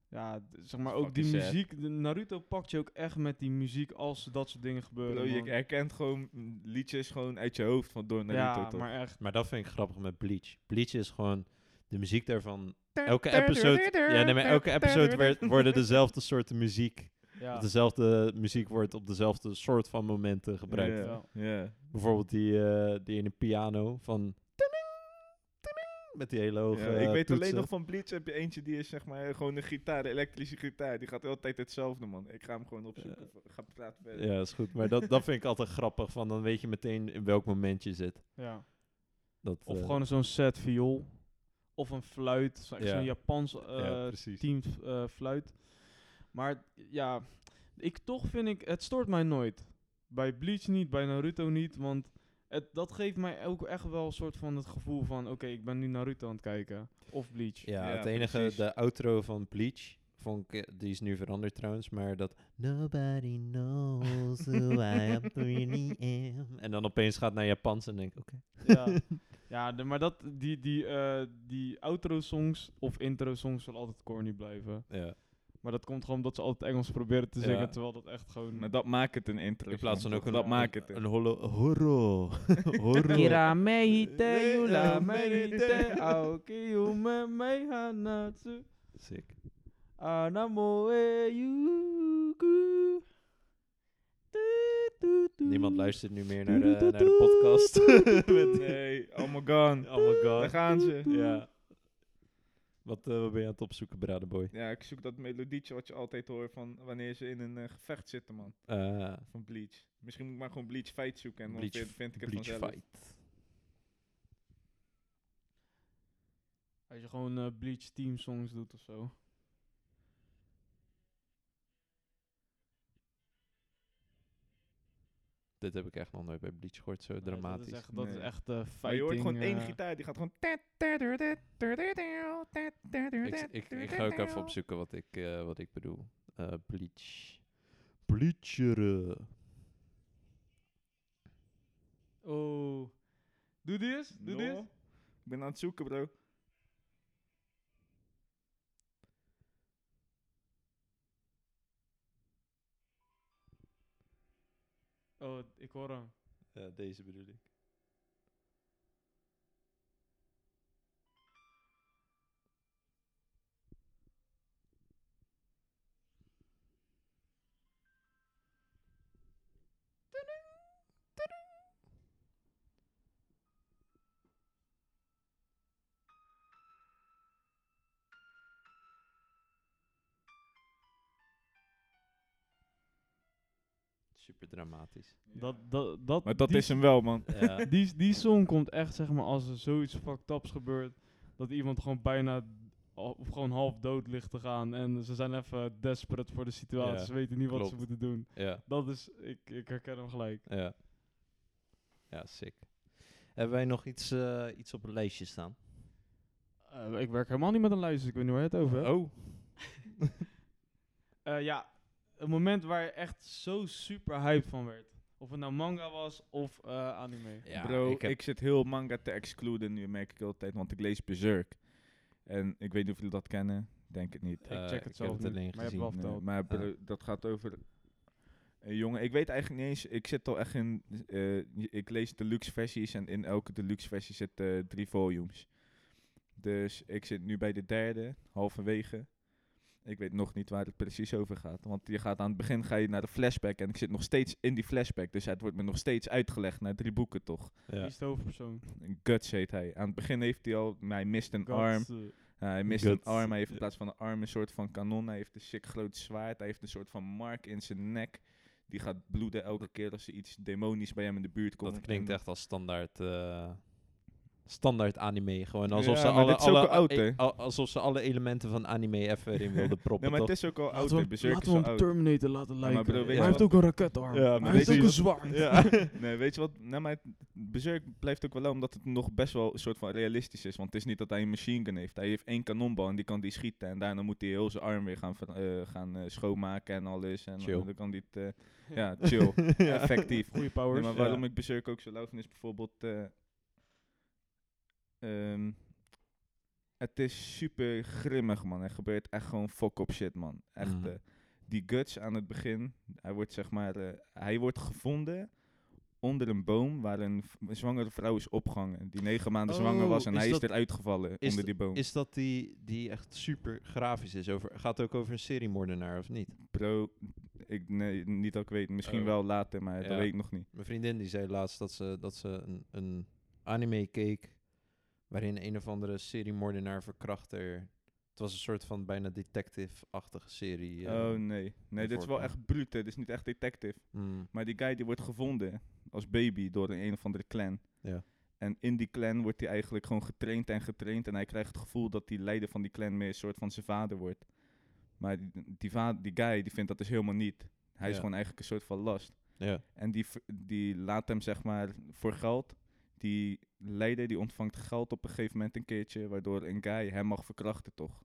[SPEAKER 1] ja, d- zeg maar ook die
[SPEAKER 3] Fucking sad.
[SPEAKER 1] muziek. de Naruto pakt je ook echt met die muziek als dat soort dingen gebeuren.
[SPEAKER 3] Bro, je
[SPEAKER 1] man.
[SPEAKER 3] herkent gewoon mm, liedjes gewoon uit je hoofd van door Naruto
[SPEAKER 1] ja,
[SPEAKER 3] toch.
[SPEAKER 1] maar echt.
[SPEAKER 2] maar dat vind ik grappig met Bleach. Bleach is gewoon de muziek daarvan. Elke episode, ja, nee, maar elke episode werd, worden dezelfde soorten muziek.
[SPEAKER 1] Ja,
[SPEAKER 2] Dezelfde muziek wordt op dezelfde soort van momenten gebruikt.
[SPEAKER 3] Ja.
[SPEAKER 1] Ja.
[SPEAKER 3] Ja.
[SPEAKER 2] Bijvoorbeeld die, eh, die ene piano van. Met die hele hoge.
[SPEAKER 3] Ja, ik weet alleen nog van Bleach heb je eentje die is zeg maar gewoon een gitaar, een elektrische gitaar. Die gaat altijd hetzelfde man. Ik ga hem gewoon opzoeken. ga praten verder.
[SPEAKER 2] Ja, is goed. Maar dat, dat vind ik altijd grappig. Van dan weet je meteen in welk moment je zit.
[SPEAKER 1] ja.
[SPEAKER 2] Dat,
[SPEAKER 1] Of
[SPEAKER 2] eh,
[SPEAKER 1] gewoon zo'n set viool. Of een fluit. Zo- echt
[SPEAKER 2] Ja.
[SPEAKER 1] Zo'n Japans eh,
[SPEAKER 2] ja, precies.
[SPEAKER 1] team eh, fluit. Maar ja, ik toch vind ik, het stoort mij nooit. Bij Bleach niet, bij Naruto niet, want het, dat geeft mij ook echt wel een soort van het gevoel van, oké, ik ben nu Naruto aan het kijken. Of Bleach.
[SPEAKER 2] Ja,
[SPEAKER 3] Ja,
[SPEAKER 2] het enige,
[SPEAKER 3] precies.
[SPEAKER 2] de outro van Bleach. Vond ik, eh, die is nu veranderd trouwens, maar dat Nobody knows who I really am. En dan opeens gaat naar Japans en denk ik, oké. [laughs]
[SPEAKER 1] Ja, ja de- maar dat, die, die, eh, die outro-songs of intro-songs zullen altijd corny blijven.
[SPEAKER 2] Ja.
[SPEAKER 1] Maar dat komt gewoon omdat ze altijd Engels proberen te zingen,
[SPEAKER 2] Ja.
[SPEAKER 1] terwijl dat echt gewoon...
[SPEAKER 3] Maar dat maakt het een intro.
[SPEAKER 2] In plaats van
[SPEAKER 3] man,
[SPEAKER 2] ook
[SPEAKER 3] toch?
[SPEAKER 2] een,
[SPEAKER 3] dat maakt het.
[SPEAKER 2] een,
[SPEAKER 3] een-
[SPEAKER 2] een holo, horro. [laughs] horro.
[SPEAKER 1] Kira meite,
[SPEAKER 2] yula
[SPEAKER 1] yula
[SPEAKER 2] meite,
[SPEAKER 1] meite, aoki yume mei hanatsu,
[SPEAKER 2] Sick.
[SPEAKER 1] anamoe yuku.
[SPEAKER 2] Niemand luistert nu meer naar de, naar de podcast. [laughs] Met-
[SPEAKER 3] Nee, allemaal gone.
[SPEAKER 2] oh my
[SPEAKER 3] Daar
[SPEAKER 2] god.
[SPEAKER 3] gaan ze.
[SPEAKER 2] Ja. Wat, eh, wat ben je aan het opzoeken, Bradenboy?
[SPEAKER 3] Ja, ik zoek dat melodietje wat je altijd hoort van wanneer ze in een eh, gevecht zitten, man.
[SPEAKER 2] Eh
[SPEAKER 3] Van Bleach. Misschien moet ik maar gewoon Bleach Fight zoeken en dan
[SPEAKER 2] Bleach
[SPEAKER 3] vind, vind ik het
[SPEAKER 2] Bleach
[SPEAKER 3] vanzelf.
[SPEAKER 2] Fight.
[SPEAKER 1] Als je gewoon eh, Bleach team songs doet of zo.
[SPEAKER 2] Dit heb ik echt nog nooit bij Bleach gehoord, zo
[SPEAKER 3] Nou,
[SPEAKER 1] Nee,
[SPEAKER 2] dramatisch.
[SPEAKER 1] Dat is echt, dat is
[SPEAKER 3] Nee.
[SPEAKER 1] echt eh,
[SPEAKER 3] Maar je
[SPEAKER 1] fighting.
[SPEAKER 3] hoort gewoon één
[SPEAKER 1] eh,
[SPEAKER 3] gitaar, die gaat gewoon...
[SPEAKER 2] Ik, s- ik, ik ga ook even opzoeken wat ik, eh, wat ik bedoel. Eh, bleach. Bleacheren.
[SPEAKER 1] Oh, Doe die eens, doe die
[SPEAKER 3] Nol.
[SPEAKER 1] eens.
[SPEAKER 3] Ik ben aan het zoeken, bro.
[SPEAKER 1] Oh, ik hoor hem.
[SPEAKER 2] Ja, deze bedoel ik. Super dramatisch.
[SPEAKER 1] Dat, dat, dat,
[SPEAKER 3] Maar dat
[SPEAKER 1] die,
[SPEAKER 3] is hem wel, man.
[SPEAKER 2] [laughs] Ja,
[SPEAKER 1] Die, die song komt echt, zeg maar, als er zoiets fucked ups gebeurt, dat iemand gewoon bijna al- of gewoon half dood ligt te gaan. En ze zijn even desperate voor de situatie.
[SPEAKER 2] Ja,
[SPEAKER 1] ze weten niet wat ze
[SPEAKER 2] klopt.
[SPEAKER 1] moeten doen.
[SPEAKER 2] ja,
[SPEAKER 1] Dat is, ik, ik herken hem gelijk.
[SPEAKER 2] ja. Ja, sick.
[SPEAKER 4] Hebben wij nog iets, eh, iets op het lijstje staan?
[SPEAKER 1] Eh, ik werk helemaal niet met een lijst, dus ik weet niet waar je het over hebt.
[SPEAKER 2] Oh,
[SPEAKER 1] [laughs] Eh, ja, een moment waar je echt zo super hyped van werd. Of het nou manga was of eh, anime.
[SPEAKER 2] ja,
[SPEAKER 3] Bro, ik,
[SPEAKER 2] heb-
[SPEAKER 3] zit heel manga te excluden nu, merk ik altijd, want ik lees Berserk. En ik weet niet of jullie dat kennen, denk het niet.
[SPEAKER 1] ik
[SPEAKER 2] eh,
[SPEAKER 1] check het
[SPEAKER 2] ik
[SPEAKER 1] zelf
[SPEAKER 2] heb het
[SPEAKER 1] niet,
[SPEAKER 2] alleen
[SPEAKER 1] maar je hebt
[SPEAKER 2] gezien,
[SPEAKER 1] wel
[SPEAKER 3] Nee,
[SPEAKER 1] verteld.
[SPEAKER 3] maar bro, dat gaat over een jongen. Ik weet eigenlijk niet eens, ik zit al echt in, eh, ik lees deluxe versies en in elke deluxe versie zit eh, drie volumes. Dus ik zit nu bij de derde, halverwege. Ik weet nog niet waar het precies over gaat. Want je gaat aan het begin ga je naar de flashback en ik zit nog steeds in die flashback. Dus het wordt me nog steeds uitgelegd naar drie boeken toch.
[SPEAKER 1] Wie
[SPEAKER 2] ja.
[SPEAKER 1] is de hoofdpersoon?
[SPEAKER 3] Guts heet hij. Aan het begin heeft hij al, hij mist een arm.
[SPEAKER 1] Guts, eh,
[SPEAKER 3] Ja, hij mist
[SPEAKER 2] Guts.
[SPEAKER 3] een arm. Hij heeft in plaats van een arm een soort van kanon. Hij heeft een sick groot zwaard. Hij heeft een soort van mark in zijn nek. Die gaat bloeden elke keer als er iets demonisch bij hem in de buurt komt.
[SPEAKER 2] Dat klinkt
[SPEAKER 3] En-
[SPEAKER 2] echt als standaard, eh, standaard anime. Gewoon alsof,
[SPEAKER 3] Ja,
[SPEAKER 2] ze
[SPEAKER 3] maar
[SPEAKER 2] alle,
[SPEAKER 3] dit is ook
[SPEAKER 2] alle, e-
[SPEAKER 3] al oud, hè?
[SPEAKER 2] al- alsof ze alle elementen van anime
[SPEAKER 3] [laughs]
[SPEAKER 2] even erin wilden proppen.
[SPEAKER 3] Nee, maar het
[SPEAKER 2] toch?
[SPEAKER 3] is ook al oud.
[SPEAKER 1] Laten we, hem-
[SPEAKER 3] Berserk
[SPEAKER 1] laten
[SPEAKER 3] is
[SPEAKER 1] we
[SPEAKER 3] al
[SPEAKER 1] hem
[SPEAKER 3] oud.
[SPEAKER 1] Terminator laten
[SPEAKER 3] maar bro,
[SPEAKER 1] lijken.
[SPEAKER 3] weet
[SPEAKER 1] Maar
[SPEAKER 2] je
[SPEAKER 1] hij heeft
[SPEAKER 3] wat-
[SPEAKER 1] ook een raketarm.
[SPEAKER 2] Ja, maar
[SPEAKER 1] hij
[SPEAKER 2] weet
[SPEAKER 1] heeft
[SPEAKER 2] je
[SPEAKER 1] ook een
[SPEAKER 2] wat-
[SPEAKER 1] zwaard.
[SPEAKER 3] Ja.
[SPEAKER 1] [laughs]
[SPEAKER 3] nee, weet je wat? Nee, maar het- Berserk blijft ook wel leuk, omdat het nog best wel een soort van realistisch is. Want het is niet dat hij een machine gun heeft. Hij heeft één kanonbal en die kan die schieten. En daarna moet hij heel zijn arm weer gaan, ver- eh, gaan eh, schoonmaken en alles. En
[SPEAKER 2] Chill.
[SPEAKER 3] dan kan hij het... eh, ja, chill.
[SPEAKER 2] [laughs]
[SPEAKER 1] [laughs]
[SPEAKER 3] Effectief.
[SPEAKER 1] Goeie powers.
[SPEAKER 3] Nee, maar waarom ik Berserk ook zo lauw vind is bijvoorbeeld... eh, ehm, het is super grimmig, man. Er gebeurt echt gewoon fuck-up shit, man. Echt,
[SPEAKER 2] Mhm.
[SPEAKER 3] eh, die Guts aan het begin, hij wordt zeg maar... eh, hij wordt gevonden onder een boom waar een, v- een zwangere vrouw is opgehangen. Die negen maanden
[SPEAKER 2] Oh,
[SPEAKER 3] zwanger was en
[SPEAKER 2] is
[SPEAKER 3] hij is
[SPEAKER 2] dat-
[SPEAKER 3] eruit gevallen
[SPEAKER 2] is
[SPEAKER 3] onder
[SPEAKER 2] dat-
[SPEAKER 3] die boom.
[SPEAKER 2] Is dat die, die echt super grafisch is? Over, gaat het ook over een seriemoordenaar of niet?
[SPEAKER 3] Bro, ik, nee, niet dat ik weet. Misschien
[SPEAKER 2] Oh.
[SPEAKER 3] wel later, maar
[SPEAKER 2] Ja.
[SPEAKER 3] dat weet ik nog niet.
[SPEAKER 2] Mijn vriendin die zei laatst dat ze, dat ze een, een anime keek waarin een of andere seriemoordenaar verkrachter... Het was een soort van bijna detective-achtige serie. eh,
[SPEAKER 3] Oh nee. Nee, dit is wel
[SPEAKER 2] voorkomen.
[SPEAKER 3] echt bruut. hè. Dit is niet echt detective.
[SPEAKER 2] mm,
[SPEAKER 3] Maar die guy die wordt gevonden als baby door een, een of andere clan.
[SPEAKER 2] Ja.
[SPEAKER 3] En in die clan wordt hij eigenlijk gewoon getraind en getraind. En hij krijgt het gevoel dat die leider van die clan meer een soort van zijn vader wordt. Maar die, die, va- die guy die vindt dat dus helemaal niet. Hij is
[SPEAKER 2] Ja.
[SPEAKER 3] gewoon eigenlijk een soort van last.
[SPEAKER 2] ja.
[SPEAKER 3] En die, v- die laat hem zeg maar voor geld. Die leider die ontvangt geld op een gegeven moment een keertje. Waardoor een guy hem mag verkrachten toch.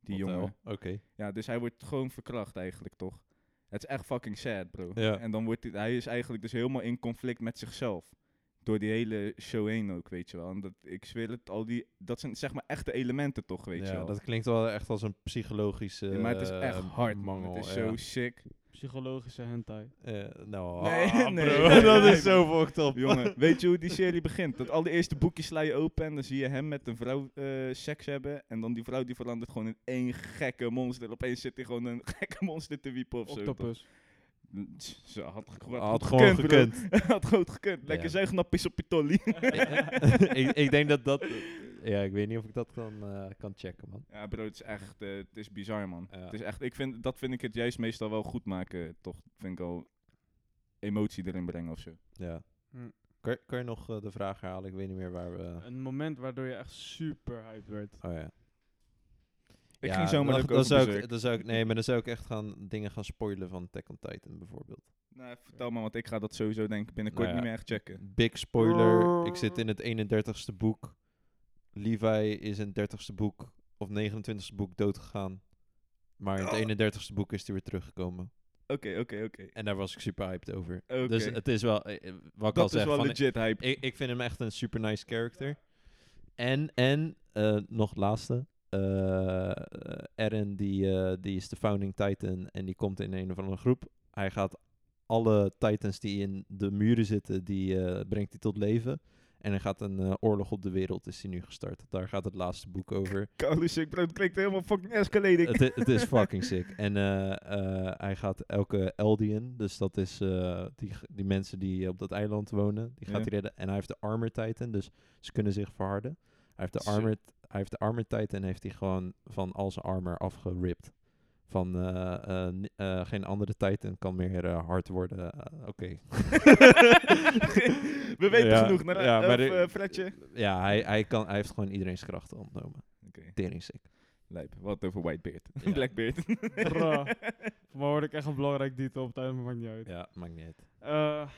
[SPEAKER 3] Die
[SPEAKER 2] Wat eh, de hel?
[SPEAKER 3] jongen.
[SPEAKER 2] Oké.
[SPEAKER 3] Ja, dus hij wordt gewoon verkracht eigenlijk, toch? Het is echt fucking sad, bro.
[SPEAKER 2] Ja.
[SPEAKER 3] En dan wordt hij, hij is eigenlijk dus helemaal in conflict met zichzelf. Door die hele show heen ook, weet je wel. En dat, ik zweer het, al die, dat zijn zeg maar echte elementen toch, weet je
[SPEAKER 2] ja,
[SPEAKER 3] wel.
[SPEAKER 2] dat klinkt wel echt als een psychologische
[SPEAKER 3] Ja, maar het is echt
[SPEAKER 2] eh,
[SPEAKER 3] hard, man.
[SPEAKER 2] mangel.
[SPEAKER 3] Het is
[SPEAKER 2] ja.
[SPEAKER 3] zo
[SPEAKER 2] [laughs]
[SPEAKER 3] sick.
[SPEAKER 1] Psychologische hentai.
[SPEAKER 2] Eh, nou,
[SPEAKER 3] Nee,
[SPEAKER 2] ah,
[SPEAKER 3] nee,
[SPEAKER 2] [laughs] bro,
[SPEAKER 3] nee,
[SPEAKER 2] dat
[SPEAKER 3] nee,
[SPEAKER 2] is zo fucked up.
[SPEAKER 3] Jongen,
[SPEAKER 2] [laughs]
[SPEAKER 3] weet je hoe die serie begint? Dat al die eerste boekjes sla je open en dan zie je hem met een vrouw eh, seks hebben. En dan die vrouw die verandert gewoon in één gekke monster. Opeens zit hij gewoon een [laughs] gekke monster te wiepen of zo. toch?
[SPEAKER 1] Octopus.
[SPEAKER 3] Ze had, had,
[SPEAKER 2] Had gewoon gekund.
[SPEAKER 3] [laughs]
[SPEAKER 2] [laughs]
[SPEAKER 3] had gewoon gekund. Lekker
[SPEAKER 2] Ja.
[SPEAKER 3] zuignapjes op je tolly.
[SPEAKER 2] [laughs] ik, ik denk dat dat... Ja, ik weet niet of ik dat kan, eh, kan checken, man.
[SPEAKER 3] Ja, bro, het is echt, eh, het is bizar, man.
[SPEAKER 2] Ja.
[SPEAKER 3] Het is echt, ik vind, dat vind ik het juist meestal wel goed maken, toch? Vind ik al emotie erin brengen of zo.
[SPEAKER 2] Ja.
[SPEAKER 1] Hm.
[SPEAKER 2] Kan, je- kan je nog eh, de vraag herhalen? Ik weet niet meer waar we...
[SPEAKER 3] Eh,
[SPEAKER 1] Een moment waardoor je echt super hyped werd.
[SPEAKER 2] oh ja.
[SPEAKER 3] Ik
[SPEAKER 2] Ja,
[SPEAKER 3] ging zomaar
[SPEAKER 2] dan-
[SPEAKER 3] ook
[SPEAKER 2] dan
[SPEAKER 3] over
[SPEAKER 2] zou ik,
[SPEAKER 3] Berserk.
[SPEAKER 2] dan zou ik, Nee, maar dan zou ik echt gaan, dingen gaan spoilen van Attack on Titan, bijvoorbeeld.
[SPEAKER 3] Nou, vertel maar, want ik ga dat sowieso denk ik binnenkort
[SPEAKER 2] Nou ja.
[SPEAKER 3] niet meer echt checken.
[SPEAKER 2] Big spoiler. Ik zit in het 31ste boek. Levi is in het 30ste boek
[SPEAKER 3] Oh.
[SPEAKER 2] of 29ste boek doodgegaan. Maar in het 31ste boek is hij weer teruggekomen.
[SPEAKER 3] Oké, oké, oké.
[SPEAKER 2] En daar was ik super hyped over.
[SPEAKER 3] Oké.
[SPEAKER 2] Dus het is wel, eh, eh, wat ik al
[SPEAKER 3] Dat is
[SPEAKER 2] zeg,
[SPEAKER 3] wel
[SPEAKER 2] van,
[SPEAKER 3] legit hype.
[SPEAKER 2] ik, ik vind hem echt een super nice character. En, en eh, nog het laatste. Eh, eh, Eren, die, eh, die is de founding titan en die komt in een of andere groep. Hij gaat alle titans die in de muren zitten, die eh, brengt hij tot leven. En er gaat een eh, oorlog op de wereld, is hij nu gestart. Daar gaat het laatste boek over.
[SPEAKER 3] Carlos Sick Bro, het klinkt helemaal fucking escalating.
[SPEAKER 2] het, i- het is fucking sick. En eh, eh, hij gaat elke Eldian, dus dat is eh, die, g- die mensen die op dat eiland wonen, die gaat
[SPEAKER 3] Ja.
[SPEAKER 2] hij redden. En hij heeft de Armor Titan, dus ze kunnen zich verharden. Hij heeft de
[SPEAKER 3] Sick.
[SPEAKER 2] Armor, hij heeft de armor Titan heeft hij gewoon van al zijn armor afgeript. Van eh, eh, ni- eh, geen andere Titan kan meer eh, hard worden. Eh, Oké.
[SPEAKER 3] [laughs] We weten
[SPEAKER 2] Ja,
[SPEAKER 3] genoeg. Naar,
[SPEAKER 2] ja,
[SPEAKER 3] of,
[SPEAKER 2] maar de-
[SPEAKER 3] eh, Fredje.
[SPEAKER 2] Ja, hij, hij, kan, hij heeft gewoon iedereen's krachten ontnomen.
[SPEAKER 3] Oké.
[SPEAKER 2] Tering sick.
[SPEAKER 3] Lijp, wat over Whitebeard.
[SPEAKER 2] Ja.
[SPEAKER 3] Blackbeard.
[SPEAKER 1] Bro. Voor mij hoorde ik echt een belangrijk detail op het einde, maar maakt niet uit.
[SPEAKER 2] Ja, maakt niet uit.
[SPEAKER 1] Eh,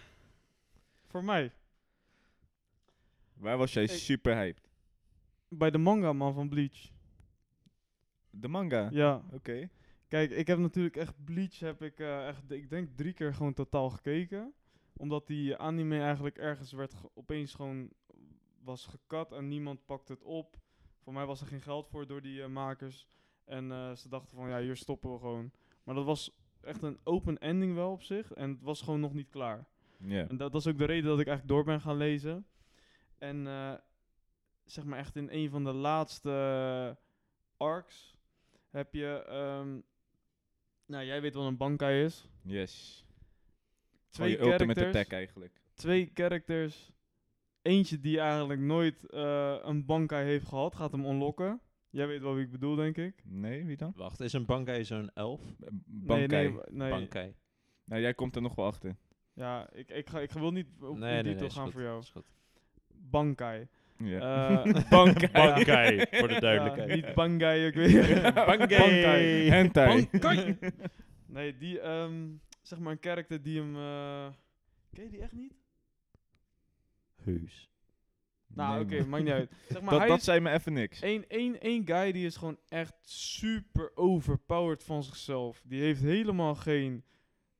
[SPEAKER 1] voor mij,
[SPEAKER 3] Waar was jij
[SPEAKER 1] Ik-
[SPEAKER 3] super hyped?
[SPEAKER 1] bij de manga man van Bleach.
[SPEAKER 3] De manga.
[SPEAKER 1] Ja,
[SPEAKER 3] Oké.
[SPEAKER 1] Kijk, ik heb natuurlijk echt Bleach, heb ik eh, echt, ik denk drie keer gewoon totaal gekeken. Omdat die anime eigenlijk ergens werd ge- opeens gewoon was gekat en niemand pakte het op. Voor mij was er geen geld voor door die eh, makers. En eh, ze dachten van, ja, hier stoppen we gewoon. Maar dat was echt een open ending wel op zich. En het was gewoon nog niet klaar.
[SPEAKER 3] Ja.
[SPEAKER 1] En dat, dat is ook de reden dat ik eigenlijk door ben gaan lezen. En eh, zeg maar echt in een van de laatste eh, arcs heb je... ehm, nou, jij weet wat een bankai is.
[SPEAKER 3] Yes.
[SPEAKER 1] Twee
[SPEAKER 3] Twee Oh, je ultimate
[SPEAKER 1] characters.
[SPEAKER 3] attack eigenlijk.
[SPEAKER 1] Twee characters. Eentje die eigenlijk nooit eh, een bankai heeft gehad, gaat hem unlocken. Jij weet wel wie ik bedoel, denk ik.
[SPEAKER 3] Nee, wie dan?
[SPEAKER 2] Wacht, is een Bankai zo'n elf?
[SPEAKER 3] B- Eh, Bankai.
[SPEAKER 1] Nee, nee, nee.
[SPEAKER 2] Bankai.
[SPEAKER 3] Nou, jij komt er nog wel achter.
[SPEAKER 1] Ja, ik, ik, ga, ik wil niet op die
[SPEAKER 2] Nee, nee,
[SPEAKER 1] detail
[SPEAKER 2] nee, is
[SPEAKER 1] gaan
[SPEAKER 2] goed,
[SPEAKER 1] voor jou.
[SPEAKER 2] is goed.
[SPEAKER 1] Bankai.
[SPEAKER 3] Ja. [laughs]
[SPEAKER 1] Eh,
[SPEAKER 3] Bankai.
[SPEAKER 4] Bankai, voor de
[SPEAKER 1] ja,
[SPEAKER 4] duidelijkheid.
[SPEAKER 1] [laughs] niet bankai, ik
[SPEAKER 3] [laughs]
[SPEAKER 1] weet Bankai.
[SPEAKER 3] Hentai.
[SPEAKER 1] Bankai. [laughs] nee, die, ehm, zeg maar een karakter die hem... eh, ken je die echt niet?
[SPEAKER 2] Heus.
[SPEAKER 1] Nou,
[SPEAKER 3] Nee, man.
[SPEAKER 1] oké, maakt niet
[SPEAKER 3] [laughs]
[SPEAKER 1] uit. Zeg maar,
[SPEAKER 3] Dat,
[SPEAKER 1] hij
[SPEAKER 3] dat
[SPEAKER 1] is
[SPEAKER 3] zei me even niks.
[SPEAKER 1] één één één guy die is gewoon echt super overpowered van zichzelf. Die heeft helemaal geen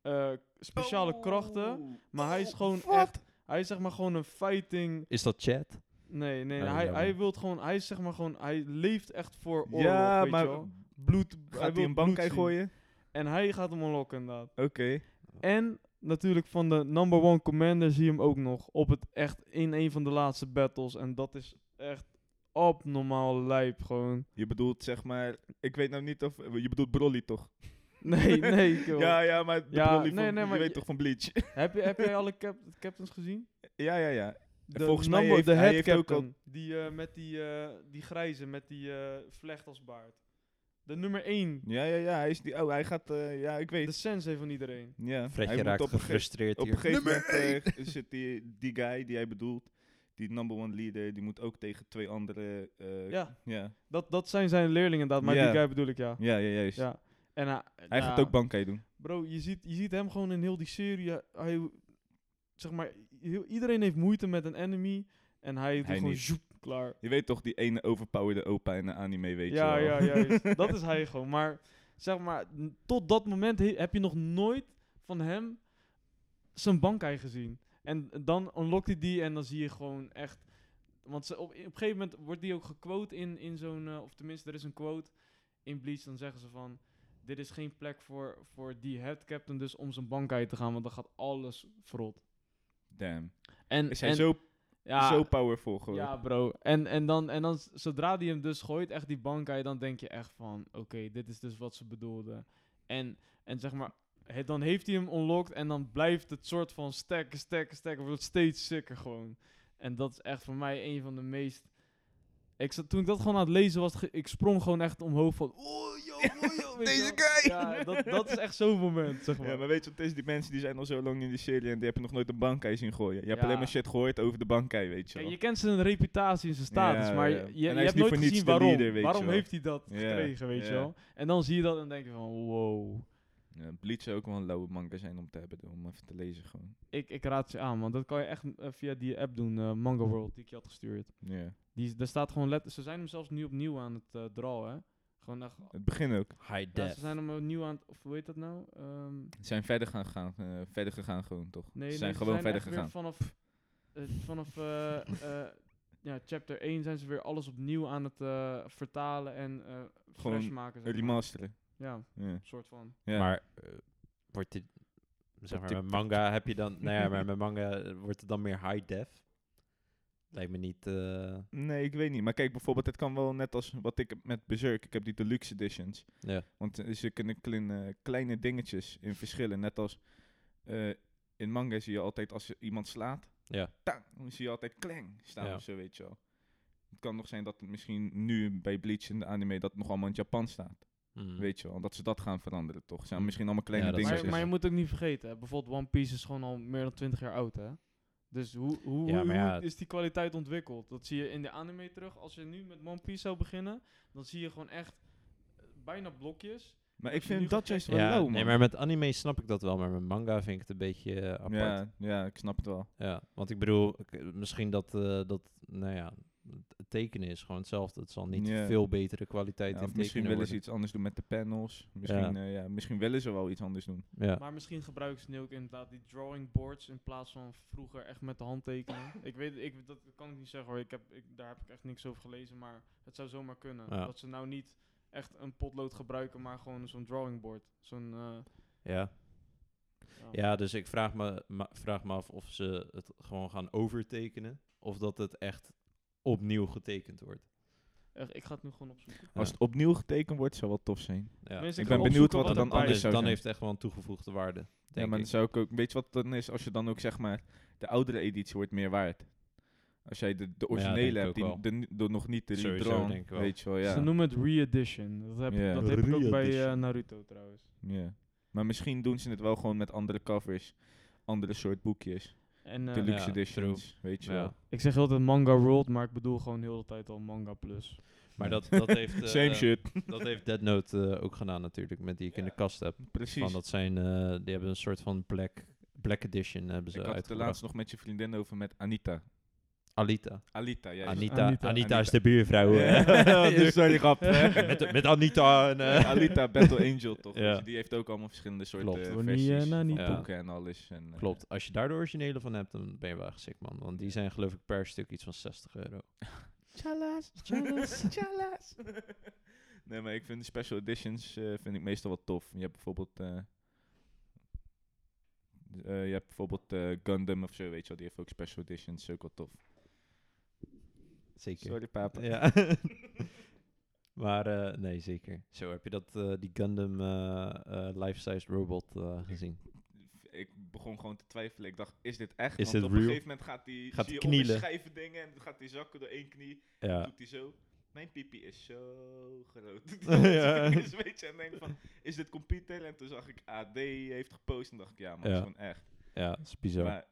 [SPEAKER 1] eh, speciale
[SPEAKER 3] Oh,
[SPEAKER 1] krachten, maar hij is gewoon echt... Hij is zeg maar gewoon een fighting...
[SPEAKER 2] Is dat chat?
[SPEAKER 1] Nee, nee,
[SPEAKER 2] Oh,
[SPEAKER 1] hij,
[SPEAKER 2] jammer.
[SPEAKER 1] hij wilt gewoon... Hij is zeg maar gewoon... Hij leeft echt voor oorlog,
[SPEAKER 3] Ja,
[SPEAKER 1] weet
[SPEAKER 3] maar
[SPEAKER 1] je wel. Bloed...
[SPEAKER 3] gaat hij
[SPEAKER 1] wil
[SPEAKER 3] een
[SPEAKER 1] bloed
[SPEAKER 3] bankai
[SPEAKER 1] zien.
[SPEAKER 3] gooien?
[SPEAKER 1] En hij gaat hem unlocken, inderdaad.
[SPEAKER 3] Oké.
[SPEAKER 1] En natuurlijk van de number one commander zie je hem ook nog op het echt in een van de laatste battles. En dat is echt abnormaal lijp gewoon. [laughs]
[SPEAKER 3] Je bedoelt zeg maar... Ik weet nou niet of... Je bedoelt Broly toch?
[SPEAKER 1] Nee, [laughs]
[SPEAKER 3] [laughs]
[SPEAKER 1] nee, kill.
[SPEAKER 3] Ja, ja, maar de
[SPEAKER 1] Ja,
[SPEAKER 3] Broly
[SPEAKER 1] nee,
[SPEAKER 3] van,
[SPEAKER 1] nee, maar
[SPEAKER 3] je weet
[SPEAKER 1] je-
[SPEAKER 3] toch van Bleach?
[SPEAKER 1] Heb, je, heb jij alle cap captains gezien?
[SPEAKER 3] ja, ja, ja.
[SPEAKER 1] De
[SPEAKER 3] Volgens mij heeft-
[SPEAKER 1] de
[SPEAKER 3] hij
[SPEAKER 1] head
[SPEAKER 3] heeft ook
[SPEAKER 1] captain. Die eh, met die, eh, die grijze, met die eh, vlecht als baard. De nummer 1.
[SPEAKER 3] Ja, ja, ja. Hij is die... Oh, hij gaat... eh, ja, ik weet.
[SPEAKER 1] De sensei van iedereen.
[SPEAKER 3] ja. hij
[SPEAKER 2] Fredje
[SPEAKER 3] moet
[SPEAKER 2] raakt
[SPEAKER 3] op een gege-
[SPEAKER 2] gefrustreerd
[SPEAKER 3] Op een
[SPEAKER 2] hier.
[SPEAKER 3] gegeven moment eh, zit die, die guy die hij bedoelt, die number one leader, die moet ook tegen twee andere... eh,
[SPEAKER 1] Ja,
[SPEAKER 3] ja.
[SPEAKER 1] dat, dat zijn zijn leerlingen inderdaad. Maar
[SPEAKER 3] Ja.
[SPEAKER 1] die guy bedoel ik, ja.
[SPEAKER 3] Ja, ja, juist.
[SPEAKER 1] ja. En, hij-
[SPEAKER 3] Hij
[SPEAKER 1] ja.
[SPEAKER 3] gaat ook Bankai doen.
[SPEAKER 1] Bro, je ziet, je ziet hem gewoon in heel die serie. Hij- Hij, zeg maar, heel, iedereen heeft moeite met een enemy. En hij doet
[SPEAKER 3] Hij
[SPEAKER 1] gewoon
[SPEAKER 3] niet.
[SPEAKER 1] zoep, klaar.
[SPEAKER 3] Je weet toch die ene overpowerde opa in de anime, weet
[SPEAKER 1] ja,
[SPEAKER 3] je wel.
[SPEAKER 1] ja,
[SPEAKER 3] [laughs]
[SPEAKER 1] juist. dat is hij gewoon. Maar zeg maar, n- tot dat moment he- heb je nog nooit van hem zijn bankai gezien. En dan unlockt hij die en dan zie je gewoon echt... Want ze, op, op een gegeven moment wordt die ook gequote in, in zo'n... eh, of tenminste, er is een quote in Bleach. Dan zeggen ze van... Dit is geen plek voor, voor die head captain dus om zijn bankai te gaan. Want dan gaat alles verrot.
[SPEAKER 3] Damn.
[SPEAKER 1] En,
[SPEAKER 3] Is hij
[SPEAKER 1] en-
[SPEAKER 3] zo,
[SPEAKER 1] ja,
[SPEAKER 3] zo powerful geworden?
[SPEAKER 1] ja, bro. En, en, dan, en dan, s- zodra die hem dus gooit, echt die bankai, dan denk je echt van, oké, dit is dus wat ze bedoelden. En, en zeg maar, he- dan heeft hij hem unlocked en dan blijft het soort van stekken, stekken, stekken, wordt steeds sicker gewoon. En dat is echt voor mij een van de meest... Ik zat, toen ik dat gewoon aan het lezen was, ge- ik sprong gewoon echt omhoog van... [laughs] Oh, joh, oh, joh, [laughs] weet je
[SPEAKER 3] Deze
[SPEAKER 1] wel.
[SPEAKER 3] guy!
[SPEAKER 1] Ja, dat, dat is echt zo'n moment, zeg maar.
[SPEAKER 3] Ja, maar weet je wat het is? Die mensen die zijn al zo lang in de serie en die hebben nog nooit een bankai zien gooien. Je hebt
[SPEAKER 1] Ja.
[SPEAKER 3] alleen maar shit gehoord over de bankai, weet je
[SPEAKER 1] Kijk,
[SPEAKER 3] wel.
[SPEAKER 1] je kent zijn reputatie en zijn status,
[SPEAKER 3] Ja,
[SPEAKER 1] maar
[SPEAKER 3] ja.
[SPEAKER 1] je,
[SPEAKER 3] En
[SPEAKER 1] je,
[SPEAKER 3] hij
[SPEAKER 1] je
[SPEAKER 3] is
[SPEAKER 1] hebt
[SPEAKER 3] niet
[SPEAKER 1] nooit
[SPEAKER 3] voor niets
[SPEAKER 1] gezien
[SPEAKER 3] de
[SPEAKER 1] waarom.
[SPEAKER 3] leader, weet
[SPEAKER 1] waarom
[SPEAKER 3] je wel.
[SPEAKER 1] heeft hij dat
[SPEAKER 3] Ja,
[SPEAKER 1] gekregen, weet je
[SPEAKER 3] ja.
[SPEAKER 1] wel? En dan zie je dat en denk je van, wow.
[SPEAKER 3] Ja, Bleach zou ook wel een lauwe manga zijn om te hebben, om even te lezen gewoon.
[SPEAKER 1] Ik, ik raad je aan, want dat kan je echt eh, via die app doen, eh Manga World, die ik je had gestuurd.
[SPEAKER 3] Ja.
[SPEAKER 1] Die, is- daar staat gewoon let, ze zijn hem zelfs nu opnieuw aan het eh drawen, hè. Gewoon echt...
[SPEAKER 3] Het begin ook.
[SPEAKER 2] High
[SPEAKER 1] Ja,
[SPEAKER 2] def.
[SPEAKER 1] ze zijn hem opnieuw aan het... Of hoe heet dat nou? Ehm,
[SPEAKER 3] Ze zijn verder gaan, gaan eh, verder gegaan gewoon, toch?
[SPEAKER 1] nee,
[SPEAKER 3] ze
[SPEAKER 1] nee,
[SPEAKER 3] zijn gewoon verder
[SPEAKER 1] echt weer
[SPEAKER 3] gegaan.
[SPEAKER 1] vanaf... eh,
[SPEAKER 3] [laughs]
[SPEAKER 1] vanaf eh, eh, ja, chapter 1 zijn ze weer alles opnieuw aan het eh, vertalen en eh
[SPEAKER 3] Gewoon
[SPEAKER 1] fresh maken. zeg maar.
[SPEAKER 3] Remasteren.
[SPEAKER 1] Ja,
[SPEAKER 3] Ja.
[SPEAKER 1] soort van.
[SPEAKER 3] Ja.
[SPEAKER 2] Maar eh, wordt dit, zeg maar,
[SPEAKER 3] tik-
[SPEAKER 2] met manga heb je dan, nou
[SPEAKER 3] [laughs]
[SPEAKER 2] ja, maar met manga eh, wordt het dan meer high def? Lijkt me niet, eh,
[SPEAKER 3] Nee, ik weet niet. Maar kijk, bijvoorbeeld, het kan wel net als wat ik heb met Berserk. Ik heb die deluxe editions.
[SPEAKER 2] ja.
[SPEAKER 3] Want eh, ze kunnen kleine, kleine dingetjes in verschillen. Net als eh, in manga zie je altijd als je iemand slaat,
[SPEAKER 2] ja.
[SPEAKER 3] tang, dan zie je altijd klang staan
[SPEAKER 2] Ja.
[SPEAKER 3] of zo, weet je wel. Het kan nog zijn dat het misschien nu bij Bleach in de anime dat het nog allemaal in het Japan staat.
[SPEAKER 2] Mm.
[SPEAKER 3] Weet je wel, dat ze dat gaan veranderen toch. Zijn
[SPEAKER 2] Mm.
[SPEAKER 3] misschien allemaal kleine
[SPEAKER 2] Ja, dat
[SPEAKER 3] dingetjes.
[SPEAKER 1] Maar,
[SPEAKER 2] is- dus-
[SPEAKER 1] maar je moet ook niet vergeten, hè, bijvoorbeeld One Piece is gewoon al meer dan 20 jaar oud, hè? Dus hoe, hoe,
[SPEAKER 2] Ja,
[SPEAKER 1] hoe-
[SPEAKER 2] maar ja,
[SPEAKER 1] hoe
[SPEAKER 2] het-
[SPEAKER 1] is die kwaliteit ontwikkeld? Dat zie je in de anime terug. Als je nu met One Piece zou beginnen, dan zie je gewoon echt eh, bijna blokjes.
[SPEAKER 3] maar ik
[SPEAKER 1] Als je nu
[SPEAKER 3] vind
[SPEAKER 1] gaat
[SPEAKER 3] dat juist wel
[SPEAKER 2] Ja,
[SPEAKER 3] low, man.
[SPEAKER 2] nee, maar met anime snap ik dat wel, maar met manga vind ik het een beetje eh, apart. Ja.
[SPEAKER 3] ja, ja, ik snap het wel.
[SPEAKER 2] want ik bedoel, ik- misschien dat, eh, dat, nou ja, het tekenen is gewoon hetzelfde. Het zal niet
[SPEAKER 3] Ja.
[SPEAKER 2] veel betere kwaliteit
[SPEAKER 3] Ja,
[SPEAKER 2] in
[SPEAKER 3] of
[SPEAKER 2] tekenen
[SPEAKER 3] misschien willen
[SPEAKER 2] worden.
[SPEAKER 3] ze iets anders doen met de panels. Misschien, eh, ja, misschien willen ze wel iets anders doen.
[SPEAKER 2] Ja.
[SPEAKER 1] Maar misschien gebruiken ze nu ook inderdaad die drawing boards in plaats van vroeger echt met de hand
[SPEAKER 2] [laughs]
[SPEAKER 1] tekenen. ik weet, ik, dat kan ik niet zeggen hoor. Ik heb, ik, daar heb ik echt niks over gelezen, maar het zou zomaar kunnen.
[SPEAKER 2] Ja.
[SPEAKER 1] Dat ze nou niet echt een potlood gebruiken, maar gewoon zo'n drawing board. Zo'n, eh,
[SPEAKER 2] Ja. ja, dus ik vraag me, ma- vraag me af of ze het gewoon gaan overtekenen. Of dat het echt opnieuw getekend wordt.
[SPEAKER 1] Echt, ik ga het nu gewoon opzoeken.
[SPEAKER 3] Als het opnieuw getekend wordt, zou wel tof zijn.
[SPEAKER 2] Ja.
[SPEAKER 1] Mensen,
[SPEAKER 3] ik
[SPEAKER 1] ga
[SPEAKER 3] ben benieuwd
[SPEAKER 1] opzoeken
[SPEAKER 3] wat er dan
[SPEAKER 2] dan,
[SPEAKER 1] erbij
[SPEAKER 3] anders
[SPEAKER 2] is,
[SPEAKER 1] is.
[SPEAKER 3] zou
[SPEAKER 2] dan
[SPEAKER 3] zijn.
[SPEAKER 2] heeft het echt wel een toegevoegde waarde.
[SPEAKER 3] Ja,
[SPEAKER 2] Denk
[SPEAKER 3] maar
[SPEAKER 2] ik.
[SPEAKER 3] dan zou ik ook... Weet je wat dan is? Als je dan ook zeg maar... De oudere editie wordt meer waard. Als jij de, de
[SPEAKER 2] Ja,
[SPEAKER 3] originele
[SPEAKER 2] denk ik
[SPEAKER 3] hebt, die
[SPEAKER 2] ook
[SPEAKER 3] de, de- nog niet de
[SPEAKER 2] Sowieso,
[SPEAKER 3] redrawn,
[SPEAKER 2] denk ik wel.
[SPEAKER 3] weet je wel,
[SPEAKER 1] Ze
[SPEAKER 3] ja.
[SPEAKER 1] noemen het re-edition. Dat heb, ik-
[SPEAKER 3] Ja.
[SPEAKER 1] dat heb ik ook bij eh,
[SPEAKER 2] Re-edition.
[SPEAKER 1] Naruto trouwens.
[SPEAKER 3] ja. Maar misschien doen ze het wel gewoon met andere covers, andere soort boekjes,
[SPEAKER 1] En eh,
[SPEAKER 3] deluxe
[SPEAKER 2] ja,
[SPEAKER 3] editions, weet je
[SPEAKER 2] Ja.
[SPEAKER 3] wel.
[SPEAKER 1] ik zeg altijd manga world, maar ik bedoel gewoon heel de tijd al manga plus.
[SPEAKER 2] Maar dat, dat
[SPEAKER 3] [laughs]
[SPEAKER 2] heeft... eh,
[SPEAKER 3] Same shit,
[SPEAKER 2] Dat heeft Dead Note eh, ook gedaan natuurlijk, met die ik in de kast heb. Van
[SPEAKER 3] precies.
[SPEAKER 2] dat zijn, eh, die hebben een soort van black, black edition hebben
[SPEAKER 3] Ik had het
[SPEAKER 2] ze
[SPEAKER 3] de
[SPEAKER 2] eh, uitgebracht.
[SPEAKER 3] laatst nog met je vriendin over met Anita.
[SPEAKER 2] Alita.
[SPEAKER 3] Alita, jij.
[SPEAKER 2] Anita.
[SPEAKER 1] Anita.
[SPEAKER 2] Anita.
[SPEAKER 3] Anita.
[SPEAKER 2] is de buurvrouw.
[SPEAKER 3] [laughs]
[SPEAKER 2] eh.
[SPEAKER 3] Ja,
[SPEAKER 2] [laughs] Dus-
[SPEAKER 3] sorry, grap.
[SPEAKER 2] met, met Anita en... eh,
[SPEAKER 3] [laughs] Alita
[SPEAKER 2] [laughs]
[SPEAKER 3] Battle Angel, toch?
[SPEAKER 2] Ja.
[SPEAKER 3] Weet je, Die heeft ook allemaal verschillende soorten
[SPEAKER 2] Klopt.
[SPEAKER 3] eh,
[SPEAKER 1] Wanneer
[SPEAKER 3] versies
[SPEAKER 1] nou
[SPEAKER 3] van
[SPEAKER 1] niet
[SPEAKER 2] Ja.
[SPEAKER 3] boeken en alles. En, eh,
[SPEAKER 2] Klopt. Als je daar de originele van hebt, dan ben je wel echt sick, man. Want die zijn geloof ik per stuk iets van 60 euro.
[SPEAKER 1] Chalas,
[SPEAKER 3] [laughs] Tjalas. nee, maar ik vind de special editions eh, vind ik meestal wel tof. Je hebt bijvoorbeeld... eh, d- eh, je hebt bijvoorbeeld eh, Gundam of zo, weet je wel. Die heeft ook special editions, is ook wel tof.
[SPEAKER 2] Zeker.
[SPEAKER 3] Sorry, papa.
[SPEAKER 2] [laughs] Ja. maar eh, nee, zeker. Zo, heb je dat, eh, die Gundam eh, eh, life-sized robot eh, gezien?
[SPEAKER 3] Ik begon gewoon te twijfelen. Ik dacht, is dit echt? Want
[SPEAKER 2] Is dit
[SPEAKER 3] op een
[SPEAKER 2] real?
[SPEAKER 3] gegeven moment gaat die,
[SPEAKER 2] Gaat
[SPEAKER 3] zie
[SPEAKER 2] die
[SPEAKER 3] je
[SPEAKER 2] knielen.
[SPEAKER 3] schijven dingen en dan gaat die zakken door één knie.
[SPEAKER 2] Ja.
[SPEAKER 3] doet hij zo. Mijn pipi is zo
[SPEAKER 2] [laughs]
[SPEAKER 3] groot. [laughs]
[SPEAKER 2] Ja.
[SPEAKER 3] ja. Dus weet je, en denk van, is dit computer? En toen zag ik AD heeft gepost en dacht ik, ja man, dat
[SPEAKER 2] Ja.
[SPEAKER 3] is gewoon echt.
[SPEAKER 2] ja, is bizar.
[SPEAKER 3] Maar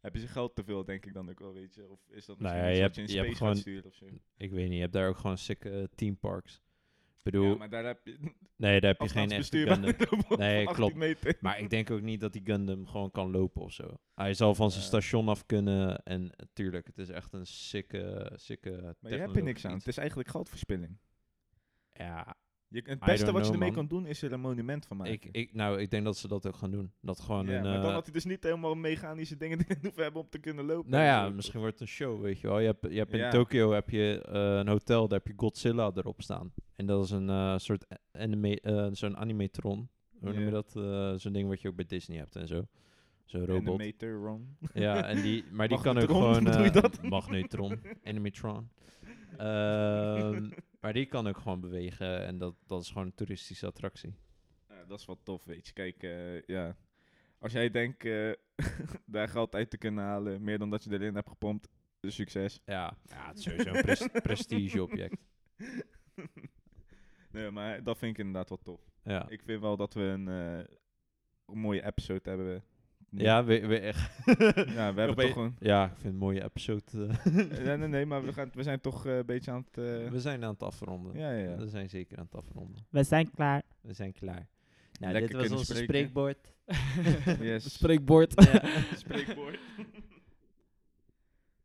[SPEAKER 3] hebben ze geld te veel, denk ik dan ook wel, weet je? Of is dat
[SPEAKER 2] Nou
[SPEAKER 3] misschien
[SPEAKER 2] ja,
[SPEAKER 3] iets
[SPEAKER 2] je
[SPEAKER 3] wat je in space
[SPEAKER 2] hebt- je hebt
[SPEAKER 3] gaat
[SPEAKER 2] gewoon-
[SPEAKER 3] sturen of zo?
[SPEAKER 2] Ik weet niet, je hebt daar ook gewoon sick eh, theme parks. Ik bedoel,
[SPEAKER 3] Ja, maar daar heb je,
[SPEAKER 2] nee, daar heb je
[SPEAKER 3] als
[SPEAKER 2] geen echte
[SPEAKER 3] bestuur bij [laughs]
[SPEAKER 2] Gundam.
[SPEAKER 3] de robot
[SPEAKER 2] Nee,
[SPEAKER 3] van 18
[SPEAKER 2] klopt.
[SPEAKER 3] meter.
[SPEAKER 2] Maar ik denk ook niet dat die Gundam gewoon kan lopen of zo. Hij zal van zijn
[SPEAKER 3] Ja.
[SPEAKER 2] station af kunnen. En eh, tuurlijk, het is echt een sikke, sikke
[SPEAKER 3] Maar je hebt er niks aan. Het is eigenlijk geldverspilling.
[SPEAKER 2] Ja,
[SPEAKER 3] Je, het
[SPEAKER 2] I
[SPEAKER 3] beste
[SPEAKER 2] don't
[SPEAKER 3] wat je
[SPEAKER 2] know,
[SPEAKER 3] ermee
[SPEAKER 2] man.
[SPEAKER 3] kan doen, is er een monument van maken.
[SPEAKER 2] ik, ik, nou, ik denk dat ze dat ook gaan doen. Dat gewoon
[SPEAKER 3] ja,
[SPEAKER 2] een...
[SPEAKER 3] maar dan
[SPEAKER 2] eh,
[SPEAKER 3] had hij dus niet helemaal mechanische dingen [laughs] die hij hoeven hebben om te kunnen lopen.
[SPEAKER 2] Nou
[SPEAKER 3] en
[SPEAKER 2] ja,
[SPEAKER 3] zo.
[SPEAKER 2] misschien wordt het een show, weet je wel. Je hebt, je hebt in
[SPEAKER 3] Ja.
[SPEAKER 2] Tokio heb je eh, een hotel, daar heb je Godzilla erop staan. En dat is een eh, soort anime, eh, zo'n animatron. Hoe noem
[SPEAKER 3] Ja.
[SPEAKER 2] je dat? Eh, zo'n ding wat je ook bij Disney hebt en zo. Zo'n
[SPEAKER 3] En een
[SPEAKER 2] robot.
[SPEAKER 3] meter, [laughs] Ron.
[SPEAKER 2] Ja, en die, maar die kan ook
[SPEAKER 3] Magnetron, [laughs]
[SPEAKER 2] gewoon...
[SPEAKER 3] bedoel je
[SPEAKER 2] eh,
[SPEAKER 3] dat?
[SPEAKER 2] Magnetron.
[SPEAKER 3] [laughs]
[SPEAKER 2] Animatron. Ehm, maar die kan ook gewoon bewegen. En dat, dat is gewoon een toeristische attractie.
[SPEAKER 3] Ja, dat is wel tof, weet je. Kijk, eh, ja. Als jij denkt eh, [laughs] daar geld uit te kunnen halen, meer dan dat je erin hebt gepompt, dus succes. [laughs]
[SPEAKER 2] Ja, ja het is sowieso een pres- prestigeobject.
[SPEAKER 3] Nee, maar dat vind ik inderdaad wel tof.
[SPEAKER 2] Ja,
[SPEAKER 3] Ik vind wel dat we een, eh, een mooie episode hebben.
[SPEAKER 2] ja we, we echt...
[SPEAKER 3] Ja, we hebben toch gewoon...
[SPEAKER 2] Ja, ik vind het een mooie episode. eh. [laughs]
[SPEAKER 3] nee, nee, nee, maar we, gaan, we zijn toch eh, een beetje aan het... eh,
[SPEAKER 2] We zijn aan het afronden.
[SPEAKER 3] ja, ja, ja.
[SPEAKER 2] We zijn zeker aan het afronden.
[SPEAKER 1] We zijn klaar.
[SPEAKER 2] We zijn klaar. Nou,
[SPEAKER 3] Lekker
[SPEAKER 2] dit was
[SPEAKER 3] kunnen
[SPEAKER 2] ons
[SPEAKER 3] spreken. [laughs]
[SPEAKER 2] spreekbord.
[SPEAKER 3] Yes.
[SPEAKER 1] Spreekbord.
[SPEAKER 3] Spreekwoord.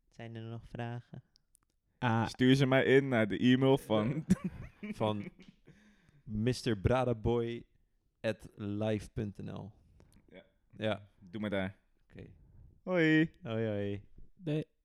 [SPEAKER 4] Zijn er nog vragen?
[SPEAKER 1] Ah,
[SPEAKER 3] Stuur ze maar in naar de e-mail van...
[SPEAKER 2] Van Mr. Bradaboy at live.nl.
[SPEAKER 3] Ja.
[SPEAKER 2] Ja,
[SPEAKER 3] Doe maar daar.
[SPEAKER 2] oké.
[SPEAKER 3] Hoi.
[SPEAKER 2] Hoi, hoi.
[SPEAKER 5] Nee.